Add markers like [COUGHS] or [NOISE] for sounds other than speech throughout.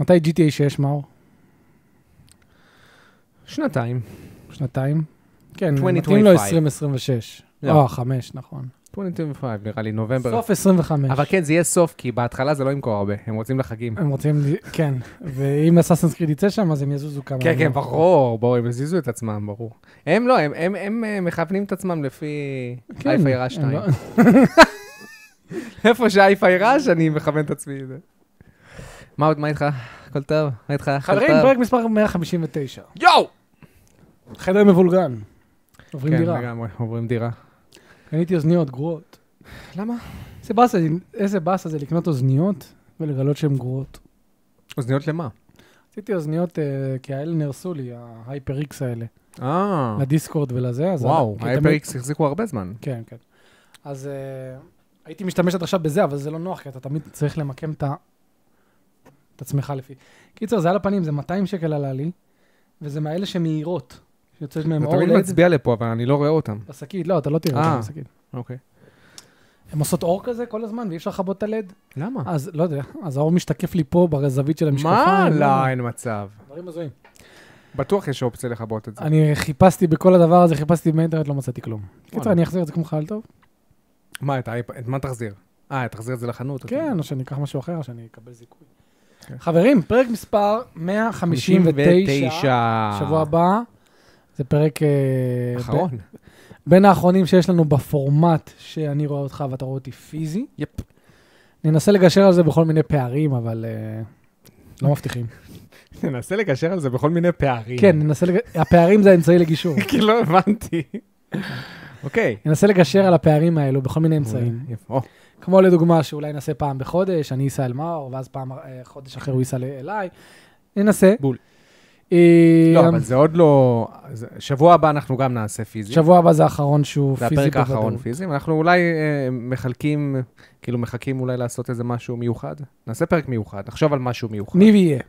מתי GTA 6, מאור? שנתיים. שנתיים? כן, 20, מתאים לו 25. 2026. לא. או, חמש, נכון. 25 נראה לי, נובמבר. סוף 25. אבל כן, זה יהיה סוף, כי בהתחלה זה לא ימכור הרבה, הם רוצים לחגים. הם רוצים, ל- כן, ואם אסאסנס קריד יצא שם, אז הם יזוזו כמה. כן, כן, ימים. ברור, ברור, הם הזיזו את עצמם, ברור. הם לא, הם- הם- הם אה, מכוונים את עצמם לפי כן, אייפה הם ירש 2. לא- [LAUGHS] איפה שאייפה ירש, אני מכוון את עצמי. לזה. מה עוד, מה איתך? הכל טוב? מה איתך? הכל חברים, טוב? כן, פרק מספר 159. יואו! חדר מבולגן. עוברים כן, דירה. לגמרי, עוברים דירה. קניתי אוזניות גרועות. למה? איזה באסה, איזה באסה זה לקנות אוזניות ולגלות שהן גרועות. אוזניות למה? עשיתי אוזניות, אה, כי האלה נהרסו לי, ההייפר איקס האלה. אה, לדיסקורד ולזה, אז... וואו, כי האייפר תמיד- איקס החזיקו הרבה זמן. כן, כן. אז אה, הייתי משתמש עד עכשיו בזה, אבל זה לא נוח, כי אתה תמיד צריך למקם את ה- את עצמך לפי. קיצר, זה על הפנים, זה 200 שקל עלה לי, וזה מאלה שמהירות, שיוצאת זה מהן אור תמיד לד מצביע לפה, אבל אני לא רואה אותם. בשקית, לא, אתה לא תראה אותן אה. בשקית. אוקיי. הן עושות אור כזה כל הזמן, ואי אפשר לכבות את הלד, למה? אז לא יודע, אז האור משתקף לי פה בזווית של מה? המשקפיים. לא, אין מצב. דברים הזויים. בטוח יש אופציה לכבות את זה. אני חיפשתי בכל הדבר הזה, חיפשתי באינטרנט, לא מצאתי כלום. קיצר, וואלה. אני אחזיר את זה כמו חייל טוב. מה, את האייפ- את מה תחזיר? אה, תחזיר את זה לחנות? אתה כן, אומר. או שאני אקח משהו אחר, או שאני אקבל זיכוי. כן. חברים, פרק מספר 159, שבוע הבא, זה פרק... אה, ב- אחרון. בין האחרונים שיש לנו בפורמט שאני רואה אותך ואתה רואה אותי פיזי. יפ. ננסה לגשר על זה בכל מיני פערים, אבל אה, לא מבטיחים. ננסה לגשר על זה בכל מיני פערים. כן, ננסה לג... הפערים זה האמצעי לגישור. [LAUGHS] כי לא הבנתי. אוקיי. ננסה לגשר על הפערים האלו בכל מיני אמצעים. יפה. או, כמו לדוגמה, שאולי נעשה פעם בחודש, אני אסע אל מאור, ואז פעם אה, חודש אחר הוא ייסע ל- אליי. ננסה. בול. אה, לא, אבל זה עוד לא... זה- שבוע הבא אנחנו גם נעשה פיזי. שבוע הבא זה האחרון שהוא זה פיזי הפרק האחרון בוודאות. פיזי. אנחנו אולי אה, מחלקים, כאילו מחכים אולי לעשות איזה משהו מיוחד. נעשה פרק מיוחד, נחשוב על משהו מיוחד. ניב יהיה.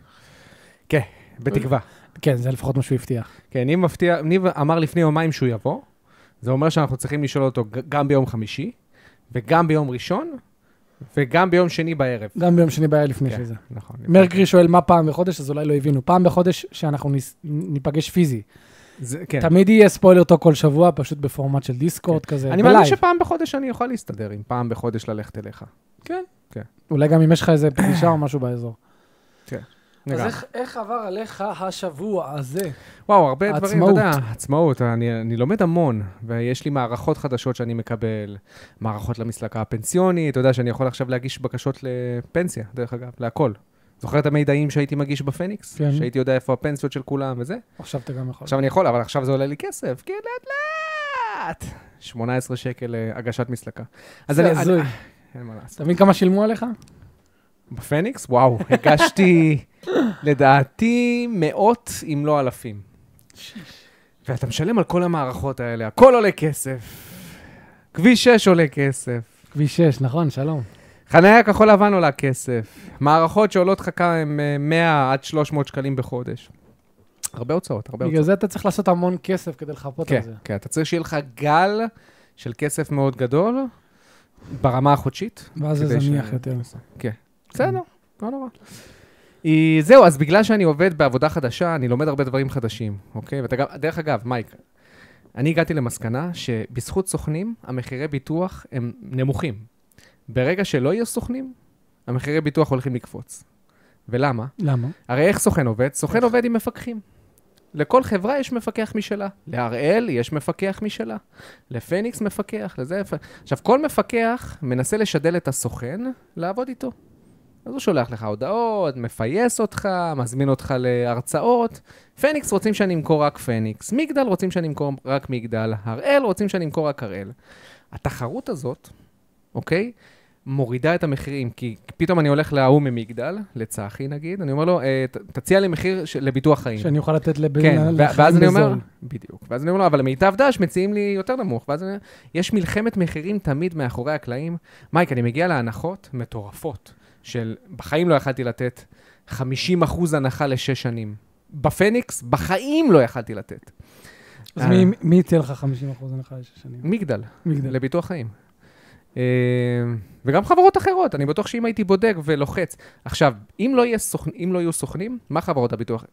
בתקווה. כן, זה לפחות מה שהוא הבטיח. כן, ניב מבטיח, ניב אמר לפני יומיים שהוא יבוא, זה אומר שאנחנו צריכים לשאול אותו ג- גם ביום חמישי, וגם ביום ראשון, וגם ביום שני בערב. גם ביום שני בעיה לפני כן. שזה. נכון. מרקרי שואל מה פעם בחודש, אז אולי לא הבינו. פעם בחודש שאנחנו ניס- ניפגש פיזי. זה- כן. תמיד יהיה ספוילר טוק כל שבוע, פשוט בפורמט של דיסקורד כזה, אני מאמין אה, בלייב. שפעם בחודש אני אוכל להסתדר עם פעם בחודש ללכת אליך. אולי גם אם יש לך איזה פגישה או משהו באזור. אז לגמרי. איך- איך עבר עליך השבוע הזה? וואו, הרבה דברים, אתה עצמאות. יודע, עצמאות, אני, אני לומד המון, ויש לי מערכות חדשות שאני מקבל, מערכות למסלקה הפנסיונית, אתה יודע שאני יכול עכשיו להגיש בקשות לפנסיה, דרך אגב, להכל. זוכר את המידעים שהייתי מגיש בפניקס? כן. שהייתי יודע איפה הפנסיות של כולם וזה? עכשיו אתה גם יכול. נכון. עכשיו אני יכול, אבל עכשיו זה עולה לי כסף, כי לאט לאט. 18 שקל אה, הגשת מסלקה. אז זה אני... הזוי. אני- אה, אין מה לעשות. אתה מבין כמה שילמו עליך? בפניקס? וואו, [LAUGHS] הגשתי, לדעתי, מאות אם לא אלפים. ואתה משלם על כל המערכות האלה, הכל עולה כסף. כביש 6 עולה כסף. כביש 6, נכון, שלום. חניה כחול לבן עולה כסף. מערכות שעולות לך הם אה, 100 עד 300 שקלים בחודש. הרבה הוצאות, הרבה הוצאות. בגלל זה אתה צריך לעשות המון כסף כדי לחפות על כן, זה. כן, אתה צריך שיהיה לך גל של כסף מאוד גדול ברמה החודשית. ואז זה כדי ש- זניח יותר. כן. בסדר, Mm. לא נורא. אה, זהו, אז בגלל שאני עובד בעבודה חדשה, אני לומד הרבה דברים חדשים, אוקיי? ואתה גם, דרך אגב, מייק, אני הגעתי למסקנה שבזכות סוכנים, המחירי ביטוח הם נמוכים. ברגע שלא יהיו סוכנים, המחירי ביטוח הולכים לקפוץ. ולמה? למה? הרי איך סוכן עובד? סוכן עובד עם מפקחים. לכל חברה יש מפקח משלה. להראל יש מפקח משלה. לפניקס מפקח, לזה... מפ- עכשיו, כל מפקח מנסה לשדל את הסוכן לעבוד איתו. אז הוא שולח לך הודעות, מפייס אותך, מזמין אותך להרצאות. פניקס רוצים שאני אמכור רק פניקס, מגדל רוצים שאני אמכור רק מגדל, הראל רוצים שאני אמכור רק הראל. התחרות הזאת, אוקיי? מורידה את המחירים, כי פתאום אני הולך להוא ממגדל, לצחי נגיד, אני אומר לו, "אה, ת- תציע לי מחיר של- לביטוח חיים. שאני אוכל לתת לבן... כן, ו- לחיים ואז אני אומר, בזול. בדיוק, ואז אני אומר לו, אבל מיטב דש מציעים לי יותר נמוך, ואז אני אומר, יש מלחמת מחירים תמיד מאחורי הקלעים. מייק, אני מגיע להנחות מטורפות, של בחיים לא יכלתי לתת 50% הנחה לשש שנים. בפניקס, בחיים לא יכלתי לתת. אה. אז מי- מי יציע לך 50% הנחה לשש שנים? מגדל, מגדל. לביטוח חיים. Uh, אה, וגם חברות אחרות, אני בטוח שאם הייתי בודק ולוחץ. עכשיו, אם לא, יהיה סוכנ... אם לא יהיו סוכנים, מה חברות הביטוח?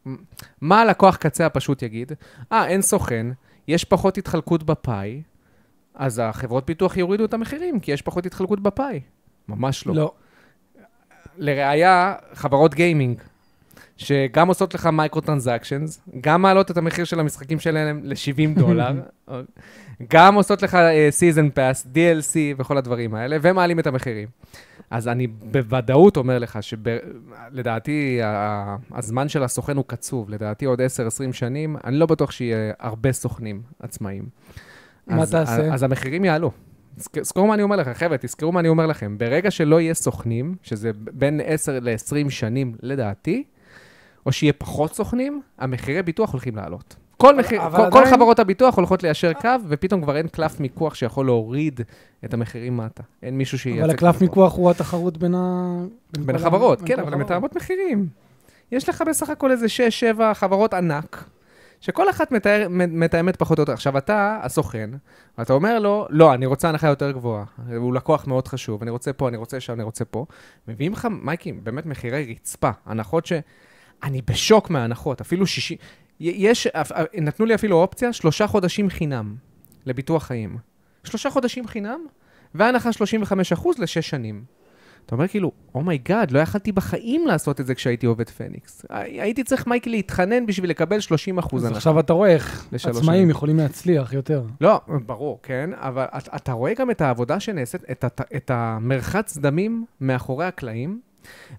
מה הלקוח קצה הפשוט יגיד? אה, אין סוכן, יש פחות התחלקות בפאי, אז החברות ביטוח יורידו את המחירים, כי יש פחות התחלקות בפאי. ממש לא. לא. לראיה, חברות גיימינג, שגם עושות לך מייקרו-טרנזקשנס, גם מעלות את המחיר של המשחקים שלהם ל-70 [LAUGHS] דולר, גם עושות לך אה, season pass, DLC וכל הדברים האלה, ומעלים את המחירים. אז אני בוודאות אומר לך שלדעתי הזמן של הסוכן הוא קצוב, לדעתי עוד 10-20 שנים, אני לא בטוח שיהיה הרבה סוכנים עצמאיים. מה אז- תעשה? אז המחירים יעלו. זכ- זכרו מה אני אומר לכם, חבר'ה, תזכרו מה אני אומר לכם. ברגע שלא יהיה סוכנים, שזה ב- בין 10 ל-20 שנים לדעתי, או שיהיה פחות סוכנים, המחירי ביטוח הולכים לעלות. כל, מחיר, אבל כל, כל עדיין- חברות הביטוח הולכות ליישר קו, ופתאום כבר אין קלף מיקוח שיכול להוריד את המחירים מטה. אין מישהו שייצג אבל את הקלף החברות. מיקוח הוא התחרות בין ה... בין כל החברות, ה- כן, כל אבל הן החברות. מתאמות מחירים. יש לך בסך הכל איזה 6-7 חברות ענק, שכל אחת מתאר- מ- מתאמת פחות או יותר. עכשיו, אתה הסוכן, אתה אומר לו, לא, אני רוצה הנחה יותר גבוהה, הוא לקוח מאוד חשוב, אני רוצה פה, אני רוצה שם, אני רוצה פה. מביאים לך, מייקי, באמת מחירי רצפה, הנחות ש... אני בשוק מההנחות, אפילו שישי... י- יש, אפ- אפ- נתנו לי אפילו אופציה, שלושה חודשים חינם לביטוח חיים. שלושה חודשים חינם, והנחה 35% לשש שנים. אתה אומר כאילו, אומייגאד, לא יכלתי בחיים לעשות את זה כשהייתי עובד פניקס. הי- הייתי צריך, מייקי, להתחנן בשביל לקבל 30 אחוז אז הנחה. עכשיו אתה רואה איך לשלוש שנים. עצמאים יכולים להצליח יותר. לא, ברור, כן, אבל את- אתה רואה גם את העבודה שנעשית, את, את, את המרחץ דמים מאחורי הקלעים,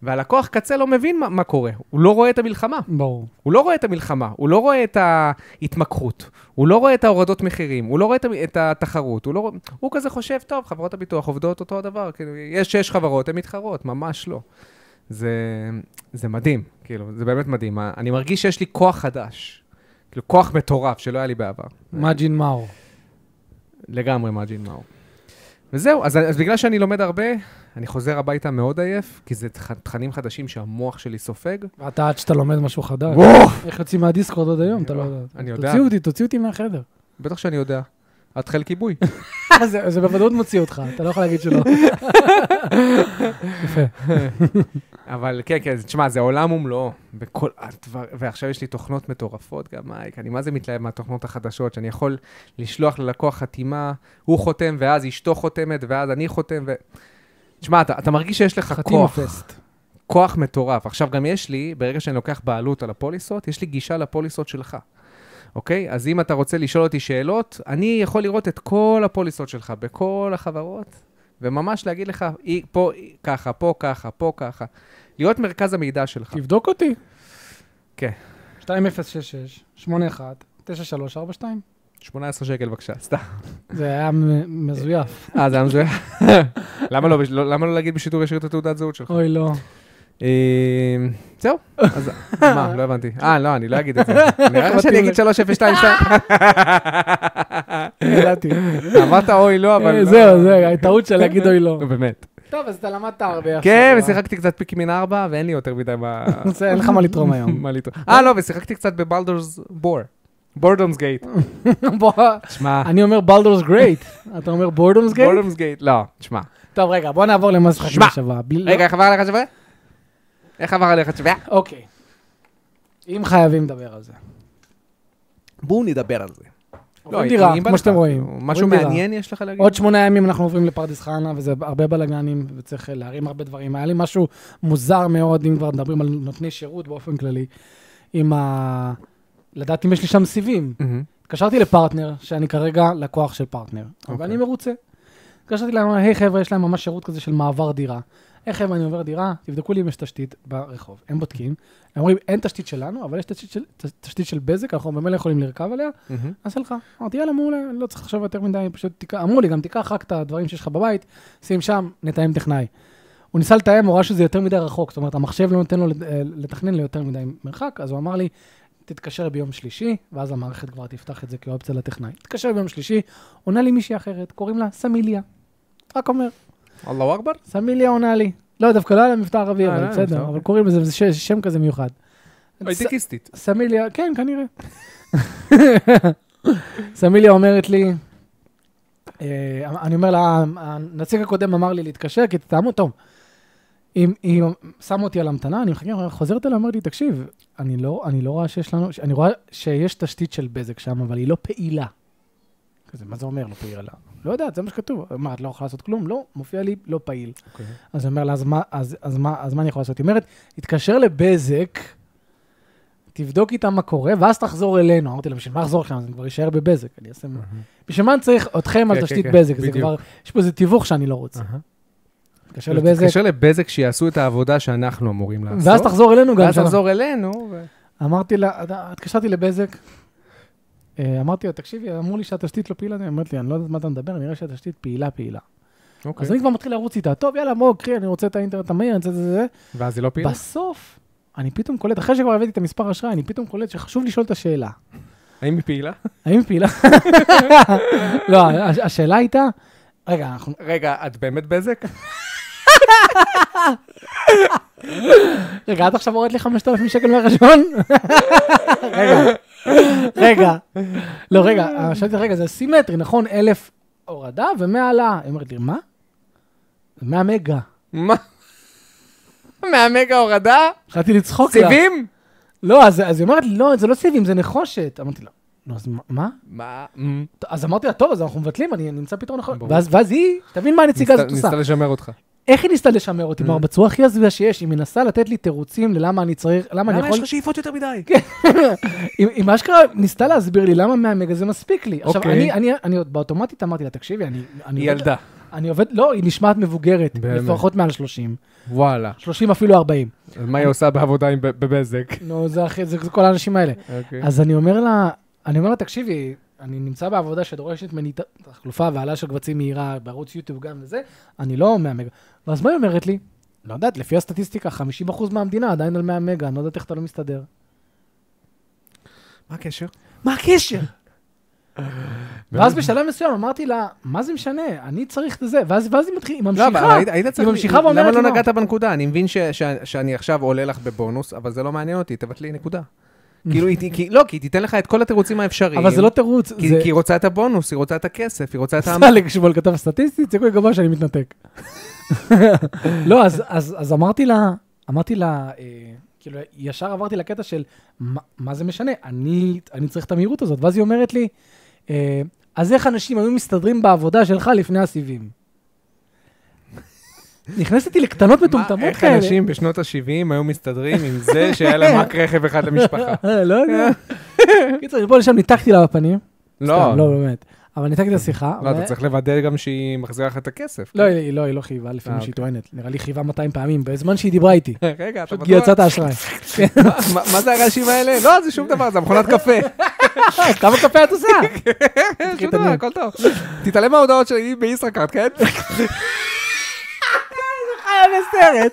והלקוח קצה לא מבין מה, מה קורה. הוא לא רואה את המלחמה. ברור. הוא לא רואה את המלחמה, הוא לא רואה את ההתמקחות, הוא לא רואה את ההורדות מחירים, הוא לא רואה את המ- את התחרות, הוא, לא... רוא- הוא כזה חושב, טוב, חברות הביטוח עובדות אותו הדבר, כאילו, יש שש חברות, הן מתחרות, ממש לא. זה, זה מדהים, כאילו, זה באמת מדהים. אני מרגיש שיש לי כוח חדש, כאילו, כוח מטורף שלא היה לי בעבר. מג'ין מאור. לגמרי מג'ין מאו. וזהו, אז, אז בגלל שאני לומד הרבה, אני חוזר הביתה מאוד עייף, כי זה תכ- תכנים חדשים שהמוח שלי סופג. ואתה עד שאתה לומד משהו חדש. וואו! איך יוצאים מהדיסקורד עוד היום? אתה לא אני יודע. יודע. תוציאו אותי, תוציאו אותי מהחדר. [LAUGHS] בטח שאני יודע. את חיל כיבוי. זה- זה בוודאות מוציא אותך, אתה לא יכול להגיד שלא. יפה. אבל כן, כן, תשמע, זה עולם ומלואו. וכל הדבר, ועכשיו יש לי תוכנות מטורפות גם, מייק. אני מה זה מתלהב מהתוכנות החדשות, שאני יכול לשלוח ללקוח חתימה, הוא חותם, ואז אשתו חותמת, ואז אני חותם, ו... תשמע, אתה, אתה מרגיש שיש לך חתים כוח, הפסט. כוח מטורף. עכשיו, גם יש לי, ברגע שאני לוקח בעלות על הפוליסות, יש לי גישה לפוליסות שלך. אוקיי? אז אם אתה רוצה לשאול אותי שאלות, אני יכול לראות את כל הפוליסות שלך בכל החברות, וממש להגיד לך, "אי- פה אי- ככה, פה ככה, פה ככה. להיות מרכז המידע שלך. תבדוק אותי. כן. 2066, 81, 9342. 18 שקל בבקשה, סתם. [LAUGHS] זה היה מ- [LAUGHS] מזויף. אה, זה היה מזויין. [LAUGHS] למה לא בש- לא- למה לא להגיד בשידור ישיר את התעודת זהות שלך? אוי, לא. אה, זהו, אז מה, לא הבנתי. אה, לא, אני לא אגיד את זה. נראה לך שאני אגיד 3022. [LAUGHS] ידעתי. אמרת אוי לא, אבל... אה, לא. זהו, זהו, טעות של להגיד אוי לא. נו, באמת. טוב, אז אתה למדת הרבה עכשיו. כן, ושיחקתי קצת פיקימין 4, ואין לי יותר מדי מה... זה, [LAUGHS] אין לך מה לתרום היום. מה לטעון. אה, לא, ושיחקתי קצת בבלדורס בור. בורדומס גייט. בוא, שמע, אני אומר בלדורס גרייט. אתה אומר בורדומס גייט? בורדומס גייט. לא, שמע. טוב, רגע, בוא נעבור למה שחקים שמע. השבוע. בלי- רגע, איך עבר עליך שווה? איך עבר עליך שווה? אוקיי. אם חייבים לדבר על זה. בואו נדבר על זה. עוברים דירה, כמו שאתם רואים. משהו עוברים דירה. מעניין יש לך להגיד? עוד שמונה ימים אנחנו עוברים לפרדס חנה, וזה הרבה בלאגנים, וצריך אה, להרים הרבה דברים. היה לי משהו מוזר מאוד, אם כבר מדברים על נותני שירות באופן כללי, עם ה... לדעת אם יש לי שם סיבים. מהמם. התקשרתי לפרטנר, שאני כרגע לקוח של פרטנר, אוקיי. ואני מרוצה. התקשרתי להם, היי חבר'ה, יש להם ממש שירות כזה של מעבר דירה. היי חבר'ה, אני עובר דירה, תבדקו לי אם יש תשתית ברחוב. הם בודקים, הם אומרים, אין תשתית שלנו, אבל יש תשתית של, ת- תשתית של בזק, אנחנו ממילא יכולים לרכב עליה, מהמם. נעשה לך. אמרתי, יאללה, מעולה, אני לא צריך לחשוב יותר מדי, פשוט תיקח, אמרו לי, גם תיקח רק את הדברים שיש לך בבית, שים שם, נתאם טכנאי. הוא ניסה לתאם, הוא ראה שזה יותר מדי רחוק, זאת אומרת, המחשב לא נותן לו לת- אה, לתכנן ליותר מדי מרחק, אז הוא אמר לי, תתקשר ביום שלישי, ואז המערכת כבר תפתח את זה כאופציה לטכנאי. תתקשר ביום שלישי, עונה לי מישהי אחרת, קוראים לה סמיליה. רק אומר, אללהו אכבר? סמיליה עונה לי. לא, דווקא לא היה לה מבטא ערבי, אה, לא אבל היה מבטא בסדר, ערבי. אבל קוראים לזה, זה ש- שם כזה מיוחד. הייטקיסטית. סמיליה, כן, כנראה. סמיליה אומרת לי, אה, אני אומר לה, הנציג הקודם אמר לי להתקשר, כי תתאמו, טוב. אם, אם שמו אותי על המתנה, אני מחכה, היא חוזרת אליי, אומרת לי, תקשיב, אני לא, אני לא רואה שיש לנו, אני רואה שיש תשתית של בזק שם, אבל היא לא פעילה. כזה, מה זה אומר לא פעילה? לא יודעת, זה מה שכתוב. מה, את לא יכולה לעשות כלום? לא, מופיע לי לא פעיל. אוקיי. אז אני אומר לה, אז מה, אז, אז מה, אז מה אני יכול לעשות? היא אומרת, תתקשר לבזק, תבדוק איתם מה קורה, ואז תחזור אלינו. אמרתי לה, בשביל מה אחזור אליכם? אז אני כבר אשאר בבזק, אני אעשה... מה." בשביל מה אני צריך אתכם על אה. כן, תשתית כן, כן, בזק? זה בדיוק. אה. כבר, יש פה איזה תיווך שאני לא רוצה. אהה. תתקשר לבזק, תתקשר לבזק שיעשו את העבודה שאנחנו אמורים לעשות. ואז תחזור אלינו גם. ואז שאנחנו- תחזור אלינו. ו- אמרתי לה, "אתה- התקשרתי לבזק, אה, אמרתי לה, תקשיבי, אמרו לי שהתשתית לא פעילה, היא אומרת לי, אני לא יודעת מה אתה מדבר, נראה שהתשתית פעילה פעילה. אוקיי. אז אני כבר מתחיל לרוץ איתה, טוב, יאללה, בוא, קחי, אני רוצה את האינטרנט המהיר, אני רוצה את זה, זה, זה. ואז היא לא פעילה? בסוף, אני פתאום קולט, אחרי שכבר הבאתי את המספר אשראי, אני פתאום קולט שחשוב לשאול את השאלה. האם היא פעילה? האם היא פעילה? לא, הש- השאלה הייתה, רגע, אנחנו... רגע, את באמת בזק? רגע, את עכשיו הורדת לי 5,000 שקל מהחשבון? [LAUGHS] רגע, רגע. לא, רגע, שאלתי, רגע, זה סימטרי, נכון? 1,000 הורדה ו-100 העלאה. היא אומרת לי, מה? 100 מגה. מה? מהמגה הורדה? התחלתי לצחוק לה. סיבים? לא, אז אז היא אומרת לי, לא, זה לא סיבים, זה נחושת. אמרתי לה, נו, אז מה- מה? מה? ט- אז אמרתי לה, טוב, אז אנחנו מבטלים, אני אני אמצא פתרון אחר. ברור. ואז ואז היא, תבין מה הנציגה הזאת עושה. ניסתה לשמר אותך. איך היא ניסתה לשמר אותי? Mm. כלומר, בצורה הכי הזויה שיש, היא מנסה לתת לי תירוצים ללמה אני צריך, למה אני יכול... שאיפות יותר מדי? היא היא אשכרה ניסתה להסביר לי למה 100 מגה זה מספיק לי. עכשיו, אוקיי. אני- אני- אני עוד באוטומטית אמרתי לה, תקשיבי, אני... אני היא עובד- ילדה. אני עובד, לא, היא נשמעת מבוגרת, באמת. לפחות מעל 30. וואלה. 30 אפילו 40. אז מה היא עושה בעבודה עם- בבזק? נו, זה הכי- זה כל האנשים האלה. אוקיי. אז אני אומר לה, אני אומר לה, תקשיבי, אני נמצא בעבודה שדורשת ממני ת- תחלופה והעלאה של קבצים מהירה בערוץ יוטיוב גם וזה, אני לא 100 מגה. ואז מה היא אומרת לי? לא יודעת, לפי הסטטיסטיקה, 50% מהמדינה עדיין על 100 מגה, אני לא יודעת איך אתה לא מסתדר. מה הקשר? מה [LAUGHS] הקשר? ואז בשלב מסוים אמרתי לה, מה זה משנה, אני צריך את זה, ואז ואז היא מתחילה, היא לא, אבל ממשיכה. היית- היית צריך... היא ממשיכה ואומרת למה לי לא מה? נגעת בנקודה? אני מבין ש- ש- שאני עכשיו עולה לך בבונוס, אבל זה לא מעניין אותי, תבטלי [LAUGHS] נקודה. כאילו, היא ת- כי- לא, כי היא תיתן לך את כל התירוצים האפשריים. אבל זה לא תירוץ, כי זה... לא- כי היא רוצה את הבונוס, היא רוצה את הכסף, היא רוצה את העם. סלק שמואל כתב סטטיסטית, סיכוי גבוה שאני מתנתק. לא, אז- אז אז אמרתי לה, אמרתי לה, אה, כאילו, ישר עברתי לקטע של, "מה- מה זה משנה? אני אני צריך את המהירות הזאת. ואז היא אומרת לי, אה, אז איך אנשים היו מסתדרים בעבודה שלך לפני הסיבים? נכנסתי לקטנות מטומטמות איך כאלה. אנשים בשנות ה-70 היו מסתדרים עם זה שהיה להם רק רכב אחד למשפחה? לא יודע. קיצר, מפה לשם ניתקתי לה בפנים. אה. לא, סתם, לא, באמת. אבל ניתקתי את השיחה. לא, אבל- אתה צריך לוודא גם שהיא מחזירה לך את הכסף. לא, היא לא, היא לא חייבה לפי אה, מה שהיא טוענת. נראה לי חייבה 200 פעמים, בזמן שהיא דיברה איתי. רגע, אתה פשוט בטוח? יצא את האשראי. מה- מה זה הרעשים האלה? לא, זה שום דבר, זה מכונת [LAUGHS] קפה. כמה קפה את [LAUGHS] עושה? שום דבר, הכל טוב. תתעלם מההודעות שלי בישראכרט, כן? [LAUGHS] חיה בסרט.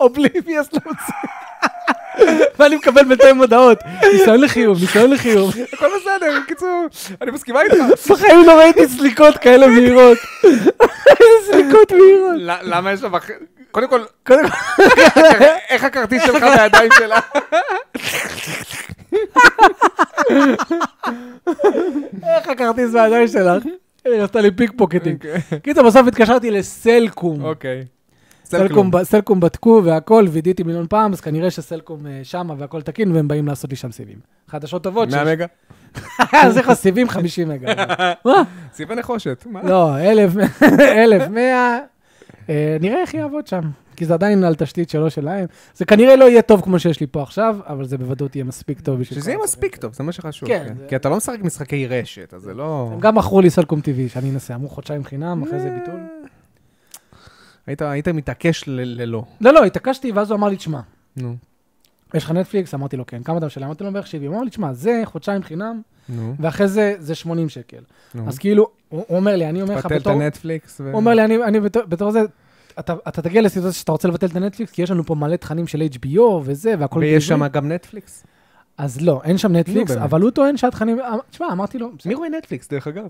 אובליביאס לא מוצא. [LAUGHS] ואני מקבל בינתיים הודעות. ניסיון לחיוב, ניסיון לחיוב. הכל בסדר, בקיצור, אני מסכימה [LAUGHS] איתך. בחיים לא ראיתי סליקות כאלה [LAUGHS] מהירות. איזה סליקות מהירות. ל- למה יש לה... בח- [LAUGHS] קודם כל, איך הכרטיס שלך בידיים שלה? [LAUGHS] איך הכרטיס בידיים שלך? אוקיי. היא עשתה לי פיק פוקטינג. [LAUGHS] קיצר, בסוף התקשרתי לסלקום. אוקיי. סלקום, ב- סלקום בדקו והכל, וידאתי מיליון פעם, אז כנראה שסלקום אה, שמה והכל תקין, והם באים לעשות לי שם סיבים. חדשות טובות. שיש- מהמגה? [LAUGHS] אז איך הסיבים 50 מגה? [LAUGHS] מה? סיב הנחושת. מה? לא, 1,000, 1,100, אה, נראה איך יעבוד שם. כי זה עדיין על תשתית שלו שלהם. זה כנראה לא יהיה טוב כמו שיש לי פה עכשיו, אבל זה בוודאות יהיה מספיק טוב בשביל... שזה יהיה כל מספיק טוב, זה מה שחשוב. כן, כן. זה- כי אתה לא משחק משחקי רשת, אז זה לא... הצופים. הם גם מכרו לי סלקום TV, שאני אנסה, אמרו חודשיים חינם, אחרי זה ביטול. אה. היית- היית מתעקש ל- ללא. לא, לא, התעקשתי, ואז הוא אמר לי, תשמע, נו. יש לך נטפליקס? אמרתי לו, כן. כמה אתה משלם? אמרתי לו, בערך 70. הוא אמר לי, תשמע, זה חודשיים חינם, נו. ואחרי זה, זה 80 שקל. נו. אז כאילו, הוא הוא אומר לי, אני אומר לך פטל את בתור... הנטפליקס. ו- הוא אומר לי, אני, אני בתור, בתור זה, אתה, אתה תגיע לסיטואציה שאתה רוצה לבטל את הנטפליקס, כי יש לנו פה מלא תכנים של HBO וזה, והכל ויש בעברית." שם גם נטפליקס. אז לא, אין שם נטפליקס, באמת. אבל הוא טוען שהתכנים... אה, תשמע, אמרתי לו, מי רואה נטפליקס, דרך אגב?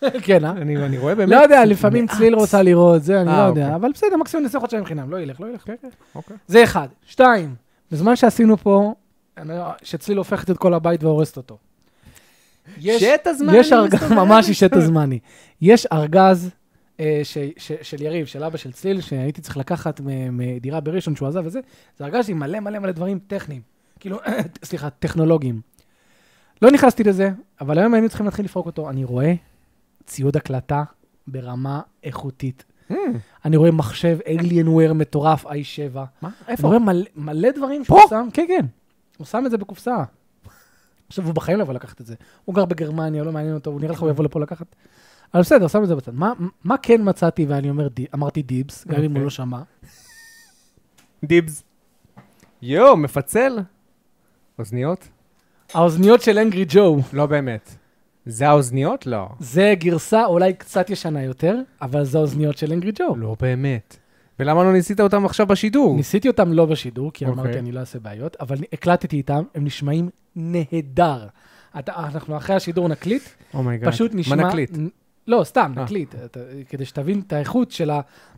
[LAUGHS] כן, אה? אני אני רואה באמת. לא יודע, לפעמים צליל רוצה לראות, זה אני אה, לא יודע, אוקיי. אבל בסדר, מקסימום נעשה חודשיים חינם, לא ילך, לא ילך. אוקיי. זה אחד. שתיים, בזמן שעשינו פה, אני- שצליל הופכת את כל הבית והורסת אותו. יש, שט הזמן. יש ארגז, [LAUGHS] ממש אישי תזמני. יש ארגז אה, ש, ש, של יריב, של אבא של צליל, שהייתי צריך לקחת מ- מדירה בראשון שהוא עזב וזה, זה ארגז עם מלא מלא מלא דברים טכניים. כאילו, [COUGHS] סליחה, טכנולוגיים. לא נכנסתי לזה, אבל היום היינו צריכים להתחיל לפרוק אותו. אני רואה ציוד הקלטה ברמה איכותית. Hmm, אני רואה מחשב Alienware מטורף, i7. מה? אני איפה? רואה מלא, מלא דברים פה? שהוא שם, כן, כן. הוא שם את זה בקופסה. עכשיו, הוא בחיים לא יבוא לקחת את זה. הוא גר בגרמניה, לא מעניין אותו, הוא נראה לך הוא יבוא לפה לקחת. אבל בסדר, שם את זה בצד. מה, מה כן מצאתי, ואני אומר, די- אמרתי דיבס, גם אם הוא אוקיי. לא שמע. דיבס. יואו, מפצל. אוזניות? האוזניות של אנגרי ג'ו, לא באמת. זה האוזניות? לא. זה גרסה אולי קצת ישנה יותר, אבל זה האוזניות של אנגרי ג'ו. לא באמת. ולמה לא ניסית אותם עכשיו בשידור? ניסיתי אותם לא בשידור, כי אוקיי. אמרתי, אני לא אעשה בעיות, אבל הקלטתי איתם, הם נשמעים נהדר. אתה- אנחנו אחרי השידור נקליט, אומייגאד. פשוט נשמע... Oh מה נקליט? נ- לא, סתם, אה. נקליט, אתה- כדי שתבין את האיכות של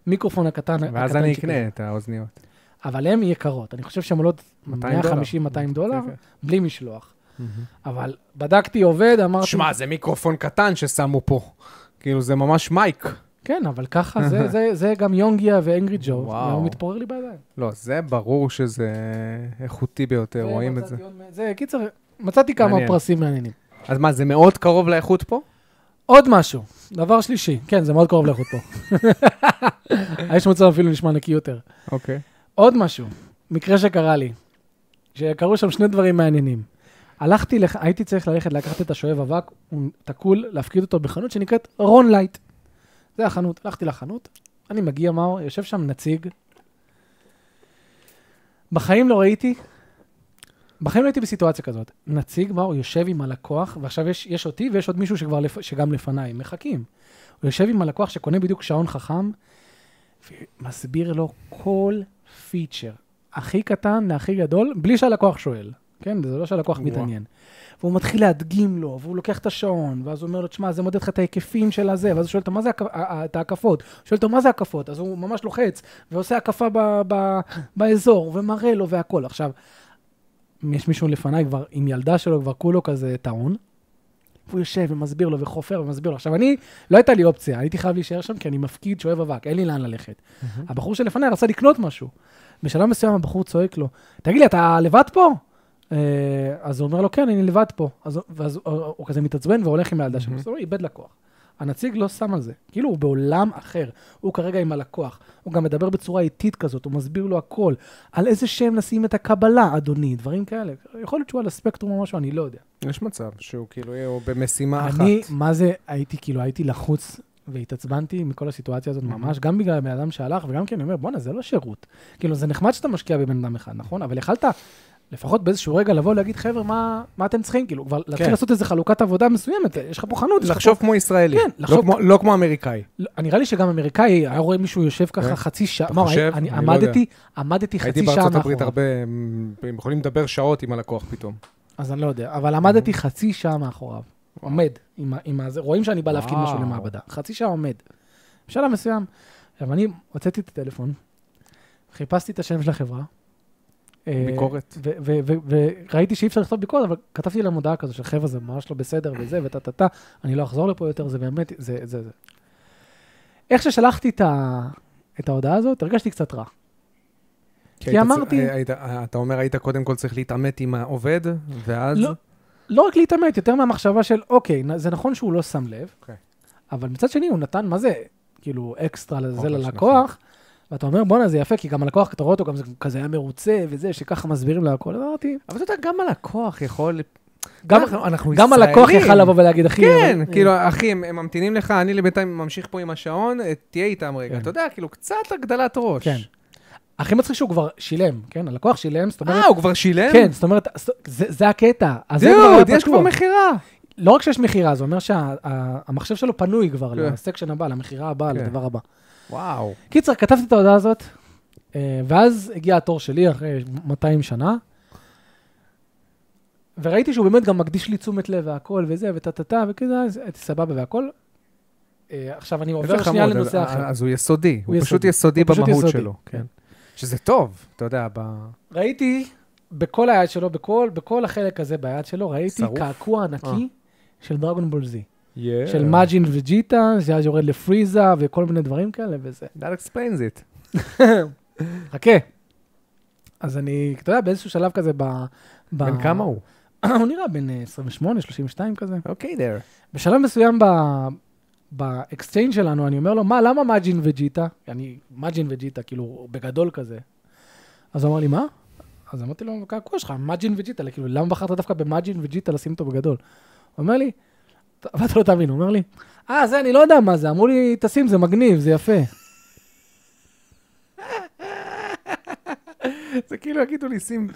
המיקרופון הקטן. ואז הקטנצ'יק אני הזה. אקנה את האוזניות. אבל הן יקרות, אני חושב שהן עולות 200 דולר. 150-200 דולר, כן, בלי משלוח. אבל בדקתי, עובד, אמרתי... שמע, זה מיקרופון קטן ששמו פה. כאילו, זה ממש מייק. כן, אבל ככה, זה- זה- זה גם יונגיה [LAUGHS] ואנגרי ג'ו, וואו. והוא מתפורר לי בידיים. לא, זה ברור שזה איכותי ביותר, רואים את זה. ומצאתי עוד מ- זה, קיצר, מצאתי כמה מעניין. פרסים מעניינים. אז מה, זה מאוד קרוב לאיכות פה? עוד משהו, דבר שלישי, כן, זה מאוד קרוב לאיכות פה. [LAUGHS] האש מוצר אפילו נשמע נקי יותר. אוקיי. עוד משהו, מקרה שקרה לי, שקרו שם שני דברים מעניינים. הלכתי, לח... הייתי צריך ללכת לקחת את השואב אבק, הוא תקול, להפקיד אותו בחנות שנקראת רון לייט. זה החנות, הלכתי לחנות, אני מגיע, מאור, יושב שם נציג. בחיים לא ראיתי, בחיים לא הייתי בסיטואציה כזאת. נציג, מאור, יושב עם הלקוח, ועכשיו יש, יש אותי ויש עוד מישהו שכבר לפ... שגם לפניי, מחכים. הוא יושב עם הלקוח שקונה בדיוק שעון חכם, ומסביר לו כל פיצ'ר, הכי קטן להכי גדול, בלי שהלקוח שואל. כן, זה לא שהלקוח וואו. מתעניין. והוא מתחיל להדגים לו, והוא לוקח את השעון, ואז הוא אומר לו, תשמע, זה מודד לך את ההיקפים של הזה, ואז הוא שואל אותו, מה זה הכ- ה- ה- את ההקפות? הוא שואל אותו, מה זה הקפות? אז הוא ממש לוחץ, ועושה הקפה ב- ב- באזור, ומראה לו והכול. עכשיו, יש מישהו לפניי כבר, עם ילדה שלו, כבר כולו כזה טעון. והוא יושב ומסביר לו וחופר ומסביר לו. עכשיו, אני, לא הייתה לי אופציה, הייתי חייב להישאר שם כי אני מפקיד שואב אבק, אין לי לאן ללכת. הבחור שלפניי רצה לקנות משהו. בשלב מסוים הבחור צועק לו, תגיד לי, אתה לבד פה? אה, אז הוא אומר לו, כן, אני לבד פה. אז, ואז הוא- הוא הוא כזה מתעצבן והולך עם הילדה שלו. Mhm. אז הוא איבד לקוח. הנציג לא שם על זה. כאילו, הוא בעולם אחר. הוא כרגע עם הלקוח. הוא גם מדבר בצורה איטית כזאת, הוא מסביר לו הכל. על איזה שם לשים את הקבלה, אדוני, דברים כאלה. יכול להיות שהוא על הספקטרום או משהו, אני לא יודע. יש מצב שהוא כאילו יהיה הוא במשימה אחת. אני, מה זה, הייתי כאילו, הייתי לחוץ והתעצבנתי מכל הסיטואציה Mhm. הזאת ממש, גם בגלל הבן אדם שהלך, וגם כי אני אומר, בואנה, זה לא שירות. כאילו, זה נחמד שאתה משקיע בבן אדם אחד, נכון? אבל יכלת לפחות באיזשהו רגע לבוא ולהגיד, חבר'ה, מה, מה אתם צריכים? כאילו, כבר להתחיל כן. לעשות איזה חלוקת עבודה מסוימת, יש לך פה חנות, יש לך לחשוב כמו ישראלי. כן, לא לחשוב- כמו- לא כמו אמריקאי. לא, נראה לי שגם אמריקאי היה רואה מישהו יושב ככה כן. חצי שעה. אתה מה, חושב? אני אני לא יודע. עמדתי, עמדתי חצי הייתי שעה מאחורה. בארצות הברית הרבה, הם הם יכולים לדבר שעות עם הלקוח פתאום. אז אני לא יודע, אבל אוקיי. עמדתי חצי שעה מאחוריו. עומד, עם, ה- עם הזה, רואים שאני בא להפקיד וואו. משהו למעבדה. חצי שעה עומד. בשלב מסוים. עכשיו, אני הוצאתי את הטלפון, חיפשתי את השם של החברה. אה, ביקורת. ו- ו- ו- וראיתי שאי אפשר לכתוב ביקורת, אבל כתבתי להם הודעה כזו של חבר'ה, זה ממש לא בסדר אה. וזה, וטה טה טה, אני לא אחזור לפה יותר, זה באמת, זה זה זה. איך ששלחתי את, ה... את ההודעה הזאת, הרגשתי קצת רע. כי היית צ- אמרתי- היית- אתה אומר, היית קודם כל צריך להתעמת עם העובד, ואז... לא, לא רק להתעמת, יותר מהמחשבה של, אוקיי, נ- זה נכון שהוא לא שם לב, אוקיי. אבל מצד שני, הוא נתן, מה זה, כאילו, אקסטרה לזה ממש נכון. ללקוח, ואתה אומר, בואנה, זה יפה, כי גם הלקוח, אתה רואה אותו, גם זה כזה היה מרוצה, וזה, שככה מסבירים לו הכל, אז אמרתי, אבל אתה יודע, גם הלקוח יכול... גם- אנחנו- אנחנו גם הלקוח ישראלים. יכל לבוא ולהגיד, אחי, כן, אבל- כאילו, אחי, הם הם ממתינים לך, אני לבינתיים ממשיך פה עם השעון, אה, תהיה איתם רגע. כן. אתה יודע, כאילו, קצת הגדלת ראש. אה, כן. הכי מצחיק שהוא כבר שילם, כן? הלקוח שילם, זאת אומרת... אה, הוא כבר שילם? כן, זאת אומרת, ס- זה זה הקטע. אז זה כבר היה דוד, יש פתוח. כבר מכירה. לא רק שיש מכירה, זה אומר שהמחשב שלו פנוי כבר כן. לסקשן הבא, למכירה הבאה, כן. לדבר הבא. וואו. קיצר, כתבתי את ההודעה הזאת, אה, ואז הגיע התור שלי אחרי 200 שנה, וראיתי שהוא באמת גם מקדיש לי תשומת לב והכל וזה, וטה-טה-טה, וכזה, אז הייתי סבבה והכל. אה, עכשיו אני עובר איזה שנייה חמוד, לנושא אז- אחר. אה, אז הוא יסודי, הוא הוא פשוט יסודי. יסודי הוא פשוט במהות יסודי, שלו. כן. שזה טוב, אתה יודע, ב... ראיתי בכל היד שלו, בכל, בכל החלק הזה ביד שלו, ראיתי שרוף? אה. שרוף? קעקוע ענקי של דרגונבול זי. Yeah. של מג'ין וג'יטה, שאז יורד לפריזה וכל מיני דברים כאלה וזה. That explains it. חכה. אז אני, אתה יודע, באיזשהו שלב כזה ב... ב- בן כמה הוא? הוא נראה בן אה, 28, 32 כזה. אוקיי, there. בשלב מסוים ב... באקסצ'יינג שלנו, אני אומר לו, מה, למה מג'ין וג'יטה? אני, מג'ין וג'יטה, כאילו, בגדול כזה. אז הוא אמר לי, מה? אז אמרתי לו, קעקוע שלך, מג'ין וג'יטה, כאילו, למה בחרת דווקא במג'ין וג'יטה לשים אותו בגדול? הוא אומר לי, "ת- אבל אתה לא תבין, הוא אומר לי, אה, זה, אני לא יודע מה זה, אמרו לי, תשים, זה מגניב, זה יפה. זה כאילו יגידו לי, שים...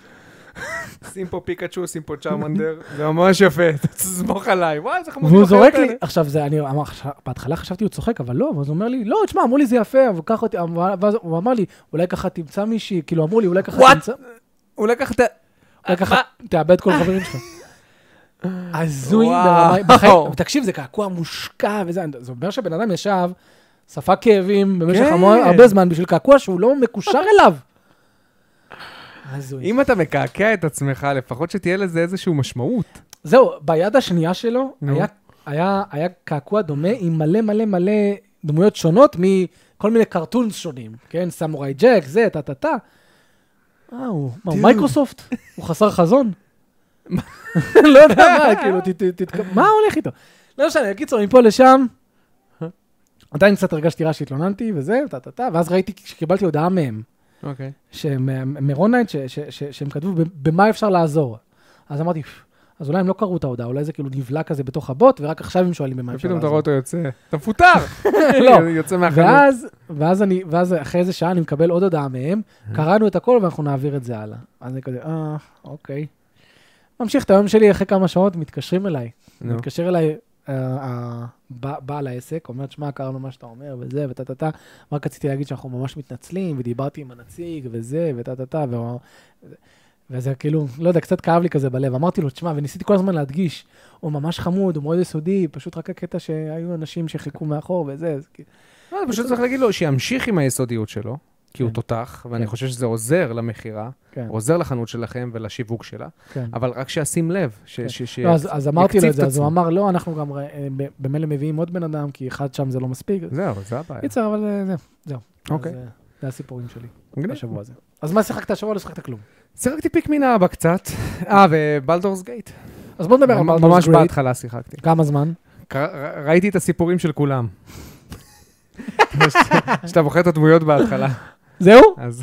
[LAUGHS] שים פה פיקאצ'ו, שים פה צ'רמנדר, זה ממש יפה, [LAUGHS] תסמוך עליי, וואי, זה חמודים והוא זורק לי, עכשיו זה, אני, אמר, עכשיו- בהתחלה חשבתי הוא צוחק, אבל לא, ואז הוא אומר לי, לא, תשמע, אמרו לי זה יפה, אבל ככה, ת- ואז הוא אמר לי, אולי ככה תמצא מישהי, כאילו, אמרו לי, אולי ככה What? תמצא... הוא לקח את ה... רק ככה, תאבד כל החברים [LAUGHS] שלך. הזוי וואו. ברמה, [LAUGHS] בחיים, תקשיב, זה קעקוע מושקע וזה, זה אומר שבן אדם ישב, ספג כאבים במשך כן. המון- הרבה זמן בשביל קעקוע שהוא לא מקושר [LAUGHS] אליו. הזוי. אם אתה מקעקע את עצמך, לפחות שתהיה לזה איזושהי משמעות. זהו, ביד השנייה שלו נו. היה- היה היה קעקוע דומה עם מלא מלא מלא דמויות שונות מכל מיני קרטונס שונים, כן? סמוראי ג'ק, זה, טה-טה-טה. אה, הוא מה, הוא Dude. מייקרוסופט? הוא חסר חזון? [LAUGHS] לא יודע מה, כאילו, ת- ת- תתק- מה הולך איתו? לא משנה, בקיצור, מפה לשם, עדיין קצת הרגשתי רע שהתלוננתי וזה, טה-טה-טה, ואז ראיתי שקיבלתי הודעה מהם. אוקיי. שהם- מרונייט, ש- ש- ש- שהם כתבו ב- במה אפשר לעזור. אז אמרתי, "פ, אז אולי הם לא קראו את ההודעה, אולי זה כאילו נבלע כזה בתוך הבוט, ורק עכשיו הם שואלים במה אפשר ופתאום אתה רואה לעזור. אותו יוצא, אתה [LAUGHS] מפוטר! לא. יוצא מהחנות. ואז, ואז אני, ואז אחרי איזה שעה אני מקבל עוד הודעה מהם, קראנו את הכל ואנחנו נעביר את זה הלאה. אז אני כזה, אה, אוקיי. ממשיך את היום שלי, אחרי כמה שעות מתקשרים אליי. נו. מתקשר אליי אה, אה, בע- בעל העסק, אומר, שמע, קראנו מה שאתה אומר, וזה, ותה תה תה. רק רציתי להגיד שאנחנו ממש מתנצלים, ודיברתי עם הנציג, וזה, ותה תה תה, והוא- וזה כאילו, לא יודע, קצת כאב לי כזה בלב. אמרתי לו, תשמע, וניסיתי כל הזמן להדגיש, הוא ממש חמוד, הוא מאוד יסודי, פשוט רק הקטע שהיו אנשים שחיכו מאחור וזה, אז כאילו, לא, אתה פשוט צריך להגיד לו שימשיך עם היסודיות שלו, כי הוא כן. תותח, ואני כן. חושב שזה עוזר למכירה, כן, עוזר לחנות שלכם ולשיווק שלה, כן. אבל רק שישים לב, ש- ש... ש- לא, אז, אז אמרתי לו יקציב את זה, את אז הוא עצמו. אמר, לא, אנחנו גם אה, ב- במילא מביאים עוד בן אדם, כי אחד שם זה לא מספיק. זהו, זה הבעיה. קיצר, אבל אה, זהו, זהו. אוקיי. אז, אה, זה הסיפורים שלי מגניב. בשבוע הזה. אז מה שיחקת השבוע? לא שיחקת כלום. שיחקתי פיקמין אבא קצת. אה, ובלדורס גייט. אז בוא נדבר על ממ- בלדורס ממש גרייט. בהתחלה שיחקתי. כמה זמן? ק- ר- ראיתי את הסיפורים של [LAUGHS] כולם. ש- שאתה בוחר את הדמויות בהתחלה. זהו? אז...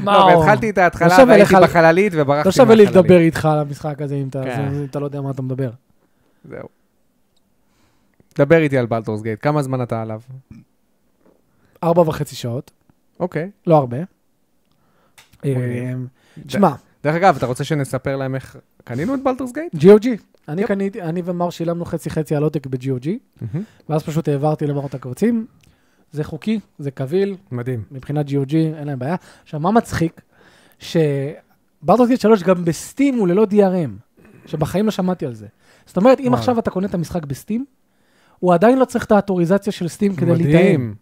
מה, לא, הוא- והתחלתי את ההתחלה, לא שווה והייתי לך- בחללית וברחתי מהחללית. לא שווה לי לדבר איתך על המשחק הזה אם אתה- כן. אם אתה לא יודע מה אתה מדבר. זהו. דבר איתי על בלדורס גייט, כמה זמן אתה עליו? ארבע וחצי שעות, אוקיי. לא הרבה. אה, מגניב. שמע, דרך אגב, אתה רוצה שנספר להם איך קנינו את בלדורס גייט? GOG, אני קניתי, אני ומר שילמנו חצי חצי על עותק ב-GOG, ואז פשוט העברתי למר את הקבצים. זה חוקי, זה קביל, מדהים. מבחינת GOG אין להם בעיה. עכשיו, מה מצחיק? שברדוס גייט 3 גם בסטים הוא ללא DRM, שבחיים לא שמעתי על זה. זאת אומרת, אם וואלה. עכשיו אתה קונה את המשחק בסטים, הוא עדיין לא צריך את האוטוריזציה של סטים כדי להתאם. מדהים.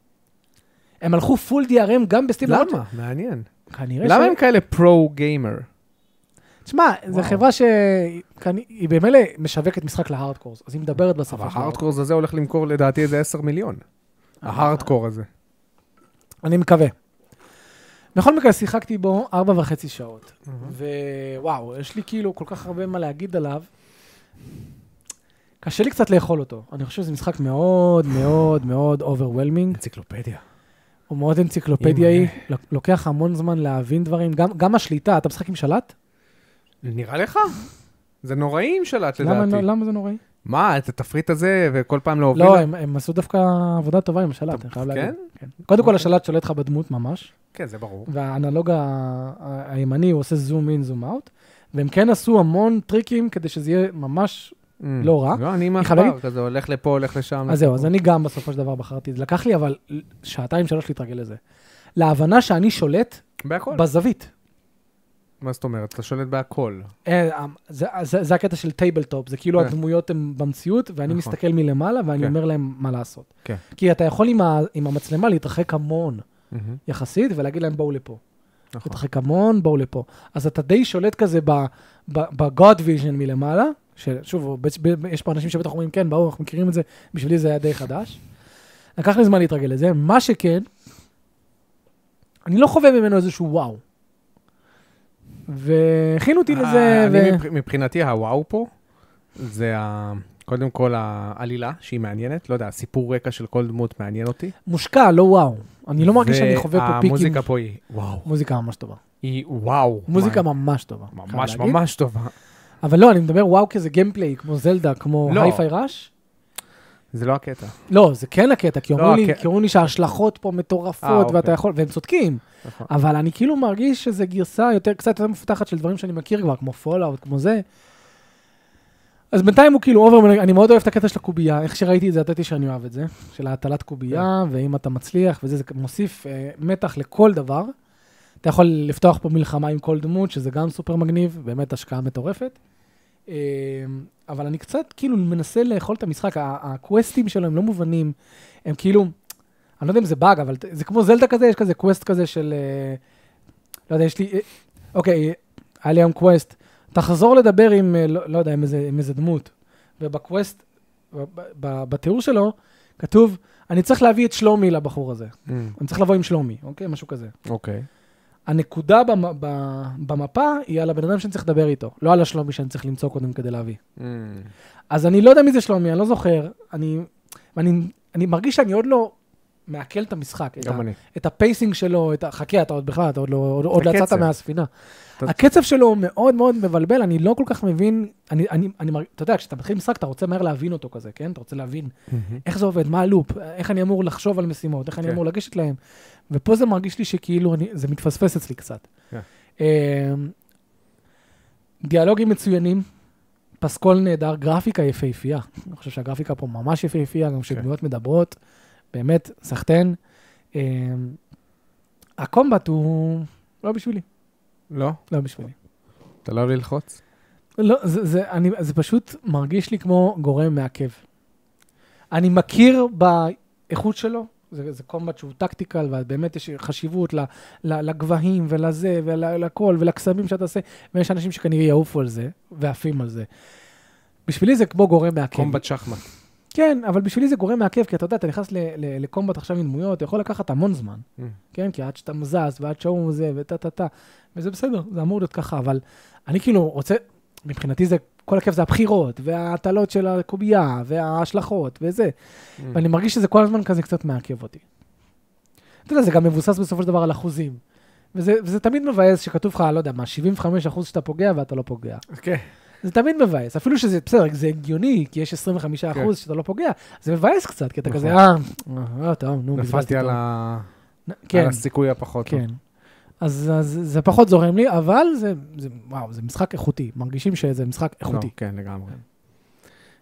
הם הלכו פול DRM גם בסטים. למרות למה? מעניין. ש- כנראה למה הם ש... כאלה פרו גיימר? תשמע, זו וואו. חברה שהיא במילא משווקת משחק להארדקורס, אז היא מדברת אבל בשפה של ההארדקור הזה הולך למכור לדעתי איזה 10 מיליון. ההארדקור הזה. אני מקווה. בכל מקרה, שיחקתי בו ארבע וחצי שעות, ווואו, יש לי כאילו כל כך הרבה מה להגיד עליו. קשה לי קצת לאכול אותו. אני חושב שזה משחק מאוד מאוד מאוד overwhelming, אנציקלופדיה. הוא מאוד אנציקלופדיאי, אימא'לה. לוק- לוקח המון זמן להבין דברים, גם, גם השליטה, אתה משחק עם שלט? נראה לך? זה נוראי עם שלט למה, לדעתי. למה זה נוראי? מה, את התפריט הזה וכל פעם להוביל? לא, הם, הם עשו דווקא עבודה טובה עם השלט, אני חייב כן? להגיד. כן? קודם כל, השלט שולט לך בדמות ממש. כן, זה ברור. והאנלוג ה- ה- הימני, הוא עושה זום אין, זום אאוט, והם כן עשו המון טריקים כדי שזה יהיה ממש... לא רע. לא, אני עם חברים? העכבר כזה, הולך לפה, הולך לשם. אז זהו, אז אני גם בסופו של דבר בחרתי את זה. לקח לי אבל שעתיים, שלוש להתרגל לזה. להבנה שאני שולט בהכל. בזווית. מה זאת אומרת? אתה שולט בהכל. אה, זה, זה, זה הקטע של טייבלטופ, זה כאילו כן. הדמויות הן במציאות, ואני נכון. מסתכל מלמעלה, ואני כן. אומר להם מה לעשות. כן. כי אתה יכול עם, ה, עם המצלמה להתרחק המון יחסית, ולהגיד להם בואו לפה. נכון. להתרחק המון, בואו לפה. אז אתה די שולט כזה ב- ב- ב-God Vision מלמעלה, ששוב, בצ- ב- ב- יש פה אנשים שבטח אומרים, כן, ברור, אנחנו מכירים את זה, בשבילי זה היה די חדש. לקח לי זמן להתרגל לזה. מה שכן, אני לא חווה ממנו איזשהו וואו. והכינו אותי אה, לזה, אני ו... מבח- מבחינתי הוואו פה, זה ה- קודם כל העלילה, שהיא מעניינת, לא יודע, הסיפור רקע של כל דמות מעניין אותי. מושקע, לא וואו. אני לא מרגיש שאני חווה פה פיקים. והמוזיקה פה היא וואו. מוזיקה ממש טובה. היא וואו. מוזיקה מה- ממש טובה. חייב ממש להגיד. ממש טובה. אבל לא, אני מדבר וואו כזה גיימפליי, כמו זלדה, כמו לא. הייפיי ראש. זה לא הקטע. לא, זה כן הקטע, כי לא, אומרים לי- הק- כי אומרים לי שההשלכות פה אה, מטורפות, אוקיי. ואתה יכול, והם צודקים, נכון. אבל אני כאילו מרגיש שזו גרסה יותר, קצת יותר מפותחת של דברים שאני מכיר כבר, כמו פולאאוט, כמו זה. אז בינתיים הוא כאילו אובר, אני מאוד אוהב את הקטע של הקובייה, איך שראיתי את זה, ידעתי שאני אוהב את זה, של ההטלת קובייה, כן. ואם אתה מצליח, וזה, זה מוסיף אה, מתח לכל דבר. אתה יכול לפתוח פה מלחמה עם כל דמות, שזה גם סופר מגניב, באמת השקעה מטורפת. אה, אבל אני קצת כאילו מנסה לאכול את המשחק, ה- הקווסטים שלו הם לא מובנים, הם כאילו, אני לא יודע אם זה באג, אבל ת- זה כמו זלדה כזה, יש כזה קווסט כזה של, אה, לא יודע, יש לי, אה, אוקיי, היה לי היום קווסט, תחזור לדבר עם, אה, לא, לא יודע, עם איזה, עם איזה דמות, ובקווסט, ב- ב- ב- בתיאור שלו, כתוב, אני צריך להביא את שלומי לבחור הזה, אמ, אני צריך לבוא עם שלומי, אוקיי? משהו כזה. אוקיי. הנקודה במ- ב- במפה היא על הבן אדם שאני צריך לדבר איתו, לא על השלומי שאני צריך למצוא קודם כדי להביא. אמ, אז אני לא יודע מי זה שלומי, אני לא זוכר. אני, אני, אני מרגיש שאני עוד לא מעכל את המשחק, את, ה, גם אני. את הפייסינג שלו, את ה... חכה, אתה עוד בכלל, אתה עוד לא, עוד, עוד לא הקצב. יצאת מהספינה. אתה- הקצב שלו הוא מאוד מאוד מבלבל, אני לא כל כך מבין, אני, אני, אני, מרג- אתה יודע, כשאתה מתחיל משחק, אתה רוצה מהר להבין אותו כזה, כן? אתה רוצה להבין איך זה עובד, מה הלופ, איך אני אמור לחשוב על משימות, איך אני כן. אמור לגשת להם. ופה זה מרגיש לי שכאילו אני, זה מתפספס אצלי קצת. כן. אמ, דיאלוגים מצוינים, פסקול נהדר, גרפיקה יפהפייה. אני חושב שהגרפיקה פה ממש יפהפייה, כן. גם כשדמויות מדברות, באמת, סחטיין. אמ, הקומבט הוא לא בשבילי, לא? לא בשבילי. אתה לא אוהב ללחוץ? לא, זה, זה, אני, זה פשוט מרגיש לי כמו גורם מעכב. אני מכיר באיכות שלו, זה, זה קומבט שהוא טקטיקל, ובאמת יש חשיבות ל, ל, לגבהים ולזה ולכל ולקסמים שאתה עושה, ויש אנשים שכנראה יעופו על זה, ועפים על זה. בשבילי זה כמו גורם מעכב. קומבט שחמט. כן, אבל בשבילי זה גורם מעכב, כי אתה יודע, אתה נכנס ל- ל- לקומבט עכשיו עם דמויות, אתה יכול לקחת המון זמן. Mm. כן, כי עד שאתה מזז, ועד שהוא זה, וטה טה טה, וזה בסדר, זה אמור להיות ככה, אבל אני כאילו רוצה, מבחינתי זה, כל הכיף זה הבחירות, וההטלות של הקובייה, וההשלכות, וזה, אמ, ואני מרגיש שזה כל הזמן כזה קצת מעכב אותי. אתה יודע, זה גם מבוסס בסופו של דבר על אחוזים. וזה, וזה תמיד מבאס שכתוב לך, לא יודע מה, 75 אחוז שאתה פוגע ואתה לא פוגע. כן. זה תמיד מבאס, אפילו שזה בסדר, זה הגיוני, כי יש 25 אחוז שאתה לא פוגע, זה מבאס קצת, כי אתה כן. נכון. כזה, אה, אה, טוב, נו, נפלתי על ה- ה... על כן, הסיכוי הפחות. טוב. כן. אז אז זה פחות זורם לי, אבל זה, זה- וואו, זה משחק איכותי, מרגישים שזה משחק איכותי. לא, כן, לגמרי.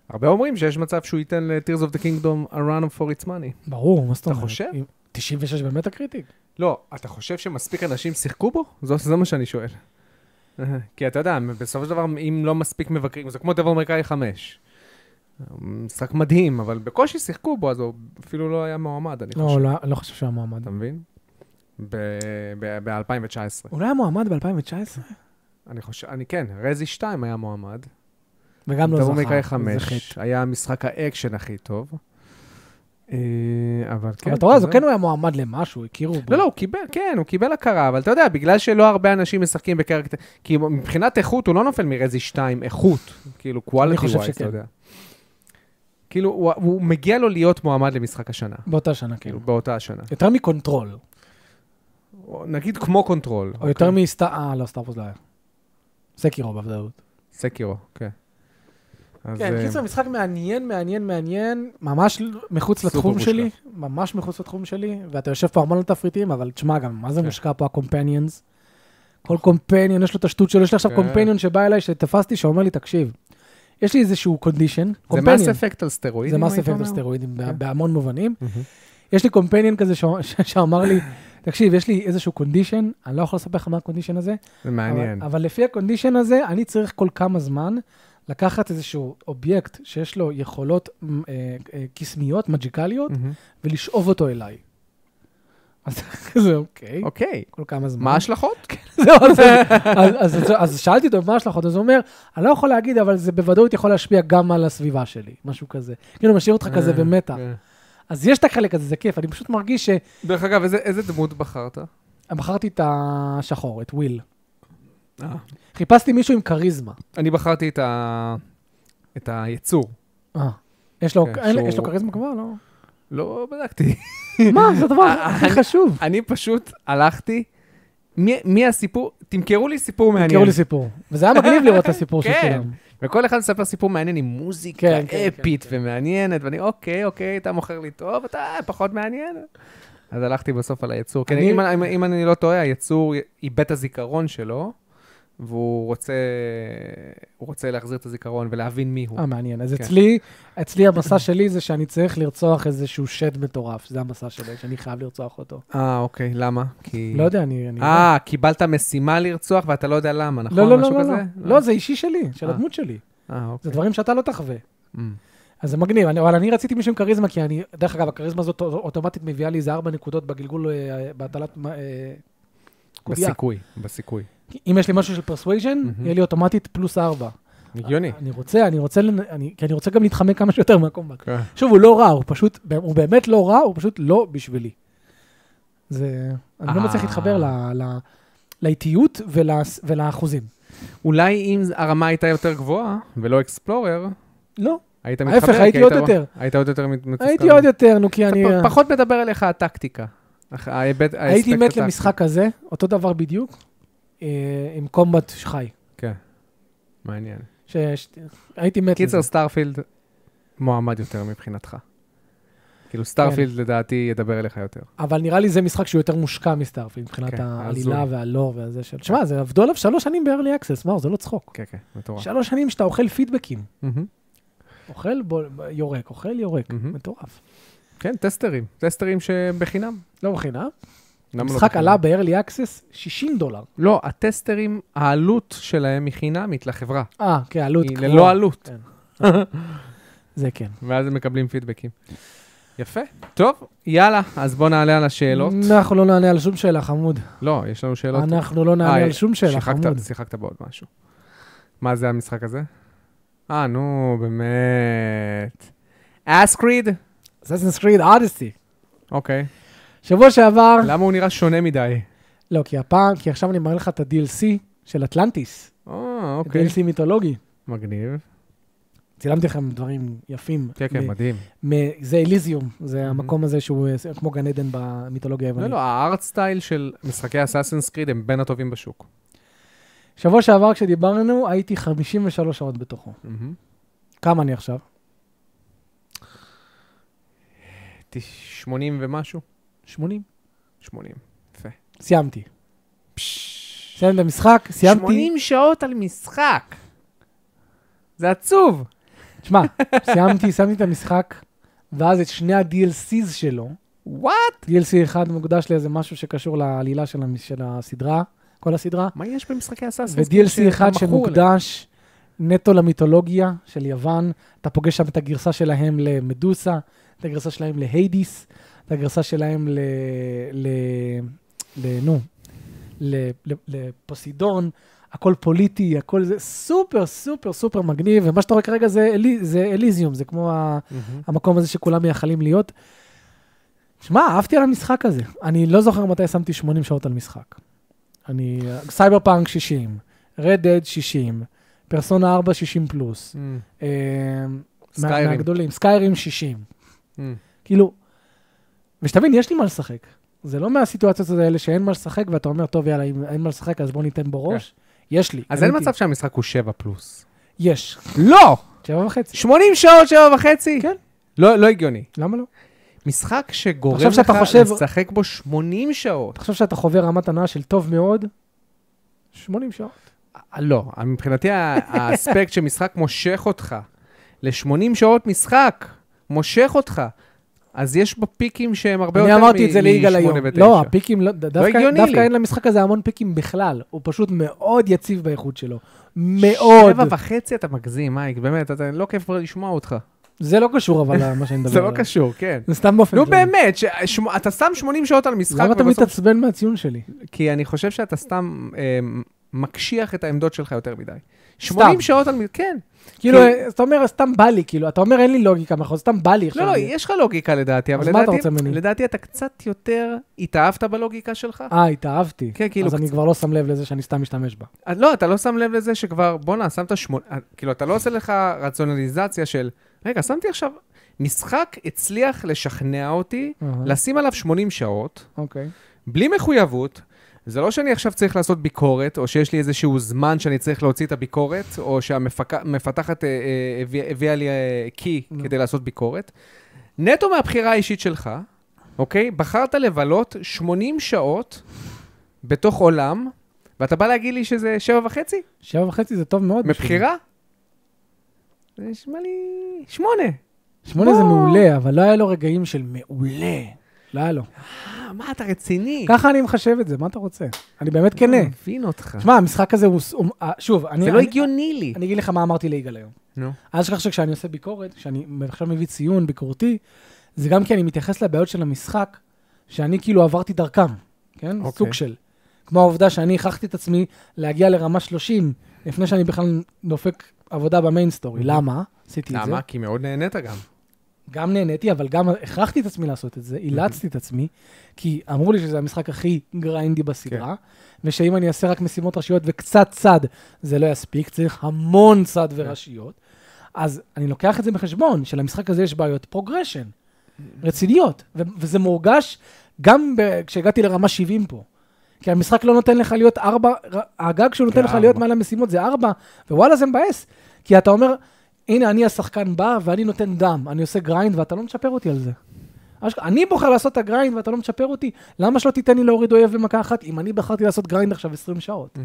הרבה אומרים שיש מצב שהוא ייתן ל-Tears of the Kingdom a run for its money. ברור, מה זאת אתה אומרת? חושב? אם- 96 באמת הקריטיק? לא, אתה חושב שמספיק אנשים שיחקו בו? זו- זה מה שאני שואל. [LAUGHS] כי אתה יודע, בסופו של דבר, אם לא מספיק מבקרים, זה כמו דבר אמריקאי 5. משחק מדהים, אבל בקושי שיחקו בו, אז הוא אפילו לא היה מועמד, אני לא, חושב. לא, אני לא חושב שהוא היה מועמד. אתה מבין? ב-2019. הוא לא היה מועמד ב-2019? אני חושב, אני כן, רזי 2 היה מועמד. וגם לא זכה. דרום אמריקאי זה 5, חטא. היה משחק האקשן הכי טוב. אה, אבל כן. אבל אתה רואה, אז הוא זהו. כן היה מועמד למשהו, הכירו בו. לא, לא, הוא קיבל, כן, הוא קיבל הכרה, אבל אתה יודע, בגלל שלא הרבה אנשים משחקים בקרקטר, כי מבחינת איכות הוא לא נופל מרזי 2, איכות, כאילו, quality חושב wise, שכן. אתה יודע. כאילו, הוא- הוא מגיע לו להיות מועמד למשחק השנה, באותה שנה, כאילו. כאילו, באותה השנה. יותר מקונטרול, או נגיד כמו אוקיי. קונטרול. או יותר מסט... אה, לא, סטארפוס לא היה. סקירו בוודאות. סקירו, כן. אז, כן, אה, קיצר, משחק מעניין, מעניין, מעניין, ממש ל- מחוץ סופר לתחום מושקע. שלי, ממש מחוץ לתחום שלי, ואתה יושב פה המון על תפריטים, אבל תשמע גם, מה זה כן. מושקע פה הקומפניאנס? כל קומפניון, יש לו את השטות שלו, יש לי עכשיו כן. קומפניון שבא אליי, שתפסתי, שאומר לי, תקשיב, יש לי איזשהו קונדישן, זה קומפניון, מס אפקט על סטרואידים, זה מס היית אפקט אומר? הסטרואידים, כן. בהמון מובנים. מהמם. יש לי קומפניון כזה שאומר- [LAUGHS] שאמר לי, תקשיב, יש לי איזשהו קונדישן, אני לא יכול לספר לך מה הקונדישן הזה, זה מעניין. אבל, אבל לפי הקונדישן הזה, אני צריך כל כמה זמן לקחת איזשהו אובייקט שיש לו Mm. יכולות מ- אה, אה, קסמיות, מג'יקליות, מהמם. ולשאוב אותו אליי. אז [LAUGHS] זה אוקיי, אוקיי. כל כמה זמן. מה ההשלכות? [LAUGHS] זהו, אז- אז- אז- אז- אז שאלתי אותו מה ההשלכות, אז הוא אומר, אני לא יכול להגיד, אבל זה בוודאות יכול להשפיע גם על הסביבה שלי, משהו כזה. כאילו, משאיר אותך כזה אה, במתח. כן. אז יש את החלק הזה, זה כיף, אני פשוט מרגיש דרך אגב, איזה- איזה דמות בחרת? שבחרתי את השחור, את וויל. אה. חיפשתי מישהו עם כריזמה. אני בחרתי את ה... את היצור. אה, יש לו כן, אין- שהוא- יש לו כריזמה כבר? [LAUGHS] לא. לא בדקתי. מה, זה הדבר הכי חשוב. [LAUGHS] אה, אני פשוט הלכתי, מי- מי הסיפור? תמכרו לי סיפור מעניין. תקראו לי סיפור. וזה היה מגניב לראות את הסיפור של כן. כולם. וכל אחד מספר סיפור מעניין עם מוזיקה כן, כן, אפית ומעניינת, ואני, אוקיי, אוקיי, אתה מוכר לי טוב, אתה פחות מעניין. אז הלכתי בסוף על היצור. כן, אני- אם אני- אם- אם אני לא טועה, היצור איבד את הזיכרון שלו, והוא רוצה הוא רוצה להחזיר את הזיכרון ולהבין מי הוא. אה, מעניין. אז כן. אצלי, אצלי המסע שלי זה שאני צריך לרצוח איזשהו שד מטורף. זה המסע שלי, שאני חייב לרצוח אותו. אה, אוקיי, למה? כי... לא יודע, אני... אני- אה, קיבלת משימה לרצוח ואתה לא יודע למה, נכון? לא, לא, משהו לא, לא, כזה? לא. לא, זה אישי שלי, של אה. הדמות שלי. אה, אוקיי. זה דברים שאתה לא תחווה. Mm. אז זה מגניב, אני- אבל אני רציתי מישהו עם כריזמה, כי אני, דרך אגב, הכריזמה הזאת אוט- אוטומטית מביאה לי איזה ארבע נקודות בגלגול, אה, בהטלת מ- אה, קובייה. בסיכוי, בסיכוי. כי אם יש לי משהו של פרסווייז'ן, מהמם. יהיה לי אוטומטית פלוס ארבע. הגיוני. אני רוצה, אני רוצה, לנ- אני- כי אני רוצה גם להתחמק כמה שיותר מהקומבט. כן. שוב, הוא לא רע, הוא פשוט, הוא באמת לא רע, הוא פשוט לא בשבילי. זה, אני לא אה. מצליח להתחבר ל- ל- לאיטיות ול- ולאחוזים. אולי אם הרמה הייתה יותר גבוהה, ולא אקספלורר, לא, היית מתחבר. ההפך, כי הייתי עוד בא- יותר. היית עוד יותר מת- מתוסכל. הייתי עוד יותר, נו, כי אתה אני... אה, פ- פחות מדבר אליך הטקטיקה. אך- ההיבט- האספקט הייתי מת הטקטי. למשחק כזה, אותו דבר בדיוק, אה, עם קומבט חי. כן, מעניין. ש- ש- הייתי מת לזה. קיצר, סטארפילד מועמד יותר מבחינתך. כאילו, כן. סטארפילד לדעתי ידבר אליך יותר. אבל נראה לי זה משחק שהוא יותר מושקע מסטארפילד, מבחינת כן, העלילה הזוי. והלור והזה של... שמע, זה עבדו עליו שלוש שנים ב-early access, מאור, זה לא צחוק. כן, כן, מטורף. שלוש שנים שאתה אוכל פידבקים. מהמם. אוכל, בול- יורק, אוכל, יורק. מהמם. מטורף. כן, טסטרים. טסטרים שבחינם. לא בחינם. למה לא המשחק בחינם? עלה ב-early access 60 דולר. לא, הטסטרים, העלות שלהם היא חינמית לחברה. אה, כן, עלות. היא גבוהה. ללא עלות. זה כן. ואז הם מקבלים פידבקים. יפה. טוב, יאללה, אז בוא נעלה על השאלות. אנחנו לא נענה על שום שאלה, חמוד. לא, יש לנו שאלות. אנחנו לא אה, נענה על שום שאלה, שיחקת- חמוד. שיחקת בעוד משהו. מה זה המשחק הזה? אה, נו, באמת. אסקריד? Assassin's Creed Odyssey. אוקיי. שבוע שעבר, למה הוא נראה שונה מדי? לא, כי הפעם, כי עכשיו אני מראה לך את ה-DLC של אטלנטיס, אה, okay. אוקיי. DLC מיתולוגי. מגניב. צילמתי לכם דברים יפים. כן, מ- כן, מדהים. מ- זה אליזיום, זה Mhm. המקום הזה שהוא אה, כמו גן עדן במיתולוגיה היוונית. לא, לא, הארט סטייל של משחקי אסאסינס קריד הם בין הטובים בשוק. שבוע שעבר כשדיברנו, הייתי 53 שעות בתוכו. מהמם. כמה אני עכשיו? הייתי 80 ומשהו? 80. 80. יפה. סיימתי. סיימתי את המשחק, סיימתי. 80 שעות על משחק. זה עצוב. תשמע, סיימתי, סיימתי את המשחק, ואז את שני ה-DLCs שלו, וואט? DLC אחד מוקדש לאיזה משהו שקשור לעלילה של המ- של הסדרה, כל הסדרה. מה יש במשחקי אסאסינס ו-DLC אחד שמוקדש נטו למיתולוגיה של יוון, אתה פוגש שם את הגרסה שלהם למדוסה, את הגרסה שלהם להיידיס, את הגרסה שלהם ל... ל... ל... נו, ל- ל- לפוסידון, הכל פוליטי, הכל זה סופר סופר סופר מגניב, ומה שאתה רואה כרגע זה, אלי, זה אליזיום, זה כמו ה... המקום הזה שכולם מייחלים להיות. שמע, אהבתי על המשחק הזה. אני לא זוכר מתי שמתי 80 שעות על משחק. אני... סייבר פאנק 60, רד דד 60, פרסונה 4 60 פלוס. אה, מה- סקיירים. מהגדולים, סקיירים 60. כאילו, ושתבין, יש לי מה לשחק. זה לא מהסיטואציות האלה שאין מה לשחק, ואתה אומר, טוב, יאללה, אם אין מה לשחק, אז בוא ניתן בו ראש. יש לי. כן. אז אין קניתי. מצב שהמשחק הוא 7 פלוס. יש. לא! שבע וחצי. 80 שעות, 7 וחצי? כן. לא לא הגיוני. למה לא? משחק שגורם תחשוב שאתה לך חושב- לשחק בו 80 שעות. אתה חושב שאתה חווה רמת הנאה של טוב מאוד? 80 שעות. אה, לא, מבחינתי ה- האספקט שמשחק מושך אותך ל-80 שעות משחק, מושך אותך. אז יש בו פיקים שהם הרבה יותר אני מ-8 אמרתי את זה ליגאל היום. לא, הפיקים, לא- ד- דווקא הגיוני דווקא לי. אין למשחק הזה המון פיקים בכלל. הוא פשוט מאוד יציב באיכות שלו. מאוד. שבע וחצי אתה מגזים, מייק, באמת, אתה לא כיף כבר לשמוע אותך. זה לא קשור אבל למה שאני מדבר [LAUGHS] זה לא עליו. קשור, כן. זה סתם באופן נו כללי. באמת, ש- שמ- אתה שם 80 שעות על משחק, למה אתה ובסוף- מתעצבן מהציון שלי? כי אני חושב שאתה סתם אה, מקשיח את העמדות שלך יותר מדי. 80 שעות על... מ- כן. כאילו, אה, אתה אומר, סתם בא לי, כאילו, אתה אומר, אין לי לוגיקה מאחורי, סתם בא לי עכשיו. לא, לא, יש לך לוגיקה לדעתי, אבל אז מה אתה לדעתי- רוצה ממני? לדעתי אתה קצת יותר התאהבת בלוגיקה שלך. אה, התאהבתי. כן, כאילו, אז אני כבר לא שם לב לזה שאני סתם משתמש בה. אה, לא, אתה לא שם לב לזה שכבר, בואנה, שמת שמונה, אה, כאילו, אתה לא עושה לך רציונליזציה של, רגע, שמתי עכשיו, משחק הצליח לשכנע אותי אהה, לשים עליו 80 שעות, אוקיי. בלי מחויבות. זה לא שאני עכשיו צריך לעשות ביקורת, או שיש לי איזשהו זמן שאני צריך להוציא את הביקורת, או שהמפתחת אה, אה, הביא- הביאה לי אה, קי נו. כדי לעשות ביקורת. נטו מהבחירה האישית שלך, אוקיי? בחרת לבלות 80 שעות בתוך עולם, ואתה בא להגיד לי שזה שבע וחצי? שבע וחצי זה טוב מאוד. לא בשבילי. מבחירה? זה נשמע לי... שמונה. שמונה זה בוא. מעולה, אבל לא היה לו רגעים של מעולה. לא היה לו. אה, מה, אתה רציני? ככה אני מחשב את זה, מה אתה רוצה? אני באמת אני כנה. מבין אותך. כן. שמע, המשחק הזה הוא... ס- הוא- אה, שוב, אני... זה לא אני- הגיוני לי. אני אגיד לך מה אמרתי ליגאל היום. נו. אל תשכח שכשאני עושה ביקורת, כשאני עכשיו מביא ציון ביקורתי, זה גם כי אני מתייחס לבעיות של המשחק, שאני כאילו עברתי דרכם, כן? אוקיי. סוג של. כמו העובדה שאני הכרחתי את עצמי להגיע לרמה 30, לפני שאני בכלל דופק עבודה במיין סטורי. Mhm. למה? עשיתי את זה. למה? כי מאוד נהנית גם. גם נהניתי, אבל גם הכרחתי את עצמי לעשות את זה, אוקיי. אילצתי את עצמי, כי אמרו לי שזה המשחק הכי גריינדי בסדרה, ושאם אני אעשה רק משימות ראשיות וקצת צד, זה לא יספיק, צריך המון צד ורשיות. אז אני לוקח את זה בחשבון, שלמשחק הזה יש בעיות פרוגרשן, רציניות, ו- וזה מורגש גם ב- כשהגעתי לרמה 70 פה. כי המשחק לא נותן לך להיות ארבע, ר- הגג שהוא נותן לך כארבע. להיות מעל המשימות זה ארבע, ווואלה זה מבאס. כי אתה אומר, הנה, אני השחקן בא ואני נותן דם, אני עושה גריינד ואתה לא מצ'פר אותי על זה. אשכ- אני בוחר לעשות את הגריינד ואתה לא מצ'פר אותי, למה שלא תיתן לי להוריד אויב במכה אחת אם אני בחרתי לעשות גריינד עכשיו 20 שעות?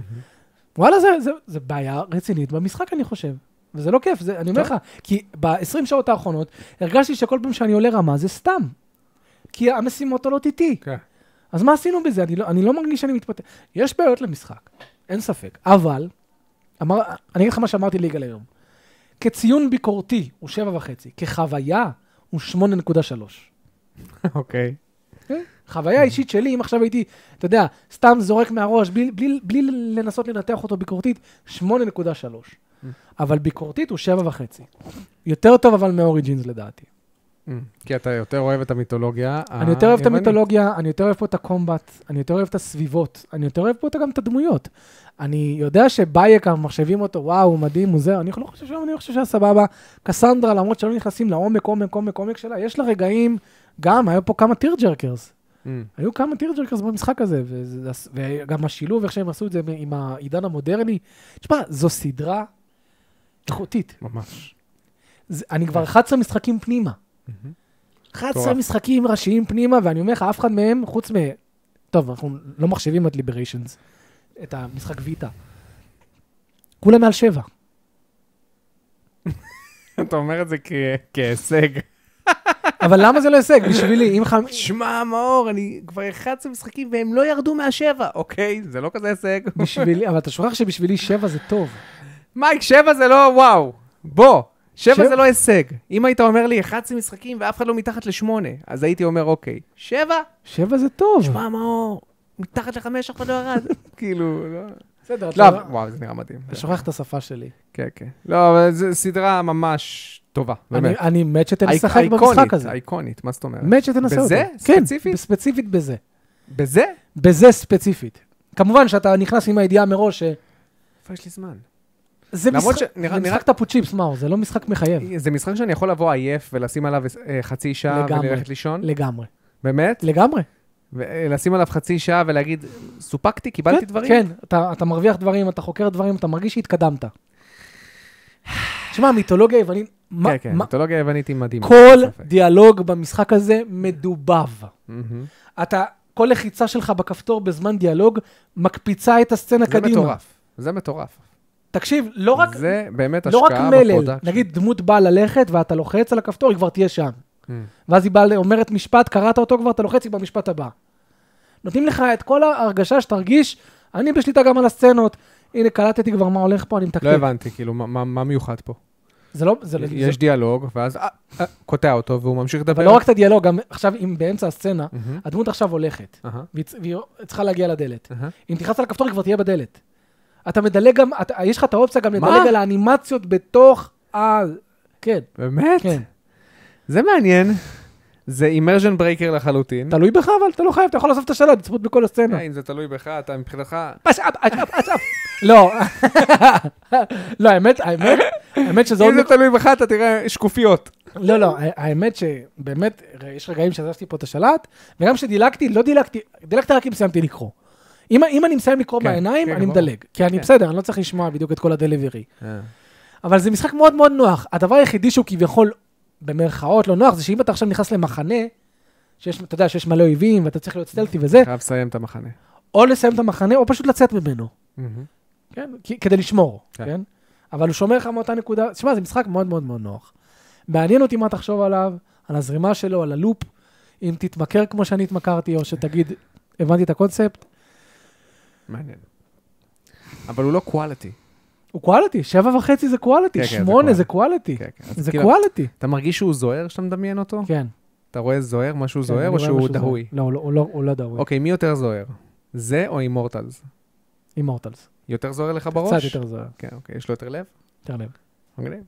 וואלה, זה, זה, זה בעיה רצינית במשחק, אני חושב. וזה לא כיף, זה, אני אומר לך, טוב. כי ב-20 שעות האחרונות הרגשתי שכל פעם שאני עולה רמה זה סתם. כי המשימות עולות איתי. כן. אז מה עשינו בזה? אני לא, אני לא מרגיש שאני מתפתח. יש בעיות למשחק, אין ספק. אבל, אמר, אני אגיד לך מה שאמרתי ליגאל היום. כציון ביקורתי הוא שבע וחצי, כחוויה הוא 8.3. אוקיי. כן? חוויה אישית שלי, אם עכשיו הייתי, אתה יודע, סתם זורק מהראש, בלי, בלי, בלי לנסות לנתח אותו ביקורתית, 8.3. אבל ביקורתית הוא שבע וחצי. יותר טוב אבל מאוריג'ינס לדעתי. אמ, כי אתה יותר אוהב את המיתולוגיה. אני יותר אוהב את היוונית. המיתולוגיה, אני יותר אוהב פה את הקומבט, אני יותר אוהב את הסביבות, אני יותר אוהב פה את- גם את הדמויות. אני יודע שבייק, המחשבים אותו, וואו, הוא מדהים, הוא זה, אני לא חושב שהוא, אני לא חושב שהיה סבבה. קסנדרה, למרות שלא נכנסים לעומק, עומק, עומק, עומק שלה, יש לה רגעים, גם, היו פה כמה טירג'רקרס. אמ, היו כמה טירג'רקרס במשחק הזה, וזה- וגם השילוב, איך שהם עשו את זה עם העידן המודרני. תשמע, זו סדרה איכותית. ממש. זה- אני כבר כן. 11 משחקים פנימה. 11 מטורף. משחקים ראשיים פנימה, ואני אומר לך, אף אחד מהם, חוץ מ... טוב, אנחנו לא מחשבים את ליבריישנס, את המשחק ויטה. כולם מעל [LAUGHS] שבע. אתה אומר את זה כ- כהישג. אבל למה זה לא הישג? בשבילי, אם חמ... שמע, מאור, אני כבר 11 משחקים והם לא ירדו מהשבע. אוקיי, זה לא כזה [LAUGHS] הישג. בשבילי, אבל אתה שוכח שבשבילי שבע זה טוב. מייק, שבע זה לא וואו. בוא, שבע שבע? זה לא הישג. אם היית אומר לי 11 משחקים ואף אחד לא מתחת לשמונה, אז הייתי אומר, אוקיי, שבע? שבע זה טוב. שמע, מאור, מתחת לחמש אף אחד לא [LAUGHS] ירד. כאילו, לא... בסדר, אתה לא, לא- אבל- וואו, זה נראה מדהים. אתה שוכח את השפה שלי. כן, כן. לא, אבל זו סדרה ממש טובה, באמת. אני- אני מת שתנסה אי- לשחק במשחק אייקונית, הזה. אייקונית, מה זאת אומרת? מת שתנסה אותו. בזה? כן, ספציפית? ספציפית בזה. בזה? בזה ספציפית. כמובן שאתה נכנס עם הידיעה מראש ש... איפה יש לי זמן? זה למרות משחק- שנראה- זה נראה- משחק טאפו צ'יפס, מאור, זה לא משחק מחייב. אה, זה משחק שאני יכול לבוא עייף ולשים עליו אה, חצי שעה לגמרי. וללכת לישון? לגמרי. באמת? לגמרי. ולשים עליו חצי שעה ולהגיד, סופקתי, קיבלתי כן, דברים? כן, אתה, אתה מרוויח דברים, אתה חוקר דברים, אתה מרגיש שהתקדמת. שמע, המיתולוגיה היוונית, מה, כן, כן, מה, מיתולוגיה היוונית היא מדהימה. כל אין ספק. דיאלוג במשחק הזה מדובב. מהמם. אתה, כל לחיצה שלך בכפתור בזמן דיאלוג מקפיצה את הסצנה זה קדימה. מטורף, זה מטורף. תקשיב, לא רק, זה באמת לא השקעה רק מלל, בפרודקשן. נגיד דמות באה ללכת ואתה לוחץ על הכפתור, היא כבר תהיה שם. אמ. ואז היא באה, אומרת משפט, קראת אותו כבר, אתה לוחץ, היא במשפט הבא. נותנים לך את כל ההרגשה שתרגיש, אני בשליטה גם על הסצנות. הנה, קלטתי כבר מה הולך פה, אני מתקתק. לא הבנתי, כאילו, מה- מה מה מיוחד פה? זה לא, זה, זה, לא יש דיאלוג, ואז אה, אה, קוטע אותו, והוא ממשיך לדבר. אבל לא רק את הדיאלוג, גם עכשיו, אם באמצע הסצנה, מהמם. הדמות עכשיו הולכת, אהה, והיא צ- והיא צריכה להגיע לדלת. אהה. אם תלחץ על הכפתור, היא כבר תהיה בדלת. אתה מדלג גם, אתה, יש לך את האופציה גם מה? לדלג על האנימציות בתוך ה... כן, באמת? כן. זה מעניין. זה אימרז'ן ברייקר לחלוטין. תלוי בך, אבל אתה לא חייב, אתה יכול לעזוב את השאלה, לצפות בכל הסצנה. אה, אם זה תלוי בך, אתה מבחינתך... פש אפ, אש אפ, אש אפ. לא. [LAUGHS] לא, האמת, האמת, האמת שזה עוד... אם זה תלוי בך, אתה תראה שקופיות. לא, לא, ה- האמת שבאמת, ר- יש רגעים שעזבתי פה את השלט, וגם כשדילגתי, לא דילגתי, דילגתי רק אם סיימתי לקרוא. אם, אם אני מסיים לקרוא כן, בעיניים, כן, אני ברור. מדלג. כי אני כן. בסדר, אני לא צריך לשמוע בדיוק את כל הדליברי. אבל זה משחק מאוד מאוד נוח. הדבר היחידי שהוא כביכול, במרכאות, לא נוח, זה שאם אתה עכשיו נכנס למחנה, שיש, אתה יודע, שיש מלא אויבים, ואתה צריך להיות סטלטי וזה, אה, חייב לסיים את המחנה. או לסיים את המחנה, או פשוט לצאת ממנו. מהמם. כן? כי- כדי לשמור, כן. כן? כן? אבל הוא שומר לך מאותה נקודה, תשמע, זה משחק מאוד מאוד מאוד נוח. מעניין אותי מה תחשוב עליו, על הזרימה שלו, על הלופ, אם תתמכר כמו שאני התמכרתי, או שתגיד, הבנתי את הקונספט. מעניין. אבל הוא לא קואליטי. הוא קואליטי, שבע וחצי זה כן, קואליטי, כן, זה שמונה זה quality. קואליטי. כן, כן. אז זה כאילו, קואליטי, אתה מרגיש שהוא זוהר כשאתה מדמיין אותו? כן. אתה רואה זוהר, כן, משהו אני זוהר, רואה או שהוא משהו זוהר. דהוי? לא, הוא לא- הוא לא- הוא לא דהוי, אוקיי, מי יותר זוהר? זה או אימורטלס? אימורטלס. יותר זוהר לך בראש? קצת יותר זוהר, כן, אוקיי, יש לו יותר לב? יותר לב. [LAUGHS] מגניב.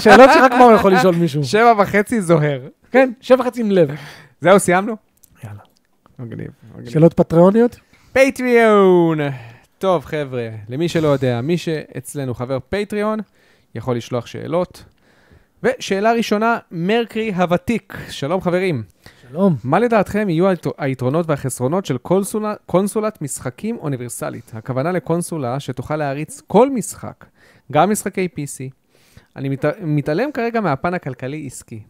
שאלות שרק מה הוא יכול לשאול מישהו. שבע וחצי זוהר. כן, שבע וחצי עם לב. זהו, סיימנו? יאללה. מגניב. מגניב. שאלות פטריוניות? פטריון. טוב, חבר'ה, למי שלא יודע, מי שאצלנו חבר פטריון, יכול לשלוח שאלות. ושאלה ראשונה, מרקרי הוותיק. שלום חברים, שלום. מה לדעתכם יהיו היתר- היתרונות והחסרונות של קונסולה, קונסולת משחקים אוניברסלית? הכוונה לקונסולה שתוכל להריץ כל משחק, גם משחקי PC. אני מת, מתעלם כרגע מהפן הכלכלי-עסקי.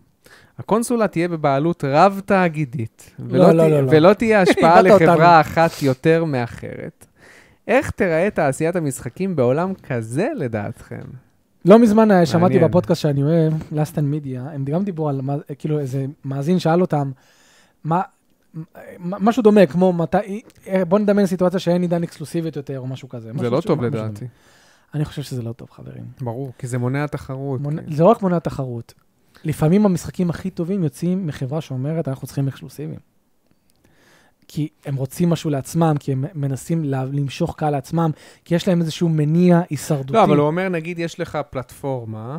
הקונסולה תהיה בבעלות רב-תאגידית, ולא, לא, לא, תה- לא, לא. ולא [LAUGHS] תהיה השפעה איבדת לחברה אותנו. אחת יותר מאחרת. איך תיראה תעשיית המשחקים בעולם כזה לדעתכם? לא מזמן אה, שמעתי מעניין. בפודקאסט שאני אוהב, לאסטן מידיה, הם גם דיברו על, מה- כאילו איזה מאזין שאל אותם, מה, מ- משהו דומה, כמו מתי, אה, בוא נדמיין סיטואציה שאין עידן אקסקלוסיבית יותר או משהו כזה. זה משהו לא ש- טוב משהו דומה. לדעתי. אוקיי. אני חושב שזה לא טוב, חברים. ברור, כי זה מונע תחרות. מונע- כן. זה לא רק מונע תחרות. לפעמים המשחקים הכי טובים יוצאים מחברה שאומרת, אנחנו צריכים אקסקלוסיבים. כי הם רוצים משהו לעצמם, כי הם מנסים לה- למשוך קהל לעצמם, כי יש להם איזשהו מניע הישרדותי. לא, אבל הוא אומר, נגיד, יש לך פלטפורמה,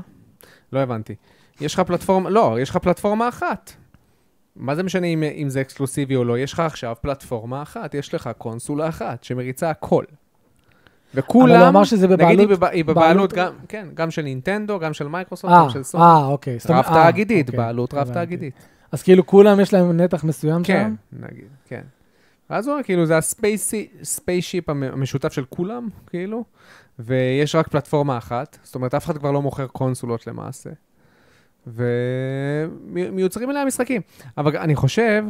לא הבנתי. יש לך פלטפורמה, לא, יש לך פלטפורמה אחת. מה זה משנה אם, אם זה אקסקלוסיבי או לא? יש לך עכשיו פלטפורמה אחת, יש לך קונסולה אחת שמריצה הכל. וכולם, אבל הוא אמר שזה נגיד, היא בבעלות... בבע- היא בעלות- בבעלות גם, כן, גם של נינטנדו, גם של מייקרוסופט, אה, גם של סוף. אה, אוקיי. זאת רב אומרת- אה, תאגידית, אוקיי, בעלות רב הבנתי. תאגידית. אז כאילו כולם יש להם נתח מסוים כן, שם? נגיד, כן. ואז הוא אומר, כאילו, זה הספיישיפ המשותף של כולם, כאילו, ויש רק פלטפורמה אחת, זאת אומרת, אף אחד כבר לא מוכר קונסולות למעשה, ומיוצרים אליה משחקים. אבל אני חושב...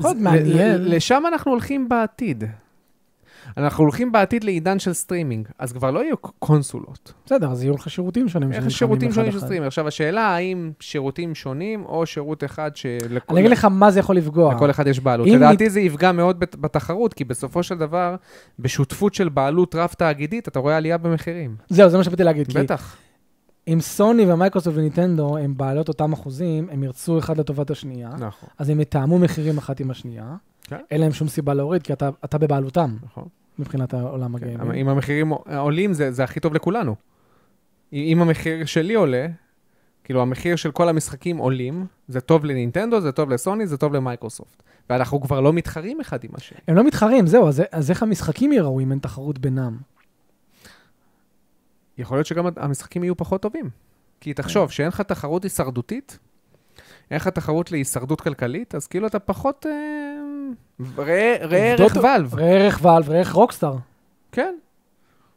מאוד ל- מעניין. ל- לשם אנחנו הולכים בעתיד. אנחנו הולכים בעתיד לעידן של סטרימינג, אז כבר לא יהיו קונסולות. בסדר, אז יהיו לך שירותים שונים. איך שנלחמים שירותים אחד שונים של אחד. סטרימינג? עכשיו, השאלה האם שירותים שונים או שירות אחד שלכל... אני אגיד לך מה זה יכול לפגוע. לכל אחד יש בעלות. אם לדעתי זה יפגע מאוד בת- בתחרות, כי בסופו של דבר, בשותפות של בעלות רב-תאגידית, אתה רואה עלייה במחירים. זהו, זה מה שבאתי להגיד. כי בטח. אם סוני ומייקרוסופט וניטנדו הם בעלות אותם אחוזים, הם ירצו אחד לטובת השנייה, נכון. אז הם יתאמו מחירים אחת עם השנייה. כן. אין להם שום סיבה להוריד, כי אתה- אתה בבעלותם, נכון. מבחינת העולם כן, הגיימים. אבל אם המחירים עולים, זה זה הכי טוב לכולנו. אם אם המחיר שלי עולה, כאילו המחיר של כל המשחקים עולים, זה טוב לנינטנדו, זה טוב לסוני, זה טוב למייקרוסופט. ואנחנו כבר לא מתחרים אחד עם השני. הם לא מתחרים, זהו, אז- אז איך המשחקים ייראו אם אין תחרות בינם? יכול להיות שגם המשחקים יהיו פחות טובים. כי תחשוב, שאין לך תחרות הישרדותית, אין לך תחרות להישרדות כלכלית, אז כאילו אתה פחות... אה, ראה ראה עובדות- ערך ואלב. ראה ערך ואלב, ראה ערך רוקסטאר, כן.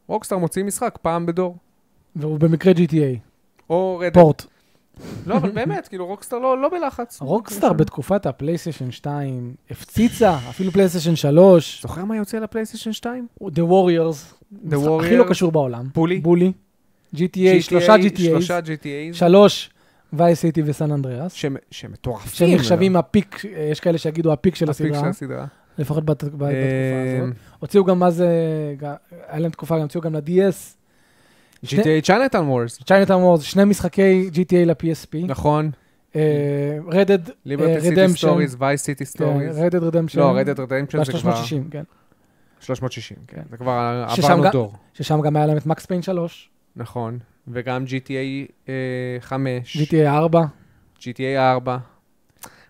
רוקסטאר מוציאים משחק פעם בדור. והוא במקרה GTA, או רדד. פורט. לא, אבל באמת, כאילו רוקסטאר לא לא בלחץ. רוקסטאר בתקופת הפלייסטיישן 2 הפציצה, אפילו פלייסטיישן 3, זוכר מה יוצא לפלייסטיישן 2? The Warriors, משחק הכי לא Warriors, קשור בעולם. בולי. בולי. GTA, שלושה שלושה GTA, GTA's. שלוש וייס סיטי בסן אנדריאס, שהם- שמטורפים. שהם נחשבים לא? הפיק, אה, יש כאלה שיגידו הפיק של הפיק של הסדרה, הסדרה. לפחות בת- בת- בתקופה אה, הזאת. הוציאו גם מה זה, ג- היה להם תקופה, גם הוציאו גם ל-DS, GTA צ'יינטל וורס. צ'יינטאון וורז, שני משחקי GTA ל-PSP. נכון. אה, רדד ליברטי סיטי סטוריז, וייס סיטי אה, סטוריז. רדד רדמפשן. לא, רדד רדמפשן זה כבר... ב-360, כן. 360, כן. כן. זה כבר ששם עברנו גם- דור. ששם גם היה להם את מקס פיין 3, נכון. וגם GTA אה, 5, GTA 4. GTA 4.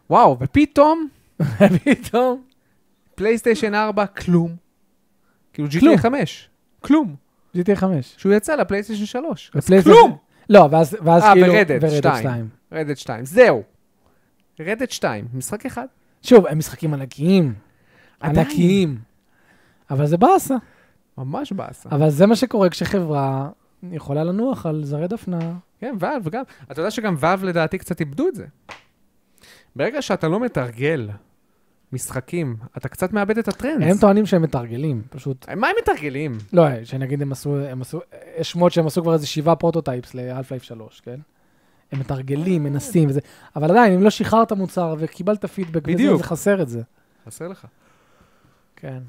וואו, ופתאום [LAUGHS] פתאום. פלייסטיישן 4, כלום. כאילו כלום. GTA 5, כלום. GTA 5. שהוא יצא לפלייסטיישן 3. אז ופלייסטיישן- כלום! לא, ואז ואז אה, כאילו... ורדד, שתיים. 2. רדד 2, זהו. רדד 2, משחק אחד. שוב, הם משחקים ענקיים. עדיין. ענקיים. אבל זה באסה. ממש באסה. אבל זה מה שקורה כשחברה יכולה לנוח על זרי דפנה. כן, ואב גם. אתה יודע שגם ואב לדעתי קצת איבדו את זה. ברגע שאתה לא מתרגל משחקים, אתה קצת מאבד את הטרנדס. הם טוענים שהם מתרגלים, פשוט. מה הם מתרגלים? לא, שנגיד הם עשו, הם עשו, יש שמות שהם עשו כבר איזה שבעה פרוטוטייפס לאלף לייף 3, כן? הם מתרגלים, מנסים וזה, אבל עדיין, אם לא שחררת מוצר וקיבלת פידבק, וזה, בדיוק. זה חסר את זה. חסר לך. כן.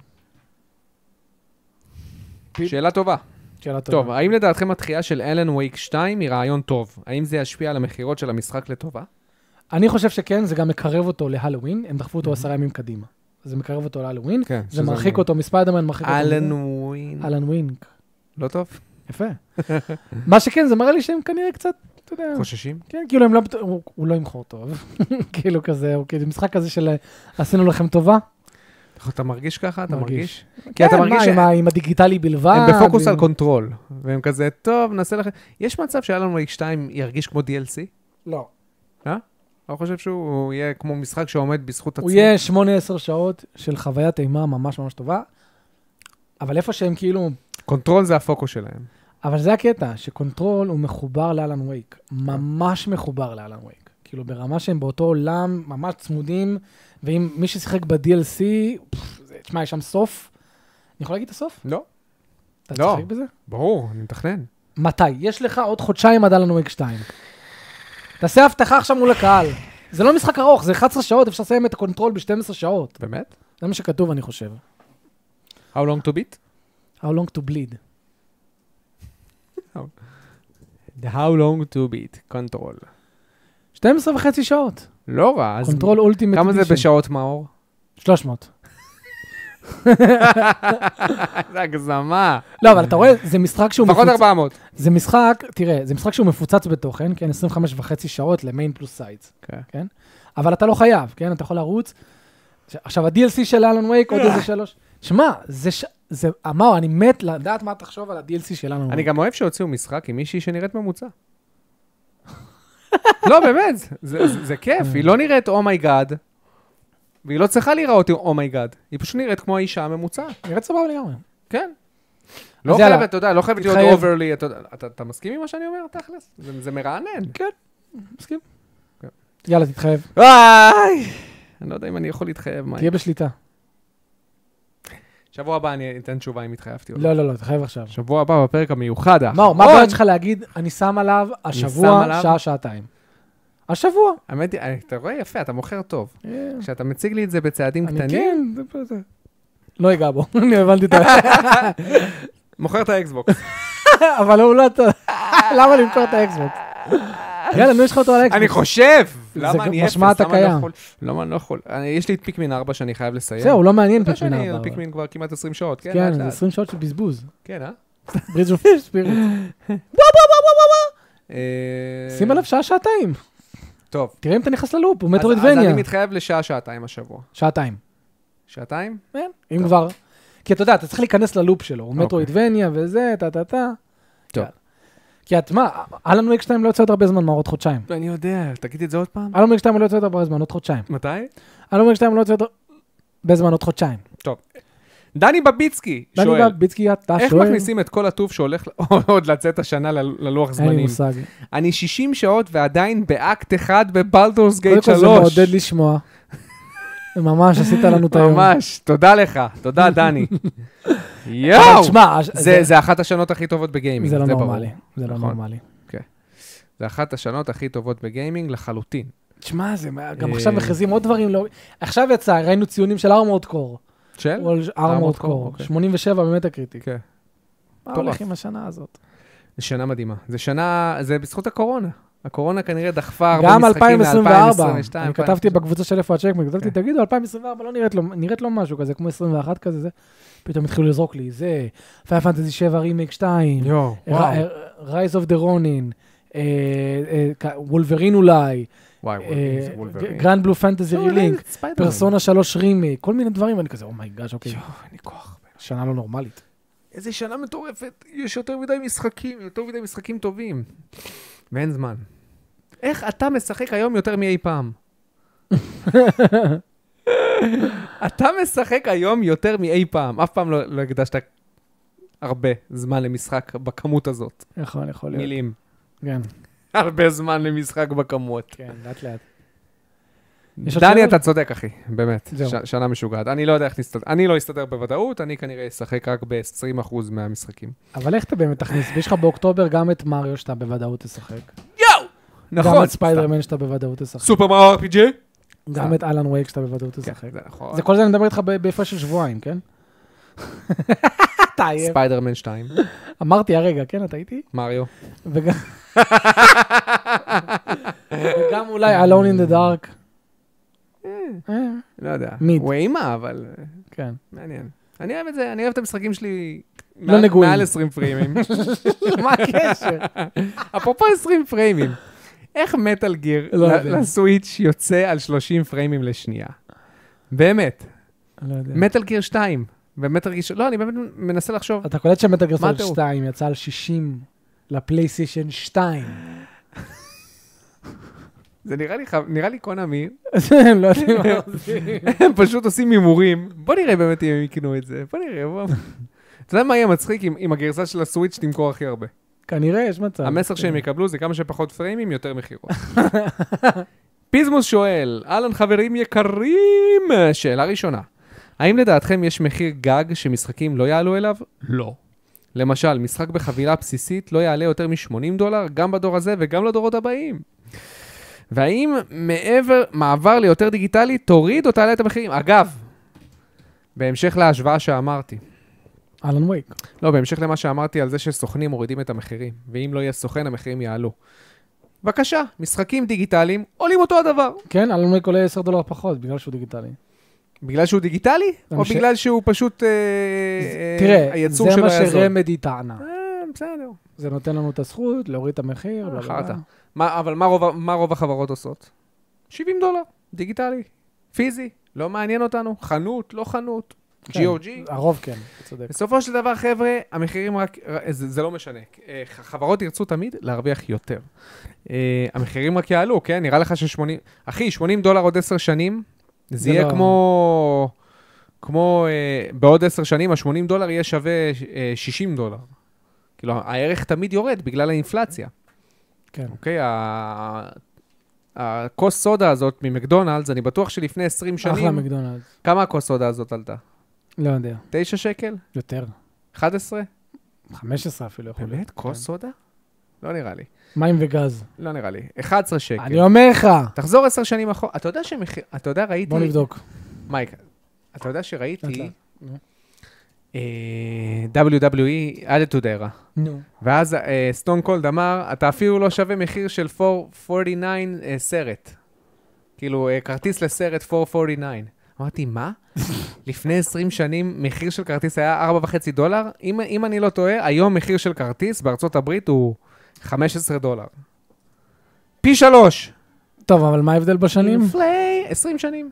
שאלה טובה. שאלה טובה. טוב, האם לדעתכם התחייה של אלן וייק 2 היא רעיון טוב? האם זה ישפיע על המכירות של המשחק לטובה? אני חושב שכן, זה גם מקרב אותו להלואוין, הם דחפו אותו Mhm. עשרה ימים קדימה. זה מקרב אותו להלואוין, כן. זה מרחיק אותו מספיידרמן, מרחיק אותו. אלן מזה. ווין. אלן ווינק. לא טוב? יפה. [LAUGHS] מה שכן, זה מראה לי שהם כנראה קצת, אתה יודע, חוששים? כן, כאילו הם לא, בט- הוא, הוא לא ימכור טוב, [LAUGHS] כאילו כזה, הוא כאילו משחק כזה של אה, עשינו לכם טובה. אתה מרגיש ככה? אתה מרגיש. מרגיש? כי אתה כן, מרגיש מה, ש- עם, ה- עם הדיגיטלי בלבד. הם בפוקוס עם- על קונטרול, והם כזה, טוב, נעשה לכם... יש מצב שאלן וייק 2 ירגיש כמו DLC? לא. אני לא חושב שהוא יהיה כמו משחק שעומד בזכות עצמו. הוא יהיה 8-10 שעות של חוויית אימה ממש ממש טובה, אבל איפה שהם כאילו, קונטרול זה הפוקוס שלהם. אבל זה הקטע, שקונטרול הוא מחובר לאלן וייק, ממש מחובר לאלן וייק. כאילו ברמה שהם באותו עולם, ממש צמודים, ואם מי ששיחק ב-DLC, פפ, זה- תשמע, יש שם סוף. אני יכול להגיד את הסוף? לא. אתה לא. תשחק בזה? ברור, אני מתכנן. מתי? יש לך עוד חודשיים עד אלן וייק 2. תעשה הבטחה עכשיו מול הקהל. זה לא משחק ארוך, זה 11 שעות, אפשר לסיים את הקונטרול ב-12 שעות. באמת? זה מה שכתוב, אני חושב. How long to beat? How long to bleed. The How long to beat, קונטרול. 12 וחצי שעות. לא רע, אז... קונטרול אולטימט כמה זה בשעות מאור? 300. [LAUGHS] זה הגזמה. לא, אבל אתה רואה, זה משחק שהוא לפחות מפוצץ. 400. זה משחק, תראה, זה משחק שהוא מפוצץ בתוכן, כן? 25 וחצי שעות למיין פלוס סייטס. כן. כן? אבל אתה לא חייב, כן? אתה יכול לרוץ. ש- עכשיו, ה-DLC של אלן וייק, עוד אה. איזה שלוש. שמע, זה... ש- זה אמר, אני מת לדעת מה תחשוב על ה-DLC של אלן וייק. אני גם אוהב שהוציאו משחק עם מישהי שנראית ממוצע. [LAUGHS] לא, באמת, זה- זה- זה כיף, היא לא נראית אומייגאד, והיא לא צריכה להיראות אומייגאד, היא פשוט נראית כמו האישה הממוצעת, נראית סבבה לגמרי. כן. לא אז יאללה. חייבת, אתה יודע, לא חייבת להיות תתחייב. אוברלי, אתה יודע, אתה- אתה מסכים עם מה שאני אומר, תכלס? זה זה מרענן. כן, מסכים. כן. יאללה, תתחייב, וואי! אני לא יודע אם אני יכול להתחייב, מה. תהיה בשליטה. שבוע הבא אני אתן תשובה אם התחייבתי או לא. לא, לא, לא, תתחייב עכשיו. שבוע הבא בפרק המיוחד. מאור, מה האחרון. הבעיות שלך להגיד, אני שם עליו שם השבוע עליו?" שעה-שעתיים? השבוע. האמת היא, אה, אתה רואה יפה, אתה מוכר טוב. כשאתה מציג לי את זה בצעדים כן. אני אה, קטנים, כן, זה בסדר. לא אגע בו, [LAUGHS] אני הבנתי את ה... מוכר את [LAUGHS] האקסבוקס. אבל הוא לא... אתה- [LAUGHS] למה למכור את האקסבוקס? יאללה, נו, יש לך אותו על האקסבוקס. אני חושב! זה למה גם אני אפס? משמע אתה למה אני לא קיים. יכול? למה אני לא יכול? אני- יש לי את פיקמין 4 שאני חייב לסיים. זהו, לא מעניין אתה יודע פיקמין שאני על 4. פיקמין כבר כמעט 20 שעות, כן? כן, לאט זה לאט. 20 שעות של בזבוז. כן, אה? ברידג' אוף ספיריט. אה, שים עליו שעה-שעתיים. טוב. אז- תראה אם אתה נכנס ללופ, הוא אז מטרוידבניה. אני מתחייב לשעה-שעתיים השבוע. שעתיים. שעתיים? כן, אם כבר. כי אתה יודע, אתה צריך להיכנס ללופ שלו, הוא אוקיי. מטרואידבניה וזה, טה-טה-טה. טוב. כי את מה, אלן וייק 2 לא יוצא עוד הרבה זמן, מה, עוד חודשיים. אני יודע, תגיד את זה עוד פעם. אלן וייק 2 לא יוצא עוד הרבה זמן, עוד חודשיים. אה, מתי? אלן וייק 2 לא יוצא עוד הרבה זמן, עוד חודשיים. דני בביצקי דני שואל, בביצקי, אתה שואל. איך מכניסים את כל הטוב שהולך [LAUGHS] ל- עוד לצאת השנה ל- ללוח אין לי זמנים? מושג. אני 60 שעות ועדיין באקט אחד בבלדורס קודם גייט 3. כל זה מעודד לשמוע. ממש עשית לנו את היום. ממש, תודה לך, [LAUGHS] תודה דני. אבל יואו! תשמע, הש- זה- זה אחת השנות הכי טובות בגיימינג, זה לא ברור. נורמלי. זה לא נכון. נורמלי. זה אחת השנות הכי טובות בגיימינג לחלוטין. תשמע, זה, מה- גם אה, עכשיו מכריזים עוד דברים. לא- עכשיו יצא, ראינו ציונים של ארמורד קור. כן? של? ארמורד Armored Core, קור, אוקיי. 87 במטה קריטי. כן. מה מטורף. הולך עם השנה הזאת? זו שנה מדהימה. זו שנה, זה בזכות הקורונה. הקורונה כנראה דחפה הרבה גם משחקים ל-2024. ל-2022. אני כתבתי בקבוצה של איפה הצ'קמן, כתבתי, תגידו, 2024 לא נראית לו, נראית לו משהו כזה, כמו 21 כזה, זה. פתאום התחילו לזרוק לי, זה, פייר פנטזי 7 רימייק 2, יואו, אה, וואו. רייז אוף דה רונין, אה, וולברין אולי, אה, וואי, וולברין, זה וולברין. גרנד בלו פנטזי לא, אולי רילינק, זה ספיידרמן. פרסונה 3 רימייק, כל מיני דברים, ואני כזה, אומייגאש, אוקיי, יואו, אין לי כוח. שנה לא נורמלית. איזה שנה מטורפת, יש יותר מדי משחקים, יותר מדי משחקים טובים. ואין זמן. איך אתה משחק היום יותר מאי [LAUGHS] פעם? אתה משחק היום יותר מאי פעם. אף פעם לא לא הקדשת הרבה זמן למשחק בכמות הזאת. נכון, יכול להיות. מילים. כן, הרבה זמן למשחק בכמות. כן, לאט לאט. יש עוד דני, שאלות? אתה צודק, אחי, באמת. זהו. ש- שנה משוגעת. אני לא יודע איך נסתדר. אני לא אסתדר בוודאות, אני כנראה אשחק רק ב-20% מהמשחקים. אבל איך אתה באמת תכניס? ויש לך באוקטובר גם את מריו שאתה בוודאות תשחק. יואו! נכון. גם את ספיידרמן שאתה בוודאות תשחק. סופר מאו RPG? גם את אלן וייק שאתה בוודאות כן, תשחק. זה נכון. זה כל זה אני מדבר איתך ב- בהפרש של שבועיים, כן? אתה עייף. [LAUGHS] ספיידרמן 2, אמרתי הרגע, כן, אתה איתי? [LAUGHS] מריו. וגם... וגם אולי Alone in the Dark. אה, לא יודע. מיד. הוא אימה, אבל אה, כן. מעניין. אני אוהב את זה, אני אוהב את המשחקים שלי... לא מעל- נגועים. מעל 20 [LAUGHS] פריימים. [LAUGHS] מה הקשר? אפרופו 20 פריימים, איך מטאל גיר לא ל- יודע. לסוויץ' יוצא על 30 פריימים לשנייה? באמת. לא יודע. מטאל גיר 2 ומטאל גיר... ש- לא, אני באמת מנסה לחשוב. אתה קולט שמטל גר מה סוליד הטירוף? 2 יצא על 60 לפלייסיישן 2. זה נראה לי חב- נראה לי קונאמי, הם [LAUGHS] [LAUGHS] לא יודעים מה עושים. הם פשוט עושים הימורים. בוא נראה באמת אם הם יקנו את זה. בוא נראה, בוא. אתה יודע מה יהיה מצחיק אם אם הגרסה של הסוויץ' תמכור הכי הרבה? כנראה יש מצב. המסר שהם יקבלו זה כמה שפחות פריימים, יותר מכירות. פיזמוס שואל, אהלן חברים יקרים, שאלה ראשונה, האם לדעתכם יש מחיר גג שמשחקים לא יעלו אליו? לא. למשל, משחק בחבילה בסיסית לא יעלה יותר מ-80 דולר, גם בדור הזה וגם לדורות הבאים. והאם מעבר, מעבר ליותר דיגיטלי, תוריד או תעלה את המחירים? אגב, בהמשך להשוואה שאמרתי, אלן וייק. לא, בהמשך למה שאמרתי על זה שסוכנים מורידים את המחירים, ואם לא יהיה סוכן, המחירים יעלו. בבקשה, משחקים דיגיטליים עולים אותו הדבר. כן, אלן וייק עולה 10 דולר פחות, בגלל שהוא דיגיטלי. אה, בגלל שהוא דיגיטלי, זה או מש- בגלל שהוא פשוט... אה, אה, תראה, הייצור זה שלו מה היה זול. שרמדי טענה. אה, בסדר. זה נותן לנו את הזכות להוריד את המחיר. בלה, בלה, חרטא. בלה. מה- אבל מה רוב- מה רוב החברות עושות? 70 דולר, דיגיטלי, פיזי, לא מעניין אותנו, חנות, לא חנות, כן. GOG. הרוב כן, אתה צודק. בסופו של דבר, חבר'ה, המחירים רק... ר- זה, זה לא משנה. אה, ח- חברות ירצו תמיד להרוויח יותר. אה, המחירים רק יעלו, כן? נראה לך ש-80... אחי, 80 דולר עוד 10 שנים, זה זה יהיה לא- כמו... כמו אה, בעוד 10 שנים, ה-80 דולר יהיה שווה אה, 60 דולר. כאילו, הערך תמיד יורד בגלל האינפלציה, כן. אוקיי? ה- הכוס סודה הזאת ממקדונלדס, אני בטוח שלפני 20 אחלה שנים... מקדונלדס. כמה הכוס סודה הזאת עלתה? לא יודע. 9 שקל? יותר. 11? 15 אפילו יכול להיות. באמת? כוס סודה? כן. לא נראה לי. מים וגז. לא נראה לי. 11 שקל. אני לא- אומר לך. תחזור 10 שנים אחורה. אתה יודע שמחיר... אתה יודע, ראיתי... בוא נבדוק. אוקיי. מייק, אתה יודע שראיתי... לאט. נו. אה, WWE added to the era. נו. ואז אה, סטון קולד אמר, אתה אפילו לא שווה מחיר של 449 אה, סרט. כאילו, אה, כרטיס לסרט 449. אמרתי, מה? לפני 20 שנים מחיר של כרטיס היה 4.5 דולר? אם, אם אני לא טועה, היום מחיר של כרטיס בארצות הברית הוא 15 דולר. פי שלוש! טוב, אבל מה ההבדל בשנים? לפני 20 שנים.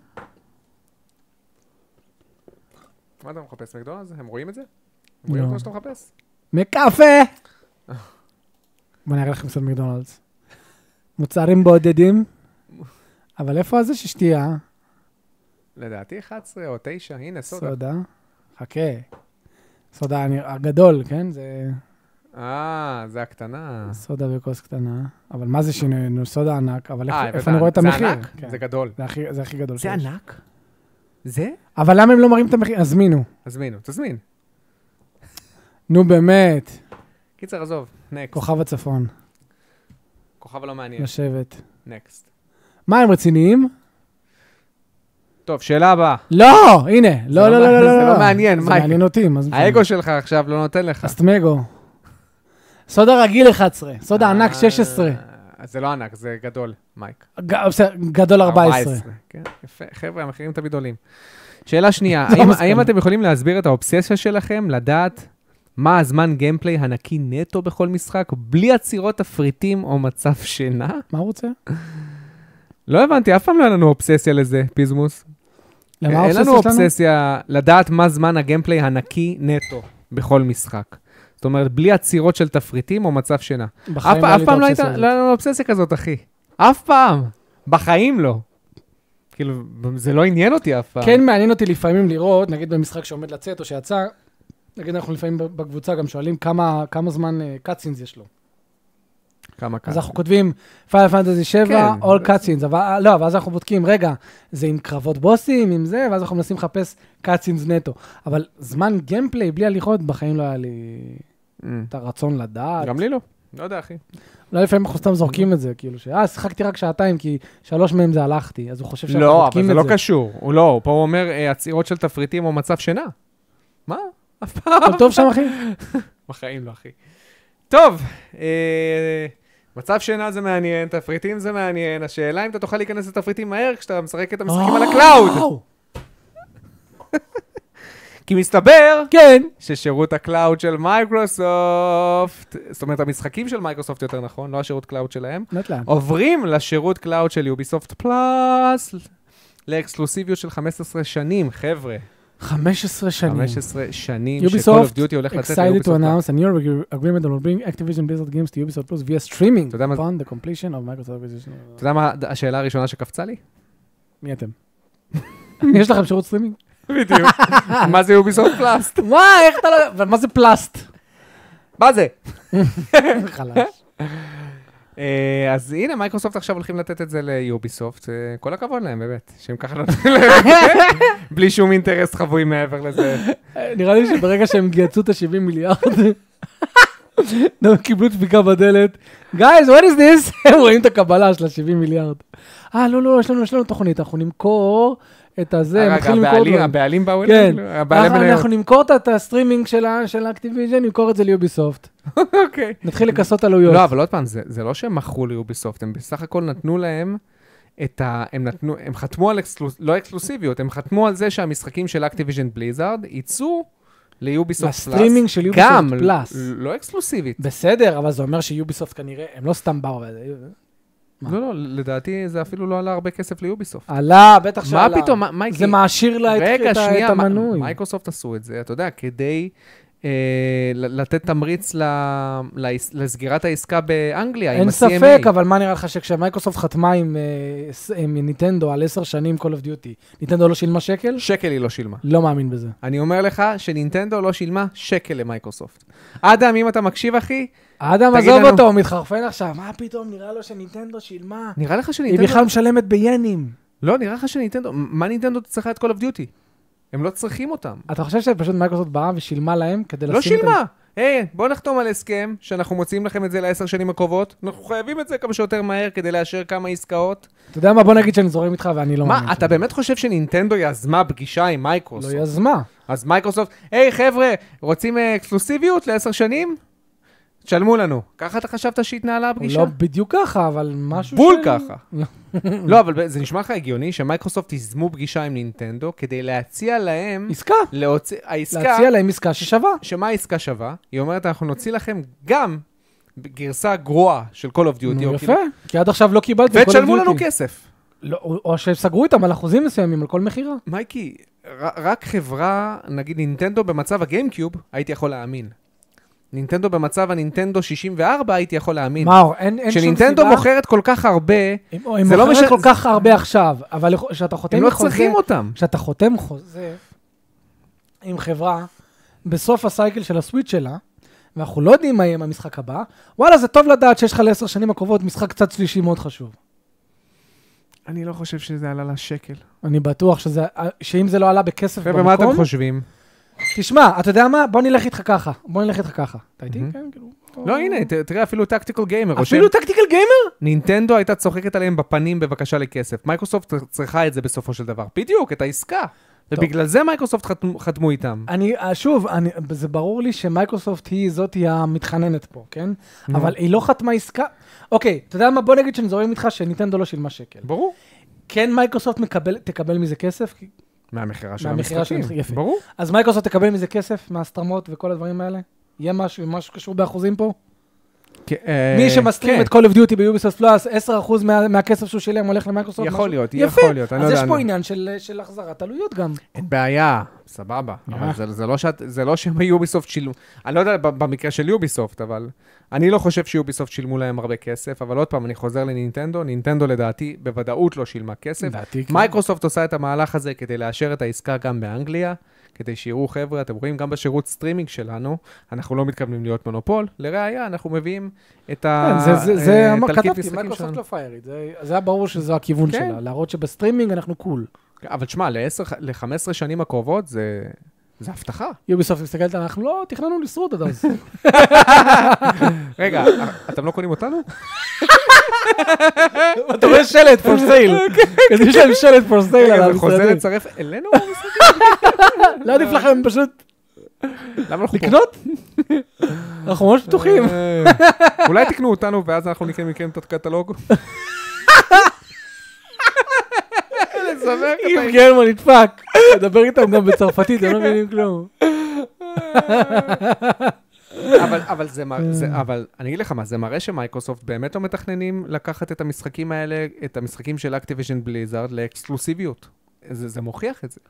מה אתה מחפש, מקדונלדס? הם רואים את זה? הם רואים לא. את מה שאתה מחפש? מקפה! בוא נראה לכם קצת מקדונלדס. מוצרים בודדים, אבל איפה זה ששתייה? לדעתי 11 או 9, הנה, סודה. סודה. חכה. סודה אני- הגדול, כן? זה אה, זה הקטנה. סודה בכוס קטנה. אבל מה זה שינוי? נו, סודה ענק, אבל איפה- אה, הבאת. איפה אני רואה את המחיר? זה ענק, כן. זה גדול. זה הכי- זה הכי גדול שיש. ענק? זה? אבל למה הם לא מראים את המחיר? הזמינו. הזמינו, תזמין. נו באמת, קיצר, עזוב, נקסט. כוכב הצפון, כוכב לא מעניין, לשבת. נקסט. מה, הם רציניים? טוב, שאלה הבאה. לא! הנה, לא, לא לא, מע- לא, לא, זה לא. לא מעניין, זה מייק. מעניין אותי, מה זה? האגו שלך עכשיו לא נותן לך. אסטמגו. סודה רגיל 11, סודה ענק 16, אה, זה לא ענק, זה גדול, מייק. ג- בסדר, גדול 14. כן, יפה. חבר'ה, המחירים תמיד עולים. [LAUGHS] שאלה שנייה, זו האם- המסקנה. האם אתם יכולים להסביר את האובססיה שלכם לדעת מה הזמן גיימפליי הנקי נטו בכל משחק, בלי עצירות תפריטים או מצב שינה? מה הוא רוצה? לא הבנתי, אף פעם לא היה לנו אובססיה לזה, פיזמוס. למה אין לנו האובססיה שלנו? אובססיה לדעת מה זמן הגיימפליי הנקי נטו בכל משחק. זאת אומרת, בלי עצירות של תפריטים או מצב שינה. אף בחיים פעם- אף לי את פעם לא האובססיה הייתה, הזאת. לא היה לנו אובססיה כזאת, אחי. אף פעם. בחיים לא. כאילו, זה לא עניין אותי אף פעם. כן מעניין אותי לפעמים לראות, נגיד במשחק שעומד לצאת או שיצא, נגיד אנחנו לפעמים בקבוצה גם שואלים כמה כמה זמן קאצינס יש לו. כמה כמה. אז אנחנו כותבים פייל פנטזי 7, כן. All Cutscenes, אבל אה, לא, ואז אנחנו בודקים, רגע, זה עם קרבות בוסים, עם זה, ואז אנחנו מנסים לחפש Cutscenes נטו. אבל זמן גיימפליי בלי הליכות, בחיים לא היה לי אמ, את הרצון לדעת. גם לי לא. לא יודע, אחי. אולי לפעמים אנחנו סתם זורקים את זה, כאילו, שאה, שיחקתי רק שעתיים, כי שלוש מהם זה הלכתי, אז הוא חושב שאנחנו לא, אבל בודקים זה את לא זה. קשור. הוא לא, פה הוא אומר אה, עצירות של תפריטים או מצב שינה. מה? אף פעם. הכל טוב שם, אחי? [LAUGHS] בחיים לא, אחי. טוב, אה, מצב שינה זה מעניין, תפריטים זה מעניין, השאלה אם אתה תוכל להיכנס לתפריטים מהר כשאתה משחק את המשחקים על אה. הקלאוד. וואו. כי מסתבר כן. ששירות הקלאוד של מייקרוסופט, זאת אומרת, המשחקים של מייקרוסופט יותר נכון, לא השירות קלאוד שלהם, לאט לאט. עוברים לשירות קלאוד של יוביסופט פלאס, לאקסקלוסיביות של 15 שנים, חבר'ה. 15 שנים. 15 שנים ש-Call Ubisoft of Duty הולך לצאת excited to ליוביסופט פלאס. announce a new regu- agreement that will bring Activision Blizzard games to Ubisoft Plus via streaming אתה יודע מה זה- upon the completion of Microsoft acquisition. אתה יודע מה השאלה הראשונה שקפצה לי? מי [LAUGHS] אתם? יש לכם שירות סטרימינג? בדיוק. מה זה יוביסופט פלאס? מה, איך אתה לא... אבל מה זה [LAUGHS] פלאסט? מה זה? חלש. אה, אז הנה, מייקרוסופט עכשיו הולכים לתת את זה ליוביסופט. אה, כל הכבוד להם, באמת, שהם ככה [LAUGHS] נותנים להם את זה, בלי שום אינטרס חבוי מעבר לזה. נראה לי שברגע שהם גייצו את ה-70 מיליארד, [LAUGHS] הם קיבלו דפיקה בדלת. Guys, what is this? [LAUGHS] הם רואים את הקבלה של ה-70 מיליארד. אה, לא, לא, יש לנו, יש לנו תוכנית, אנחנו נמכור את הזה, הם רגע, מתחילים למכור הבעלים- דברים. הבעלים באו כן. אלינו? הבעלי אנחנו- מניות. אנחנו נמכור את- את הסטרימינג של ה- של האקטיביז'ן, נמכור את זה ליוביסופט. אוקיי. נתחיל לכסות עלויות. לא, אבל עוד פעם, זה זה לא שהם מכרו ליוביסופט, הם בסך הכל נתנו להם את ה... הם נתנו, הם חתמו על אקסקלוס... לא אקסקלוסיביות, הם חתמו על זה שהמשחקים של אקטיביז'ן בליזארד יצאו ליוביסופט פלאס. לסטרימינג של יוביסופט גם, פלאס. ל- לא אקסקלוסיבית. בסדר, אבל זה אומר שיוביסופט כנראה, הם לא סתם באו. וזה- מה? אה, לא, לא, לדעתי זה אפילו לא עלה הרבה כסף ליוביסופט. עלה, בטח שעלה. מה פתאום, מה- מה זה יקרה? מעשיר לה את את ה- את מ- המנוי. מייקרוסופט עשו את זה, אתה יודע, כדי אה, ל- לתת תמריץ ל- לעס- לסגירת העסקה באנגליה עם אין ה-CMA. ספק, אבל מה נראה לך שכשמייקרוסופט חתמה עם, אה, ס- עם ניטנדו על עשר שנים Call of Duty, ניטנדו לא שילמה שקל? שקל היא לא שילמה. לא מאמין בזה. אני אומר לך שנינטנדו לא שילמה שקל למייקרוסופט. אדם, אם אתה מקשיב, אחי, אדם, תגיד עזוב לנו. אותו, הוא מתחרפן עכשיו. מה פתאום, נראה לו שניטנדו שילמה? נראה לך היא שנינטנדו... בכלל משלמת ביינים. לא, נראה לך שנינטנדו... מה נינטנדו צריכה את Call of Duty? הם לא צריכים אותם. אתה חושב שפשוט מייקרוסופט באה ושילמה להם כדי לשים לא את... שילמה! היי, בואו נחתום על הסכם שאנחנו מוציאים לכם את זה לעשר שנים הקרובות. אנחנו חייבים את זה כמה שיותר מהר כדי לאשר כמה עסקאות. אתה יודע מה? בוא נגיד שאני זורם איתך ואני לא מאמין. מה, אתה שזה. באמת חושב שנינטנדו יזמה פגישה עם לא מייקרוסופט? יזמה. אז מייקרוסופט, היי חבר'ה, רוצים אה, אקסקלוסיביות לעשר שנים? תשלמו לנו. ככה אתה חשבת שהתנהלה הפגישה? לא בדיוק ככה, אבל משהו... בול של- ככה. [LAUGHS] לא, אבל זה נשמע לך הגיוני שמייקרוסופט יזמו פגישה עם נינטנדו כדי [LAUGHS] להציע להם, עסקה. להוציא, העסקה, להציע להם עסקה ששווה. שמה העסקה שווה? היא אומרת, אנחנו נוציא לכם גם גרסה גרועה של Call of Duty, נו, או יפה. כאילו- כי עד עכשיו לא קיבלתי. Call of ותשלמו Duty. לנו כסף. לא, או או שסגרו איתם על אחוזים מסוימים, על כל מכירה. מייקי, ר- רק חברה, נגיד נינטנדו במצב הגיימקיוב, הייתי יכול להאמין. נינטנדו במצב הנינטנדו 64, הייתי יכול להאמין. מאור, אין אין שום סיבה... שנינטנדו מוכרת כל כך הרבה, הם הם זה לא מוכרת משנה- כל כך הרבה עכשיו, אבל לכ- כשאתה חותם הם לא לחוזה- צריכים אותם. כשאתה חותם חוזה עם חברה, בסוף הסייקל של הסוויץ' שלה, ואנחנו לא יודעים מה יהיה עם המשחק הבא, וואלה, זה טוב לדעת שיש לך לעשר שנים הקרובות משחק קצת שלישי מאוד חשוב. אני לא חושב שזה עלה לה שקל. אני בטוח שזה, שאם זה לא נכון? עלה בכסף ומה אתם במקום... חושבים? תשמע, אתה יודע מה? בוא נלך איתך ככה. בוא נלך איתך ככה. אתה איתי? מהמם. כן, כאילו... לא, הנה, ת- תראה, אפילו טקטיקל גיימר רושם, אפילו טקטיקל גיימר? נינטנדו הייתה צוחקת עליהם בפנים בבקשה לכסף. מייקרוסופט צריכה את זה בסופו של דבר. בדיוק, את העסקה. ובגלל זה מייקרוסופט חתמו- חתמו איתם. אני, אה, שוב, אני, זה ברור לי שמייקרוסופט היא זאתי המתחננת פה, כן? נו. אבל היא לא חתמה עסקה. אוקיי, אתה יודע מה? בוא נגיד שאני זורם איתך שניטנדו לא שילמה שקל. ברור. כן, מייקרוסופט מקבל, תקבל מזה כסף, כי- מהמכירה של מהמכירה של המשחקים. המשחק- יפה. ברור. אז מייקרוסופט תקבל מזה כסף, מההסתרמות וכל הדברים האלה? יהיה משהו, משהו קשור באחוזים פה? אה, מי כן. שמסכים את Call of Duty ביוביסופט פלוס, 10% מה- מהכסף שהוא שילם הולך למייקרוסופט? יכול משהו- להיות, יפה. יכול להיות, אני לא אז יודע, יש פה אני- עניין של של החזרת עלויות גם. אין בעיה, סבבה. אבל אה. זה- זה לא שאת- זה לא שהם יוביסופט שילמו, אני לא יודע ב- במקרה של יוביסופט, אבל אני לא חושב שיוביסופט שילמו להם הרבה כסף, אבל עוד פעם, אני חוזר לנינטנדו, נינטנדו לדעתי בוודאות לא שילמה כסף. כן. מייקרוסופט עושה את המהלך הזה כדי לאשר את העסקה גם באנגליה, כדי שיראו, חבר'ה, אתם רואים, גם בשירות סטרימינג שלנו, אנחנו לא מתכוונים להיות מונופול. לראיה, אנחנו מביאים את כן, ה... זה- זה- אה, זה, אמר- תלקיט כתבתי, משחקים מייקרוסופט שלנו. לא פיירית, זה- זה היה ברור שזה הכיוון כן. שלה, להראות שבסטרימינג אנחנו קול. אבל שמע, ל-15 שנים הקרובות זה... זה הבטחה. יוביסופט מסתכלת, אנחנו לא תכננו לשרוד עד אז. רגע, [LAUGHS] אתם לא קונים אותנו? [LAUGHS] אתה רואה שלט for [LAUGHS] sale, כזה יש להם שלט for sale רגע, על זה חוזר המשרדים. לצרף [LAUGHS] אלינו? לא עדיף לכם פשוט למה אנחנו פה? לקנות? [LAUGHS] אנחנו ממש פתוחים. אה, אולי תקנו אותנו ואז אנחנו נקנה מכם את [LAUGHS] הקטלוג? [LAUGHS] לזמר אם גרמן נדפק, אה, תדבר איתם גם בצרפתית, הם לא מבינים כלום. אבל, אבל, זה מר... זה, אבל אני אגיד לך מה, זה מראה שמייקרוסופט באמת לא מתכננים לקחת את המשחקים האלה, את המשחקים של אקטיביז'ן בליזארד, לאקסקלוסיביות. זה, זה מוכיח את זה.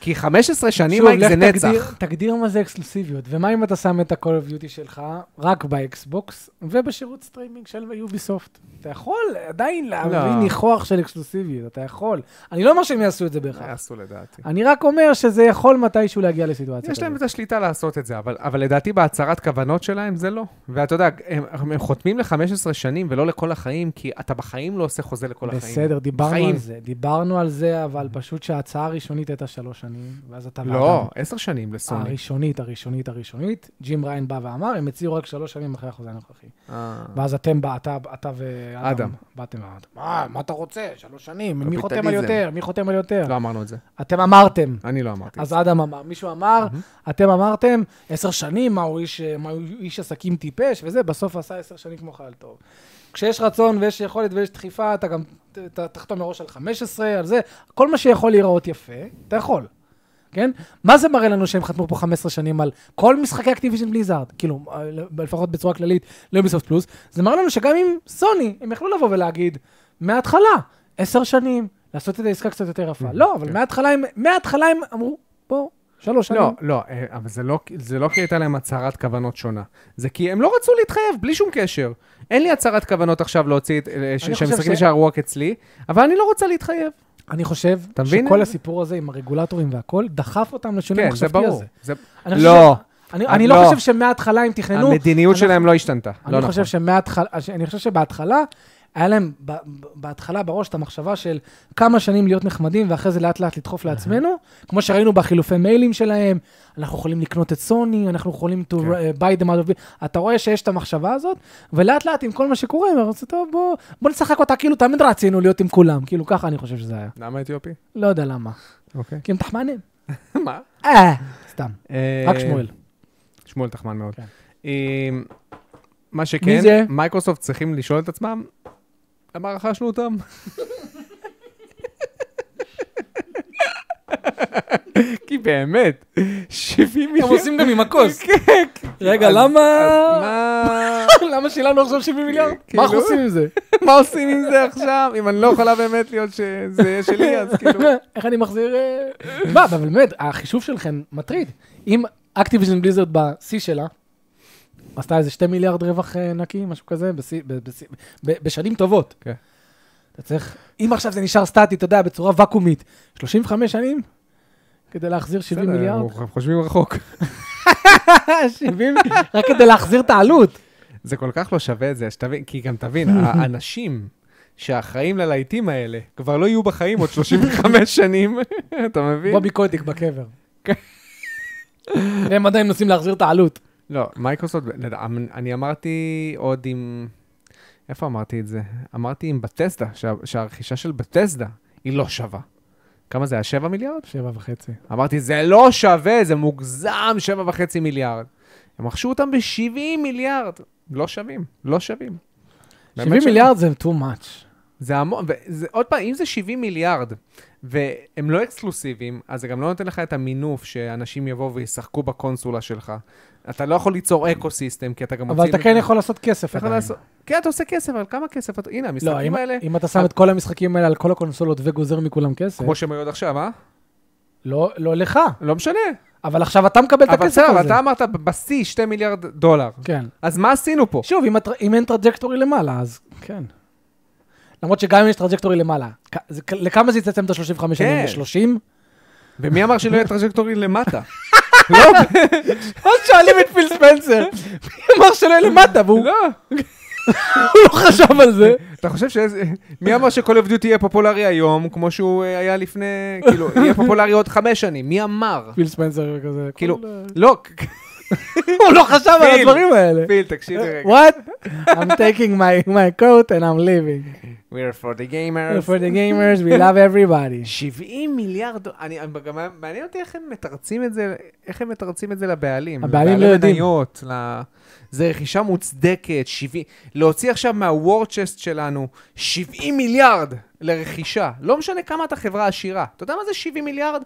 כי 15 שנים שוב, מייק, לך זה נצח. תגדיר- תגדיר מה זה אקסקלוסיביות, ומה אם אתה שם את ה-call of duty שלך רק באקסבוקס ובשירות סטרימינג של יוביסופט. אתה יכול עדיין להביא לא. ניחוח של אקסקלוסיביות, אתה יכול. אני לא אומר שהם יעשו את זה מה בהכרח. יעשו לדעתי. אני רק אומר שזה יכול מתישהו להגיע לסיטואציה יש כזאת. להם את השליטה לעשות את זה, אבל, אבל לדעתי בהצהרת כוונות שלהם זה לא. ואתה יודע, הם, הם חותמים ל-15 שנים ולא לכל החיים, כי אתה בחיים לא עושה חוזה לכל החיים. בסדר, דיברנו בחיים. על זה, דיברנו על זה, אבל פשוט שההצעה הראשונית הייתה שלוש שנים, ואז אתה... לא, 10 שנים לסוני. הראשונית, הראשונית, הראשונית, ג'ים ריין בא ואמר, הם הציעו רק שלוש שנים אחרי החוזה הנוכחי. אה. ואז אתם, בא- אתה אתה ואדם, אדם. באתם ואמרתם, מה, מה אתה רוצה? שלוש שנים, מי חותם על קפיטליזם. יותר? מי חותם על יותר? לא אמרנו את זה. אתם אמרתם. אני לא אמרתי. אז אדם אמר, מישהו אמר, אתם אמרתם, עשר שנים, מה הוא איש, מה הוא איש עסקים טיפש וזה, בסוף עשה עשר שנים כמו חייל טוב. כשיש רצון ויש יכולת ויש דחיפה, אתה גם ת- ת- תחתום מראש על 15, על זה, כל מה שיכול להיראות יפה, אתה יכול, כן? מה זה מראה לנו שהם חתמו פה 15 שנים על כל משחקי אקטיביזן בליזארד, כאילו, אה, לפחות בצורה כללית, ליוביסופט פלוס, זה מראה לנו שגם עם סוני, הם יכלו לבוא ולהגיד, מההתחלה, 10 שנים, לעשות את העסקה קצת יותר יפה. לא, אבל כן. מההתחלה הם, מההתחלה הם אמרו, בוא, שלוש שנים. לא, לא, אה, אבל זה לא, זה לא כי הייתה להם הצהרת כוונות שונה. זה כי הם לא רצו להתחייב, בלי שום קשר. אין לי הצהרת כוונות עכשיו להוציא את... אה, ש- אני חושב שהמשחקים ש- יישארו רק אצלי, אבל אני לא רוצה להתחייב. אני חושב אתה מבין? שכל הסיפור הזה עם הרגולטורים והכל, דחף אותם לשינוי כן, זה המחשבתי ברור. הזה. זה... אני חושב לא, ש- אני- אני לא לא. חושב שמההתחלה הם תכננו, המדיניות אנחנו- שלהם לא השתנתה. לא אני נכון. חושב שמההתחלה, אה, אני חושב שבהתחלה, היה להם ב- ב- בהתחלה בראש את המחשבה של כמה שנים להיות נחמדים, ואחרי זה לאט לאט לדחוף לעצמנו, כמו שראינו בחילופי מיילים שלהם, אנחנו יכולים לקנות את סוני, אנחנו יכולים to כן. uh, buy them out of... it." אתה רואה שיש את המחשבה הזאת, ולאט לאט עם כל מה שקורה, הם רוצים, טוב, בוא, בוא נשחק אותה, כאילו תמיד רצינו להיות עם כולם, כאילו ככה אני חושב שזה היה. למה אתיופי? לא יודע למה. [LAUGHS] אוקיי. כי הם תחמנים. מה? אה, סתם, אה, רק שמואל. שמואל תחמן מאוד. כן. אה, מה מי זה? שכן, מייקרוסופט צריכים לשאול את עצמם, למה רכשנו אותם? כי באמת, 70 מיליון... גם עם [LAUGHS] הכוס. רגע, אז- למה... אז מה- [LAUGHS] למה שילמנו עכשיו 70 מיליארד? מה כאילו- אנחנו עושים עם זה? מה עושים עם זה עכשיו? אם אני לא יכולה באמת להיות שזה יהיה שלי, אז כאילו... איך אני מחזיר... אה? מה, אבל באמת, החישוב שלכם מטריד. אם אקטיביזן בליזרד בשיא שלה, עשתה איזה 2 מיליארד רווח אה, נקי, משהו כזה, בשיא- ב- בשיא- ב- בשנים טובות. כן. אתה צריך... אם עכשיו זה נשאר סטטי, אתה יודע, בצורה ואקומית, 35 שנים? כדי להחזיר 70 בסדר, מיליארד? אנחנו חושבים רחוק. 70? רק כדי להחזיר את העלות. זה כל כך לא שווה את זה, שתבין, כי גם [LAUGHS] תבין, האנשים שאחראים ללהיטים האלה כבר לא יהיו בחיים עוד 35 שנים, [LAUGHS] אתה מבין? בובי קוטיק בקבר. כן. והם עדיין מנסים להחזיר את העלות. לא, מייקרוסופט, לדע- אני אמרתי עוד עם... איפה אמרתי את זה? אמרתי עם בטסדה, שה- שהרכישה של בטסדה היא לא שווה. כמה זה היה? 7 מיליארד? שבע וחצי. אמרתי, זה לא שווה, זה מוגזם, 7.5 מיליארד. הם רכשו אותם ב-70 מיליארד. לא שווים, לא שווים. באמת 70 שלא. מיליארד זה too much. זה המון, וזה, עוד פעם, אם זה 70 מיליארד, והם לא אקסקלוסיביים, אז זה גם לא נותן לך את המינוף שאנשים יבואו וישחקו בקונסולה שלך. אתה לא יכול ליצור אקו-סיסטם, כי אתה גם אבל אתה כן יכול לעשות כסף אתה יכול עדיין. לעשות- כן, אתה עושה כסף, אבל כמה כסף אתה... הנה, לא, המשחקים אם, האלה, אה. אם אתה שם את כל המשחקים האלה על כל הקונסולות וגוזר מכולם כסף, כמו שהם היו עד עכשיו, אה? לא, לא לך, לא משנה. אבל עכשיו אתה מקבל את אבל הכסף בסדר, הזה. אתה אמרת בשיא 2 מיליארד דולר. כן. אז מה עשינו פה? שוב, אם, הטר- אם אין טראג'קטורי למעלה, אז כן. למרות שגם אם יש טראג'קטורי למעלה, כ- זה- כ- לכמה זה יצמצם את ה-35 שנים? כן. ל-30? ומי אמר שלא יהיה טראג'קטורי למטה? לא, אז שואלים את פיל ספנסר, מי אמר שלא יהיה למטה, והוא לא. לא חשב על זה. אתה חושב ש... מי אמר שכל of Duty יהיה פופולרי היום, כמו שהוא אה, היה לפני... כאילו, יהיה פופולרי עוד חמש שנים? מי אמר? פיל ספנסר כזה, כאילו, כל, אה, לא, הוא לא חשב על פיל. הדברים האלה. פיל, תקשיב אה, לי רגע. What? I'm taking my, my coat and I'm leaving. We're for the gamers. אה, For the gamers, we love [LAUGHS] everybody. 70 מיליארד, דו- אני אני גם מעניין אותי איך הם מתרצים את זה, איך הם מתרצים את זה לבעלים. הבעלים לא לבעלי יודעים. מניות, ל... זה רכישה מוצדקת, 70, להוציא עכשיו מהוורצ'סט שלנו 70 מיליארד לרכישה. לא משנה כמה אתה חברה עשירה. אתה יודע מה זה 70 מיליארד?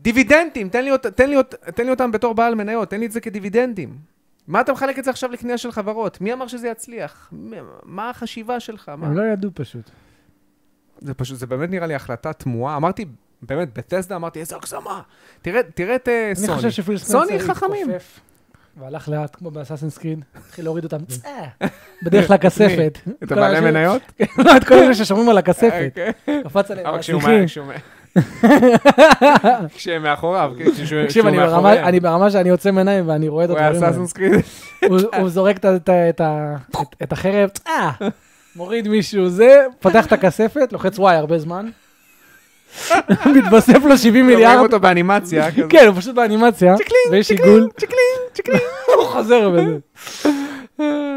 דיבידנדים, תן לי, אות- תן, לי, אות- תן לי אותם בתור בעל מניות, תן לי את זה כדיבידנדים. מה אתה מחלק את זה עכשיו לקנייה של חברות? מי אמר שזה יצליח? מי- מה החשיבה שלך? מה? הם לא ידעו פשוט. זה פשוט, זה באמת נראה לי החלטה תמוהה. אמגתי, באמת, בטסדה אמרתי, איזה הגזמה. תראה, תראה את אה, אני סוני. חושב שפיל סוני ספנסר חכמים. התכופף והלך לאט, כמו באסאסינס קריד, התחיל להוריד אותם, [LAUGHS] צאה, בדרך לכספת. את הבעלי כל האנשים- מניות? לא, את כל אלה ששומרים על הכספת. אוקיי. קפץ עליהם, אבל [LAUGHS] כשהוא מהשיחים. מה- כשהוא מה- כשהם מאחוריו, כן, כשהוא כשהוא תקשיב, אני ברמה- מאחוריהם. אני ברמה שאני עוצם עיניים ואני רואה את הוא היה הדברים האלה. אסאסינס קריד. [LAUGHS] הוא- הוא זורק את ה- את ה- את ה- את- את החרב, אה. צאה, מוריד מישהו זה, פותח את הכספת, לוחץ וואי הרבה זמן. [LAUGHS] מתווסף לו 70 רואים [LAUGHS] מיליארד. אותו באנימציה. כזה. [LAUGHS] כן, הוא פשוט באנימציה, ויש עיגול, [LAUGHS] צ'קלין, צ'קלין. הוא חוזר וזה.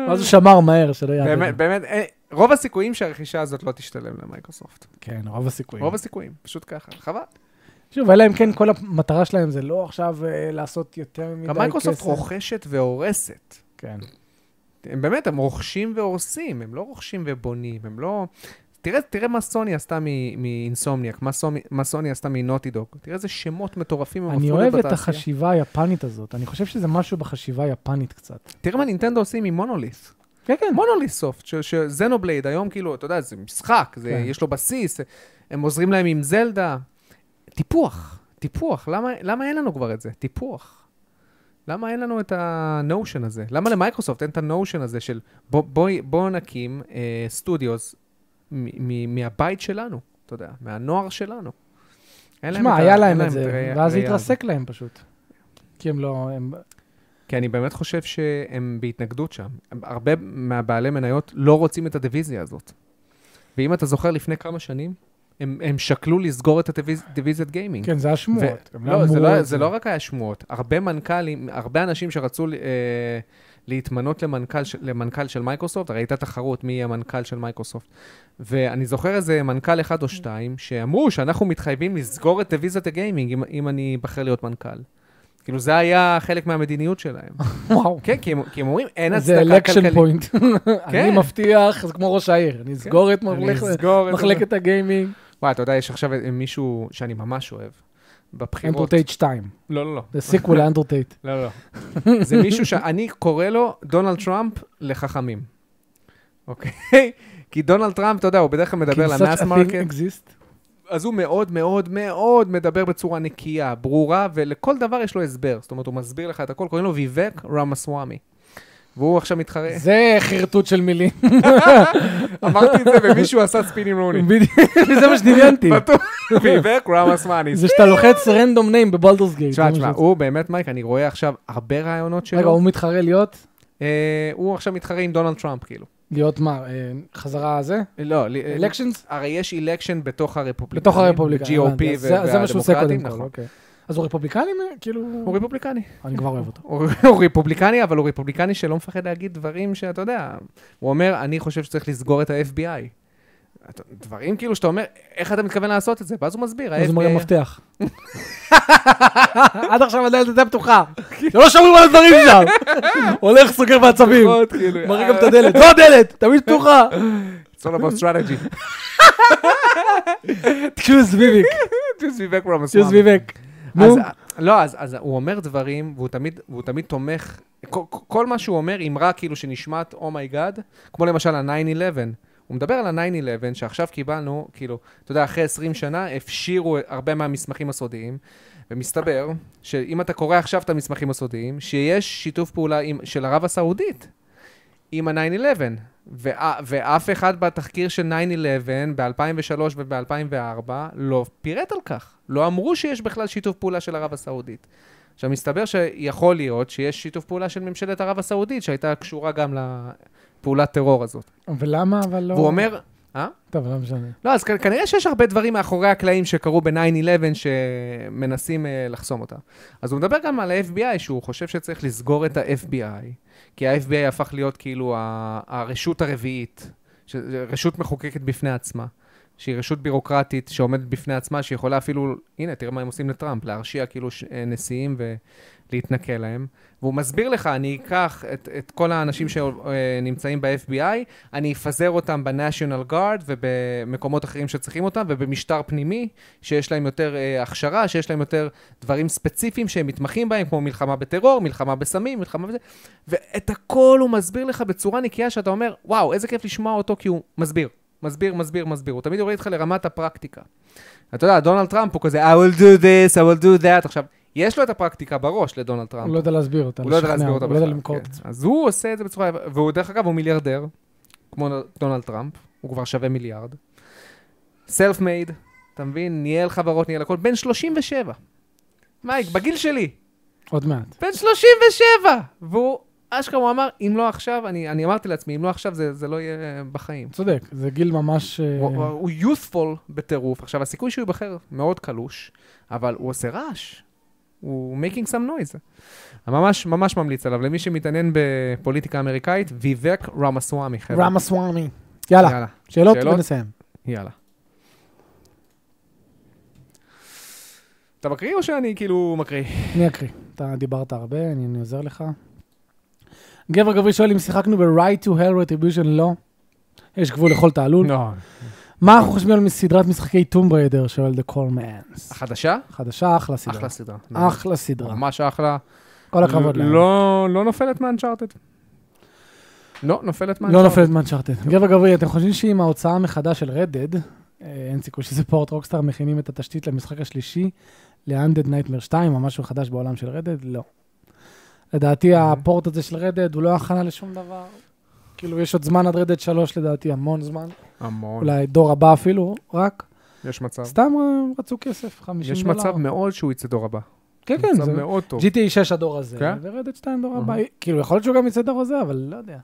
ואז הוא שמר מהר, שלא יעלה. באמת, באמת, אה, רוב הסיכויים שהרכישה הזאת לא תשתלם למייקרוסופט. כן, רוב הסיכויים. רוב הסיכויים, פשוט ככה, חבל. שוב, אלא אם כן כל המטרה שלהם זה לא עכשיו אה, לעשות יותר מדי כסף. גם מייקרוסופט רוכשת והורסת. כן. הם באמת, הם רוכשים והורסים, הם לא רוכשים ובונים, הם לא... תראה, תראה מה סוני עשתה מ- מאינסומניאק, מה, סומי- מה סוני עשתה מנוטי דוג. תראה איזה שמות מטורפים הם אני הפכו אוהב את בתעשייה. החשיבה היפנית הזאת. אני חושב שזה משהו בחשיבה היפנית קצת. תראה מה נינטנדו עושים עם מונוליס. כן, כן. מונוליס סופט, ש- שזנובלייד היום, כאילו, אתה יודע, זה משחק, זה, כן. יש לו בסיס, הם עוזרים להם עם זלדה. טיפוח, טיפוח, למה, למה אין לנו כבר את זה? טיפוח. למה אין לנו את הנושן הזה? למה למייקרוסופט אין את הנושן הזה של בוא, בוא, בוא נקים אה, סטודיוס מ- מ- מהבית שלנו, אתה יודע, מהנוער שלנו. אין להם תשמע, ה- היה אין להם את זה, הראייה- ואז זה הראייה הזאת. התרסק להם פשוט. כי הם לא... הם- כי אני באמת חושב שהם בהתנגדות שם. הרבה מהבעלי מניות לא רוצים את הדיוויזיה הזאת. ואם אתה זוכר, לפני כמה שנים, הם, הם שקלו לסגור את הדיוויז- דיוויזיית גיימינג. כן, זה היה ו- שמועות. הם לא, זה אמרו לא, את זה לא רק היה שמועות. הרבה מנכ"לים, הרבה אנשים שרצו אה, להתמנות למנכ"ל, של- למנכ"ל של מייקרוסופט, הרי הייתה תחרות מי יהיה המנכ"ל של מייקרוסופט. ואני זוכר איזה מנכ"ל אחד או שתיים, שאמרו שאנחנו מתחייבים לסגור את דיוויזיית הגיימינג אם, אם אני אבחר להיות מנכ"ל. כאילו, זה היה חלק מהמדיניות [LAUGHS] שלהם. [LAUGHS] וואו. כן, כי הם, כי הם אומרים, אין זה הצדקה אלקשן כלכלית. [LAUGHS] פוינט. כן. אני מבטיח, זה כמו ראש העיר. אני אסגור את אני מחלק- אסגור את זה. מחלקת הגיימינג. וואי, אתה יודע, יש עכשיו מישהו שאני ממש אוהב. אנדרו בבחירות. טייט 2. לא, לא, לא. זה סיקוול לאנדרו טייט. לא, לא. זה מישהו שאני קורא לו דונלד טראמפ לחכמים. אוקיי? [LAUGHS] כי דונלד טראמפ, אתה יודע, הוא בדרך כלל [LAUGHS] מדבר Can such למאס a thing מרקט, exist? אז הוא מאוד מאוד מאוד מדבר בצורה נקייה, ברורה, ולכל דבר יש לו הסבר. זאת אומרת, הוא מסביר לך את הכל, קוראים לו ויבק רמסוואמי. והוא עכשיו מתחרה. זה חרטוט של מילים. [LAUGHS] [LAUGHS] אמרתי את זה ומישהו עשה ספינים רוני. בדיוק, זה מה [LAUGHS] שדמיינתי. [LAUGHS] בטוח. ויבק רמסוואמי. זה שאתה לוחץ רנדום ניים בבולדורס גייט. תשמע, תשמע, הוא באמת, מייק, אני רואה עכשיו הרבה רעיונות רגע, שלו. הוא מתחרה להיות? אה, הוא עכשיו מתחרה עם דונלד טראמפ, כאילו. להיות מה? אה, חזרה זה? לא, לי- אה, אלקשנס? הרי יש אילקשן בתוך הרפובליקנים. בתוך הרפובליקה. GOP הבנתי, אז זה- זה מה שהוא עושה והדמוקרטים, קודם כל, נכון. אוקיי. אז הוא רפובליקני? אה, כאילו... הוא רפובליקני. אני כבר אוהב אותו. הוא הוא רפובליקני, אבל הוא רפובליקני שלא מפחד להגיד דברים שאתה יודע. הוא אומר, אני חושב שצריך לסגור את ה-FBI. אתה- דברים כאילו שאתה אומר, איך אתה מתכוון לעשות את זה? ואז הוא מסביר, אז הוא ה-FBI אומר [LAUGHS] מפתח. אה? [LAUGHS] עד עכשיו עדיין הייתה פתוחה. [LAUGHS] לא שמעו על הדברים שם. הולך, סוגר בעצבים. פחות, כאילו, מראה גם את הדלת. זו הדלת, תמיד פתוחה. It's all about strategy. [LAUGHS] צ'וז [LAUGHS] ביביק, Choose me back from a צ'וז swamp. ביביק. נו, אז, לא, אז, אז הוא אומר דברים, והוא תמיד, והוא תמיד תומך, כל, כל מה שהוא אומר, אמרה כאילו שנשמעת אומייגאד, כמו למשל ה-9-11. הוא מדבר על ה-9-11 שעכשיו קיבלנו, כאילו, אתה יודע, אחרי 20 שנה הפשירו הרבה מהמסמכים הסודיים, ומסתבר שאם אתה קורא עכשיו את המסמכים הסודיים, שיש שיתוף פעולה עם, של ערב הסעודית עם ה-9-11. ואה- ואף אחד בתחקיר של 9-11 ב-2003 וב-2004 לא פירט על כך. לא אמרו שיש בכלל שיתוף פעולה של ערב הסעודית. עכשיו, מסתבר שיכול להיות שיש שיתוף פעולה של ממשלת ערב הסעודית, שהייתה קשורה גם לפעולת טרור הזאת. ולמה אבל לא... והוא אומר... אה? טוב, לא משנה. לא, אז כ- כנראה שיש הרבה דברים מאחורי הקלעים שקרו ב-9-11 שמנסים אה, לחסום אותם. אז הוא מדבר גם על ה-FBI, שהוא חושב שצריך לסגור את ה-FBI, כי ה-FBI הפך להיות כאילו ה- הרשות הרביעית, ש- רשות מחוקקת בפני עצמה, שהיא רשות בירוקרטית שעומדת בפני עצמה, שיכולה אפילו, הנה, תראה מה הם עושים לטראמפ, להרשיע כאילו ש- אה, נשיאים ולהתנכל להם. והוא מסביר לך, אני אקח את, את כל האנשים אה, שנמצאים ב-FBI, אני אפזר אותם ב-National Guard ובמקומות אחרים שצריכים אותם, ובמשטר פנימי, שיש להם יותר אה, הכשרה, שיש להם יותר דברים ספציפיים שהם מתמחים בהם, כמו מלחמה בטרור, מלחמה בסמים, מלחמה בזה, ואת הכל הוא מסביר לך בצורה נקייה, שאתה אומר, וואו, איזה כיף לשמוע אותו, כי הוא מסביר. מסביר, מסביר, מסביר. הוא תמיד יורד איתך לרמת הפרקטיקה. אתה יודע, דונלד טראמפ הוא כזה, I will do this, I will do that. עכשיו, יש לו את הפרקטיקה בראש לדונלד טראמפ. הוא לא יודע להסביר אותה. הוא לא יודע לשכנע, להסביר אותה הוא לא יודע בכלל, למכור כן. את עצמו. אז הוא עושה את זה בצורה... והוא, דרך אגב, הוא מיליארדר, כמו דונלד טראמפ, הוא כבר שווה מיליארד. סלף מייד, אתה מבין? ניהל חברות, ניהל הכל, בן 37. מייק, בגיל שלי, עוד מעט. בן 37! והוא, אשכרה, הוא אמר, אם לא עכשיו, אני, אני אמרתי לעצמי, אם לא עכשיו, זה, זה לא יהיה בחיים. צודק, זה גיל ממש... אה, הוא, הוא- הוא youthful בטירוף. עכשיו, הסיכוי שהוא ייבחר מאוד קלוש, אבל הוא עושה רעש. הוא making some noise. ממש, ממש ממליץ עליו. למי שמתעניין בפוליטיקה אמריקאית, ויבק רמסוואמי, חבר'ה. רמה סוואמי. יאללה, יאללה, שאלות שאלות? ונסיים. יאללה. אתה מקריא או שאני כאילו מקריא? אני אקריא. אתה דיברת הרבה, אני אני עוזר לך. גבר גברי שואל אם שיחקנו ב-Right to Hell Retribution, לא. יש גבול לכל תעלול. לא. מה אנחנו חושבים על סדרת משחקי טום בריידר, שואל The Callmans? [LAUGHS] החדשה? חדשה, אחלה סדרה. אחלה סדרה. אחלה סדרה. ממש אחלה. כל הכבוד להם. לא לא נופלת מאנצ'ארטד. לא, נופלת מאנצ'ארטד. לא נופלת מאנצ'ארטד. גבר גברי, אתם חושבים שעם ההוצאה מחדש של רדד, אין סיכוי שזה פורט רוקסטאר מכינים את התשתית למשחק השלישי, ל-Undead Nightmare 2, או משהו חדש בעולם של רדד? לא. לדעתי הפורט הזה של רדד הוא לא הכנה לשום דבר. כאילו, יש עוד זמן עד רדד 3 לדעתי, המון נכון. זמן. המון. אולי דור הבא אפילו, רק. יש מצב. סתם אה, רצו כסף, 50 יש דולר. מצב מאוד שהוא יצא דור הבא. כן, כן, מצב זה מאוד טוב. GTA 6 הדור הזה, כן? ורדד 2 דור הבא. אהה. כאילו, יכול להיות שהוא גם יצא דור הזה, אבל לא יודע.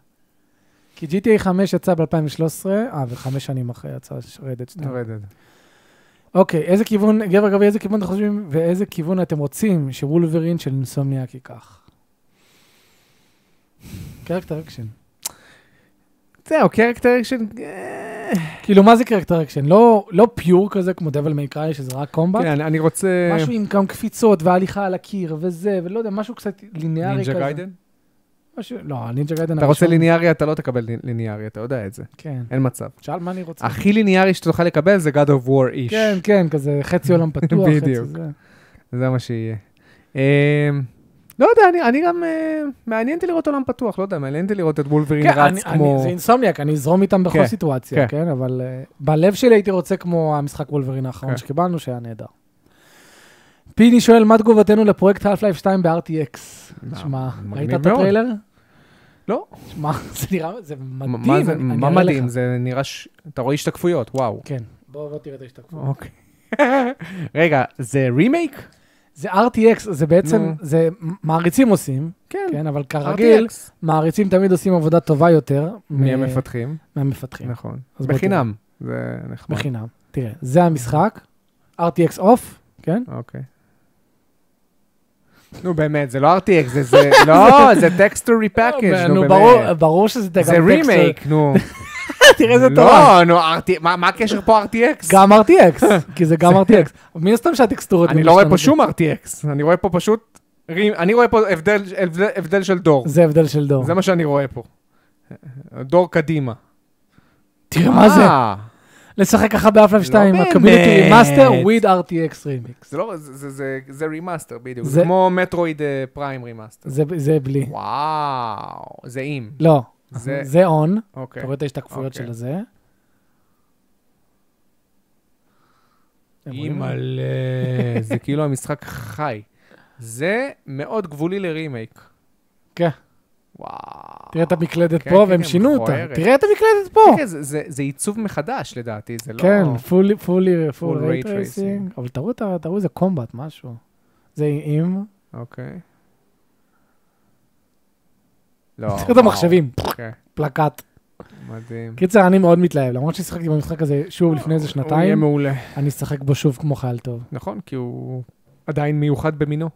כי GTA 5 יצא ב-2013, אה, וחמש שנים אחרי יצא ש- רדד 2. רדד. אוקיי, איזה כיוון, גבר גבי, איזה כיוון אתם חושבים, ואיזה כיוון אתם רוצים שוולברין של אינסומניאק ייקח? קרקטר אקשן. זהו, קרקטר אקשן, כאילו, מה זה קרקטר אקשן? לא לא פיור כזה כמו דבל מייקראי, שזה רק קומבט? כן, אני- אני רוצה... משהו עם גם קפיצות והליכה על הקיר וזה, ולא יודע, משהו קצת לינארי כזה. נינג'ה גיידן? משהו- לא, נינג'ה גיידן אתה רוצה ליניארי, אתה לא תקבל לי- ליניארי, אתה יודע את זה. כן. אין מצב. שאל מה אני רוצה. הכי ליניארי שאתה תוכל לקבל זה God of War איש. כן, כן, כזה חצי [LAUGHS] עולם פתוח, חצי בדיוק. זה. זה מה שיהיה. אמ, לא יודע, אני- אני גם... אה, מעניין אותי לראות עולם פתוח, לא יודע, מעניין אותי לראות את וולברין כן, רץ אני- אני- כמו... זה אינסומניאק, אני אזרום איתם בכל כן, סיטואציה, כן. כן? אבל אה, בלב שלי הייתי רוצה כמו המשחק וולברין האחרון כן. שקיבלנו, שהיה נהדר. פיני שואל, מה תגובתנו לפרויקט Half-Life 2 ב-RTX? שמע, אה, מגניב ראית את מאוד. הטריילר? לא. שמע, [LAUGHS] זה נראה, זה מדהים. מה- מה זה- אני- אני מה אראה מדהים? לך. זה נראה ש... אתה רואה השתקפויות, וואו. כן. בוא בוא תראה את ההשתקפות. אוקיי. [LAUGHS] רגע, זה רימייק? זה RTX, זה בעצם, נו. זה מעריצים עושים, כן. כן, אבל כרגיל, RTX. מעריצים תמיד עושים עבודה טובה יותר מי מ- המפתחים? מהמפתחים. נכון. אז בוא בחינם. זה נחמד. בחינם. תראה, זה המשחק, RTX אוף, כן? אוקיי. נו באמת, זה לא RTX, זה זה, [LAUGHS] לא, זה טקסטורי פאקג', נו נו, באמת. ברור- ברור שזה זה גם טקסט- רימייק, נו. [LAUGHS] תראה איזה תורה. לא, נו, RT מה מה הקשר פה RTX? גם RTX, [LAUGHS] כי זה גם RTX. מן הסתם שהטקסטורות... אני לא רואה פה משתנות. שום RTX, אני רואה פה פשוט... רים- אני רואה פה הבדל- הבדל- הבדל של דור. זה הבדל של דור. זה מה שאני רואה פה. דור קדימה. תראה מה זה. אה, לא לשחק ככה באפלייב 2 עם באמת. הקומיוניטי מאסטר with RTX רימיקס. זה לא, זה- זה- זה- זה רימאסטר בדיוק. זה- זה כמו מטרואיד אה, פריים רימאסטר. זה זה בלי. וואו, זה אם. לא. זה- זה און. אוקיי. אתה רואה את ההשתקפויות אוקיי. של הזה. הם רואים? אימא'לה, זה כאילו המשחק חי. זה מאוד גבולי לרימייק. כן. וואו. תראה את המקלדת כן, פה, כן, והם כן, שינו אותה. מכוערת. תראה את המקלדת פה. כן, זה- זה זה עיצוב מחדש לדעתי, זה לא... כן, פולי, פולי, פול Full רייט rate רייסינג. אבל תראו את ה- תראו איזה קומבט, משהו. זה עם... [LAUGHS] אוקיי. לא. תראו את וואו. המחשבים, כן, פלקט. מדהים. קיצר, אני מאוד מתלהב. למרות ששיחקתי במשחק הזה שוב לפני איזה הוא יהיה שנתיים, מעולה. אני אשחק בו שוב כמו חייל טוב. נכון, כי הוא עדיין מיוחד במינו.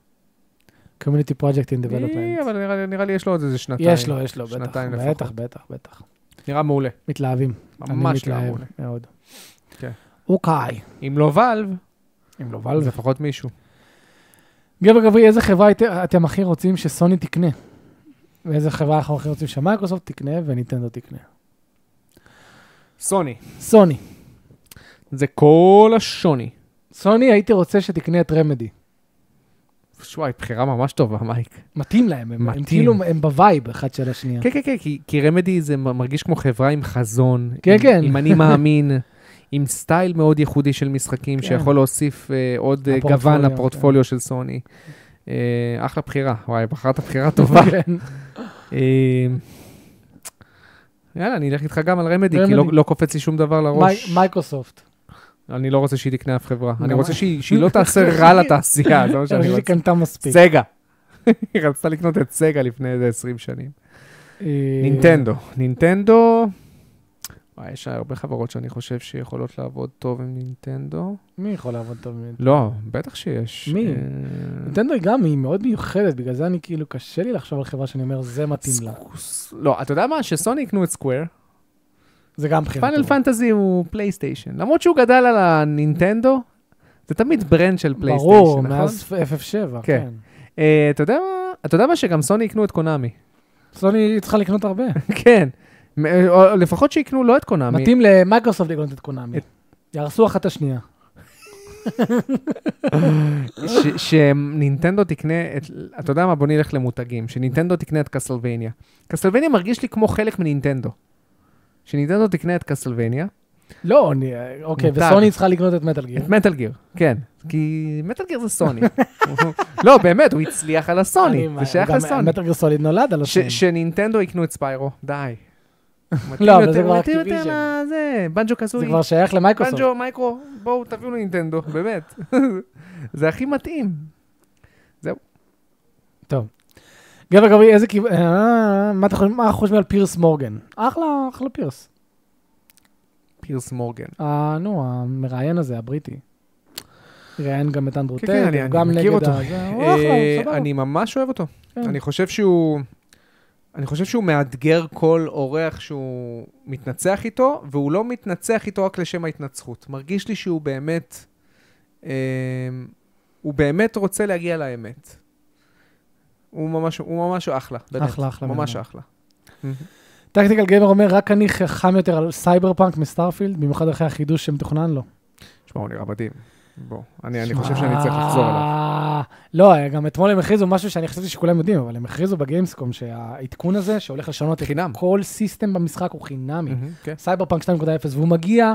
קומיוניטי פרויקט אין אה, דבלופמנט. אבל נראה לי- נראה לי יש לו עוד איזה שנתיים. יש לו, יש לו, בטח. שנתיים לפחות. בטח, בטח, בטח. נראה מעולה. מתלהבים. אני ממש נראה מתלהב מעולה. מאוד. כן. אוקיי. אם לא ואלב, אם לא אז לפחות מישהו. גבר גברי, איזה חברה אית- אתם הכי רוצים שסוני תקנה? ואיזה חברה אנחנו הכי רוצים שמייקרוסופט תקנה וניטנדו תקנה? סוני. סוני. זה כל השוני. סוני, הייתי רוצה שתקנה את רמדי. וואי, בחירה ממש טובה, מייק. מתאים להם, הם, הם מתאים. כאילו, הם בווייב אחד של השנייה. כן, כן, כן, כי- כי רמדי זה מ- מרגיש כמו חברה עם חזון. כן, עם- כן. עם אני מאמין, עם סטייל מאוד ייחודי של משחקים, כן. שיכול להוסיף אה, עוד אה, הפורטפוליו, גוון לפורטפוליו של סוני. אה, אחלה בחירה, וואי, בחרת בחירה [LAUGHS] טובה. כן. [LAUGHS] אה, יאללה, אני אלך איתך גם על רמדי, כי רמדי. לא לא קופץ לי שום דבר לראש. מי- מייקרוסופט. אני לא רוצה שהיא תקנה אף חברה. אני גם רוצה אני. שהיא שהיא לא תעשה רע לתעשייה, זה מה אני שאני חושב רוצה. שהיא קנתה מספיק. סגה. היא [LAUGHS] רצתה לקנות את סגה לפני איזה 20 שנים. אה, נינטנדו. נינטנדו... וואי, יש הרבה חברות שאני חושב שיכולות לעבוד טוב עם נינטנדו. מי יכול לעבוד טוב ממנו? לא, בטח שיש. מי? אה, נינטנדו היא גם, היא מאוד מיוחדת, בגלל זה אני כאילו, קשה לי לחשוב על חברה שאני אומר, זה מתאים לה. סקוס- כן, לא, אתה יודע מה? שסוני יקנו את סקוויר, זה גם בחירה פאנל טובה. פנטזי הוא פלייסטיישן. למרות שהוא גדל על הנינטנדו, זה תמיד ברנד של פלייסטיישן, נכון? ברור, מאז FF7, כן. כן. אה, אתה יודע מה? אתה יודע מה? שגם סוני יקנו את קונאמי. [LAUGHS] סוני צריכה לקנות הרבה. כן. מ- או- או לפחות שיקנו לא את קונאמי. מתאים למייקרוסופט לקנות את קונאמי. את- מתאים. יהרסו אחת את השנייה. ש- שנינטנדו תקנה את, אתה יודע מה, בוא נלך למותגים, שנינטנדו תקנה את קסלווניה. קסלווניה מרגיש לי כמו חלק מנינטנדו. שנינטנדו תקנה את קסלווניה, לא, אני- אוקיי, מותג. וסוני צריכה לקנות את מטאל גיר. את מטאל גיר, כן. כי מטאל גיר זה [LAUGHS] סוני. לא, באמת, הוא הצליח על הסוני, אני- זה שייך גם לסוני. מטאל גיר סוליד נולד על ש- הסוני. שנינטנדו יקנו את ספיירו, [LAUGHS] די. מתאים לא, אבל זה יותר- כבר מתאים יותר אקטיביז'ן. לזה, בנג'ו זה קזוי, כבר שייך למייקרוסופט. בנג'ו, מייקרו, בואו תביאו לנינטנדו, באמת. [LAUGHS] זה הכי מתאים. גבר גברי, איזה כיוון... אה, מה אתה חושב- מה אנחנו חושבים על פירס מורגן? אחלה, אחלה פירס. פירס מורגן. אה, נו, המראיין הזה, הבריטי. ראיין גם את אנדרו כן, טק, כן, אני- הוא אני גם מכיר נגד אותו. ה- זה, הוא אחלה, אה, הוא סבבה. אני ממש אוהב אותו. כן. אני חושב שהוא... אני חושב שהוא מאתגר כל אורח שהוא מתנצח איתו, והוא לא מתנצח איתו רק לשם ההתנצחות. מרגיש לי שהוא באמת... אה, הוא באמת רוצה להגיע לאמת. הוא ממש, הוא ממש אחלה, באמת. אחלה, אחלה בן ממש אדם. אחלה. טקטיקל גיימר אומר, רק אני חכם יותר על סייבר פאנק מסטארפילד, במיוחד אחרי החידוש שמתוכנן לו. שמע, הוא נראה מדהים. בוא, אני, אני חושב שאני צריך לחזור אליו. אליו. לא, גם אתמול הם הכריזו משהו שאני חשבתי שכולם יודעים, אבל הם הכריזו בגיימסקום שהעדכון הזה, שהולך לשנות את חינם. כל סיסטם במשחק, הוא חינמי. מהמם, כן. סייבר פאנק 2.0, והוא מגיע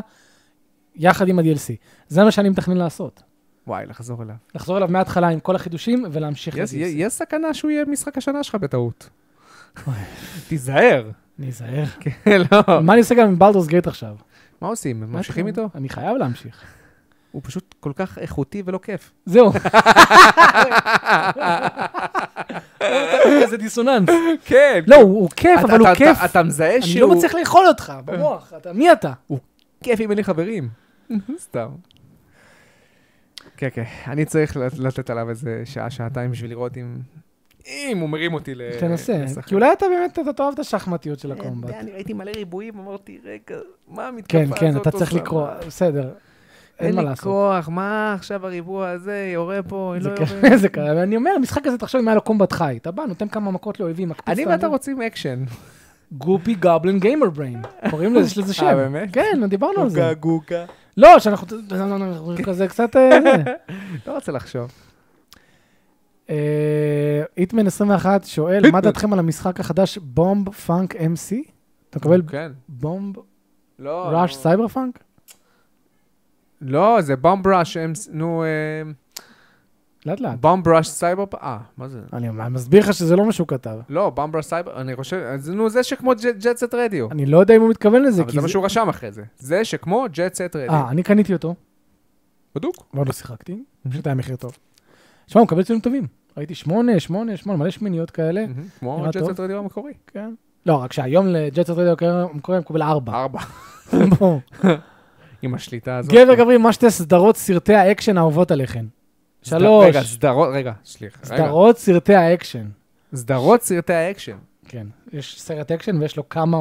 יחד עם ה-DLC. זה מה שאני מתכנן לעשות. וואי, לחזור אליו. לחזור אליו מההתחלה עם כל החידושים ולהמשיך יש, ל-DLC. יש סכנה שהוא יהיה משחק השנה שלך בטעות. [LAUGHS] תיזהר. [LAUGHS] אני אזהר. כן, לא. מה אני עושה גם עם בלדורס גייט עכשיו? מה עושים? הם ממשיכים מה אתה- איתו? אני חייב להמשיך. הוא פשוט כל כך איכותי ולא [LAUGHS] כיף. [LAUGHS] זהו. איזה דיסוננס. כן. לא, הוא הוא כיף, אבל הוא כיף. אתה מזהה אני לא שהוא מצליח לאכול אותך, במוח. אתה- מי אתה? כיף אם אין לי חברים. [LAUGHS] סתם. כן, כן. אני צריך לת- לתת עליו איזה שעה, שעתיים בשביל לראות אם... אם הוא מרים אותי ל... תנסה. לשחק. כי לא- אולי אתה באמת, אתה תאהב את השחמטיות של אין, הקומבט. אני ראיתי מלא ריבועים, אמרתי, רגע, מה המתקפה כן, הזאת כן, אתה צריך עושה? לקרוא, בסדר. אין מה אין לי לעשות. כוח, מה עכשיו הריבוע הזה, יורה פה, לא זה [LAUGHS] יורה. קרה, זה קרה, ואני אומר, המשחק הזה, תחשוב אם היה לו קומבט חי. אתה בא, נותן כמה מכות לאויבים, מקפיץ אני את ואתה האויבים. רוצים אקשן. גופי גובלין גיימר בריין. קוראים לזה, יש לזה שם. אה, באמת? אוקיי. כן, דיברנו על זה. גוגה. לא, שאנחנו אנחנו כן. כזה קצת... אה, זה. [LAUGHS] לא רוצה לחשוב. אה, היטמן 21 שואל, מה היטמן. דעתכם על המשחק החדש בומב פאנק MC? אתה מקבל כן. בומב לא. ראש נו. סייבר פאנק? לא, זה בום ראש, נו, אה, לאט לאט. בום ראש סייבר, אה, מה זה? אני אומר, אני מסביר לך שזה לא מה שהוא כתב. לא, בום ראש סייבר, אני חושב, אז נו, זה שכמו ג'טסט רדיו. אני לא יודע אם הוא מתכוון לזה, אבל כי זה מה זה... שהוא רשם אחרי זה. זה שכמו ג'טסט רדיו. אה, אני קניתי אותו, בדוק. ועוד לא שיחקתי, פשוט היה מחיר טוב. שמע, הוא מקבל ציונים טובים. ראיתי שמונה, שמונה, שמונה, מלא שמיניות כאלה. מהמם. כמו נראה ג'טסט טוב. רדיו המקורי. כן. לא, רק שהיום לג'טס רדיו המקורי הוא מקבל [LAUGHS] ארבע. ארבע. בוא. עם השליטה הזאת. כן. גבר גברי, מה שתי סדרות סרטי האקשן האהובות עליכן? סד- שלוש. רגע, סדרות, רגע, סליחה. רגע. סדרות סרטי האקשן. סדרות סרטי האקשן. כן, יש סרט אקשן ויש לו כמה...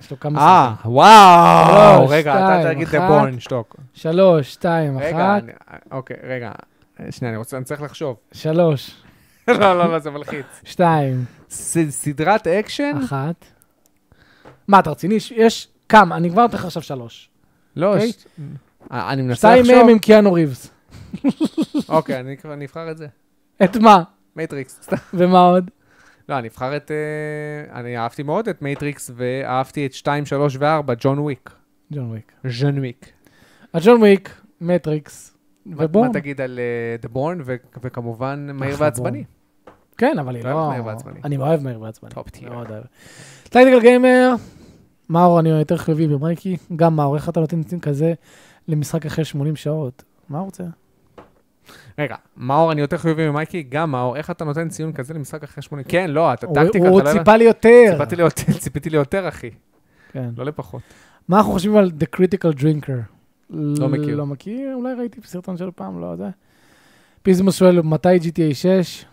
יש לו כמה אה, סרטים. וואו. שלוש, רגע, שתיים, אתה תגיד אחת. לבורן, שתוק. שלוש, שתיים, רגע, אחת, אני- אוקיי, רגע. שנייה, אני רוצה, אני צריך לחשוב. [LAUGHS] שלוש, לא, לא, לא, זה מלחיץ. שתיים, ס- סדרת אקשן? אחת. מה, אתה רציני? יש- יש כמה, אני כבר נותן לך עכשיו שלוש. לא, אוקיי. ש- אה, אני מנסה שתיים מהם [LAUGHS] לחשוב. עם קיאנו ריבס. אוקיי, אני כבר- אני אבחר את זה. את מה? מייטריקס, [LAUGHS] סתם. ומה עוד? לא, אני אבחר את... אה, אני אהבתי מאוד את מייטריקס, ואהבתי את 2, 3 ו-4, ג'ון וויק. ג'ון וויק. ז'ון וויק. הג'ון וויק, מטריקס, מה ובום. תגיד על אה, דבורן, וכמובן מהיר אחלה ועצבני. כן, אבל היא אתה לא... אוהב מהיר ועצבני. אני אוהב מהיר ועצבני. טופ טיר. מאוד אוהב. טקטיקל גיימר, מאור, אני יותר חיובי במייקי. גם מאור, איך אתה נותן ציון כזה למשחק אחרי 80 שעות? מה הוא רוצה? רגע, מאור, אני יותר חיובי ממייקי, גם מאור, איך אתה נותן ציון כזה למשחק אחרי שמונה? כן, לא, אתה הוא- טקטיקה, הוא אתה לא... ציפה לי יותר. ציפתי ליותר- [LAUGHS] ציפיתי ליותר, אחי, כן. לא לפחות. מה אנחנו חושבים על The Critical Drinker? לא מכיר. לא מכיר, אולי ראיתי בסרטון שלו פעם, לא יודע. פיזמוס שואל, מתי GTA 6?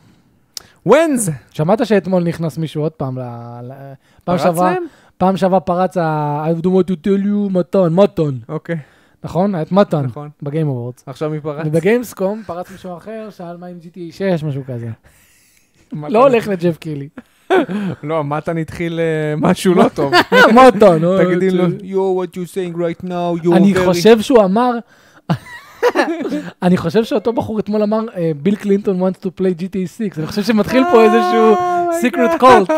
ווינז! שמעת שאתמול נכנס מישהו עוד פעם ל... ל- פעם פרץ שעברה, להם? פעם שעברה פרץ ה... I don't want to tell you מתן, מתן. אוקיי, נכון? היה את מתן, נכון. בגיים אבורדס. עכשיו מי פרץ? ובגיימסקום פרץ מישהו אחר, שאל מה עם GTA 6, משהו כזה. מתן- לא הולך לג'ף [LAUGHS] קילי. לא, מתן התחיל אה, משהו לא [LAUGHS] טוב. מוטון. [LAUGHS] תגידי לו, yo, what you saying right now, you אני very-" חושב שהוא אמר, [LAUGHS] אני חושב שאותו בחור אתמול אמר, אה, ביל קלינטון wants to play GTA 6, אני חושב שמתחיל פה איזשהו Oh my secret God. cult.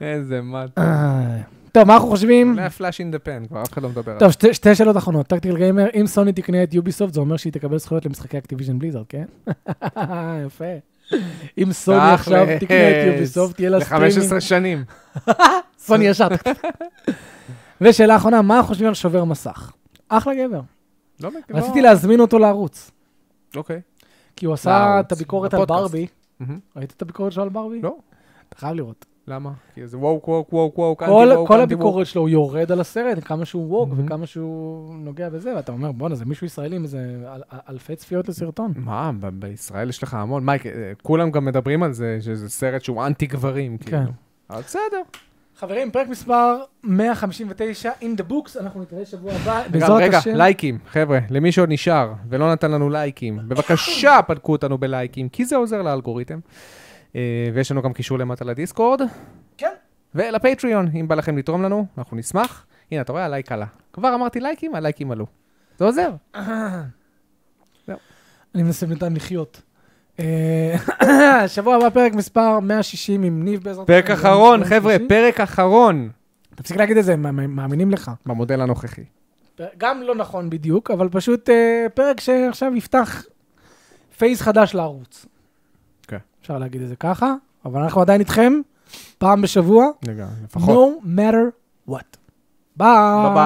איזה מתן. אה, טוב, מה אנחנו חושבים? אולי הפלאש אין דה פן, כבר אף אחד לא מדבר עליו. טוב, שתי- שתי שאלות אחרונות. טקטיקל גיימר, אם סוני תקנה את יוביסופט, זה אומר שהיא תקבל זכויות למשחקי אקטיביזן בליזרד, כן? [LAUGHS] יפה. אם סוני עכשיו תכלס. תקנה את יוביסופט, יהיה לה סטרימינג. ל-15 שנים. סוני ישר. ושאלה אחרונה, מה אנחנו חושבים על שובר מסך? אחלה גבר. לא מכיר. רציתי להזמין אותו לערוץ. אוקיי. כי הוא עשה לערוץ, את הביקורת על לפודקאסט. ברבי. מהמם. ראית את הביקורת שלו על ברבי? לא. אתה חייב לראות. למה? כי זה ווק, ווק, ווק, ווק, אנטי כל, ווק, כל אנטי ווק. הביקורת שלו, הוא יורד על הסרט, כמה שהוא ווק מהמם. וכמה שהוא נוגע בזה, ואתה אומר, בואנה, זה מישהו ישראלי עם איזה אל- אל- אלפי צפיות לסרטון. מה, ב- בישראל יש לך המון. מייק, אה, כולם גם מדברים על זה, שזה סרט שהוא אנטי גברים, כאילו. כן. אבל בסדר. חברים, פרק מספר 159, In the Books, אנחנו נתראה שבוע הבא. רגע, בעזרת רגע, השם. לייקים, חבר'ה, למי שעוד נשאר ולא נתן לנו לייקים, [LAUGHS] בבקשה פדקו אותנו בלייקים, כי זה עוזר לאלגוריתם. אה, ויש לנו גם קישור למטה לדיסקורד. כן. ולפטריון, אם בא לכם לתרום לנו, אנחנו נשמח. הנה, אתה רואה, הלייק עלה. כבר אמרתי לייקים, הלייקים עלו. זה עוזר. אני מנסה בינתיים לחיות. אה, [COUGHS] שבוע הבא פרק מספר 160 עם ניב בעזרת פרק השם. אחרון, יום חבר'ה, אוקיי, שלישי. פרק אחרון תפסיק להגיד את זה, הם- הם מאמינים לך. במודל הנוכחי. גם לא נכון בדיוק, אבל פשוט אה, פרק שעכשיו יפתח פייס חדש לערוץ. כן. אפשר להגיד את זה ככה, אבל אנחנו עדיין איתכם, פעם בשבוע, לגמרי, לפחות. no matter what. ביי. ביי.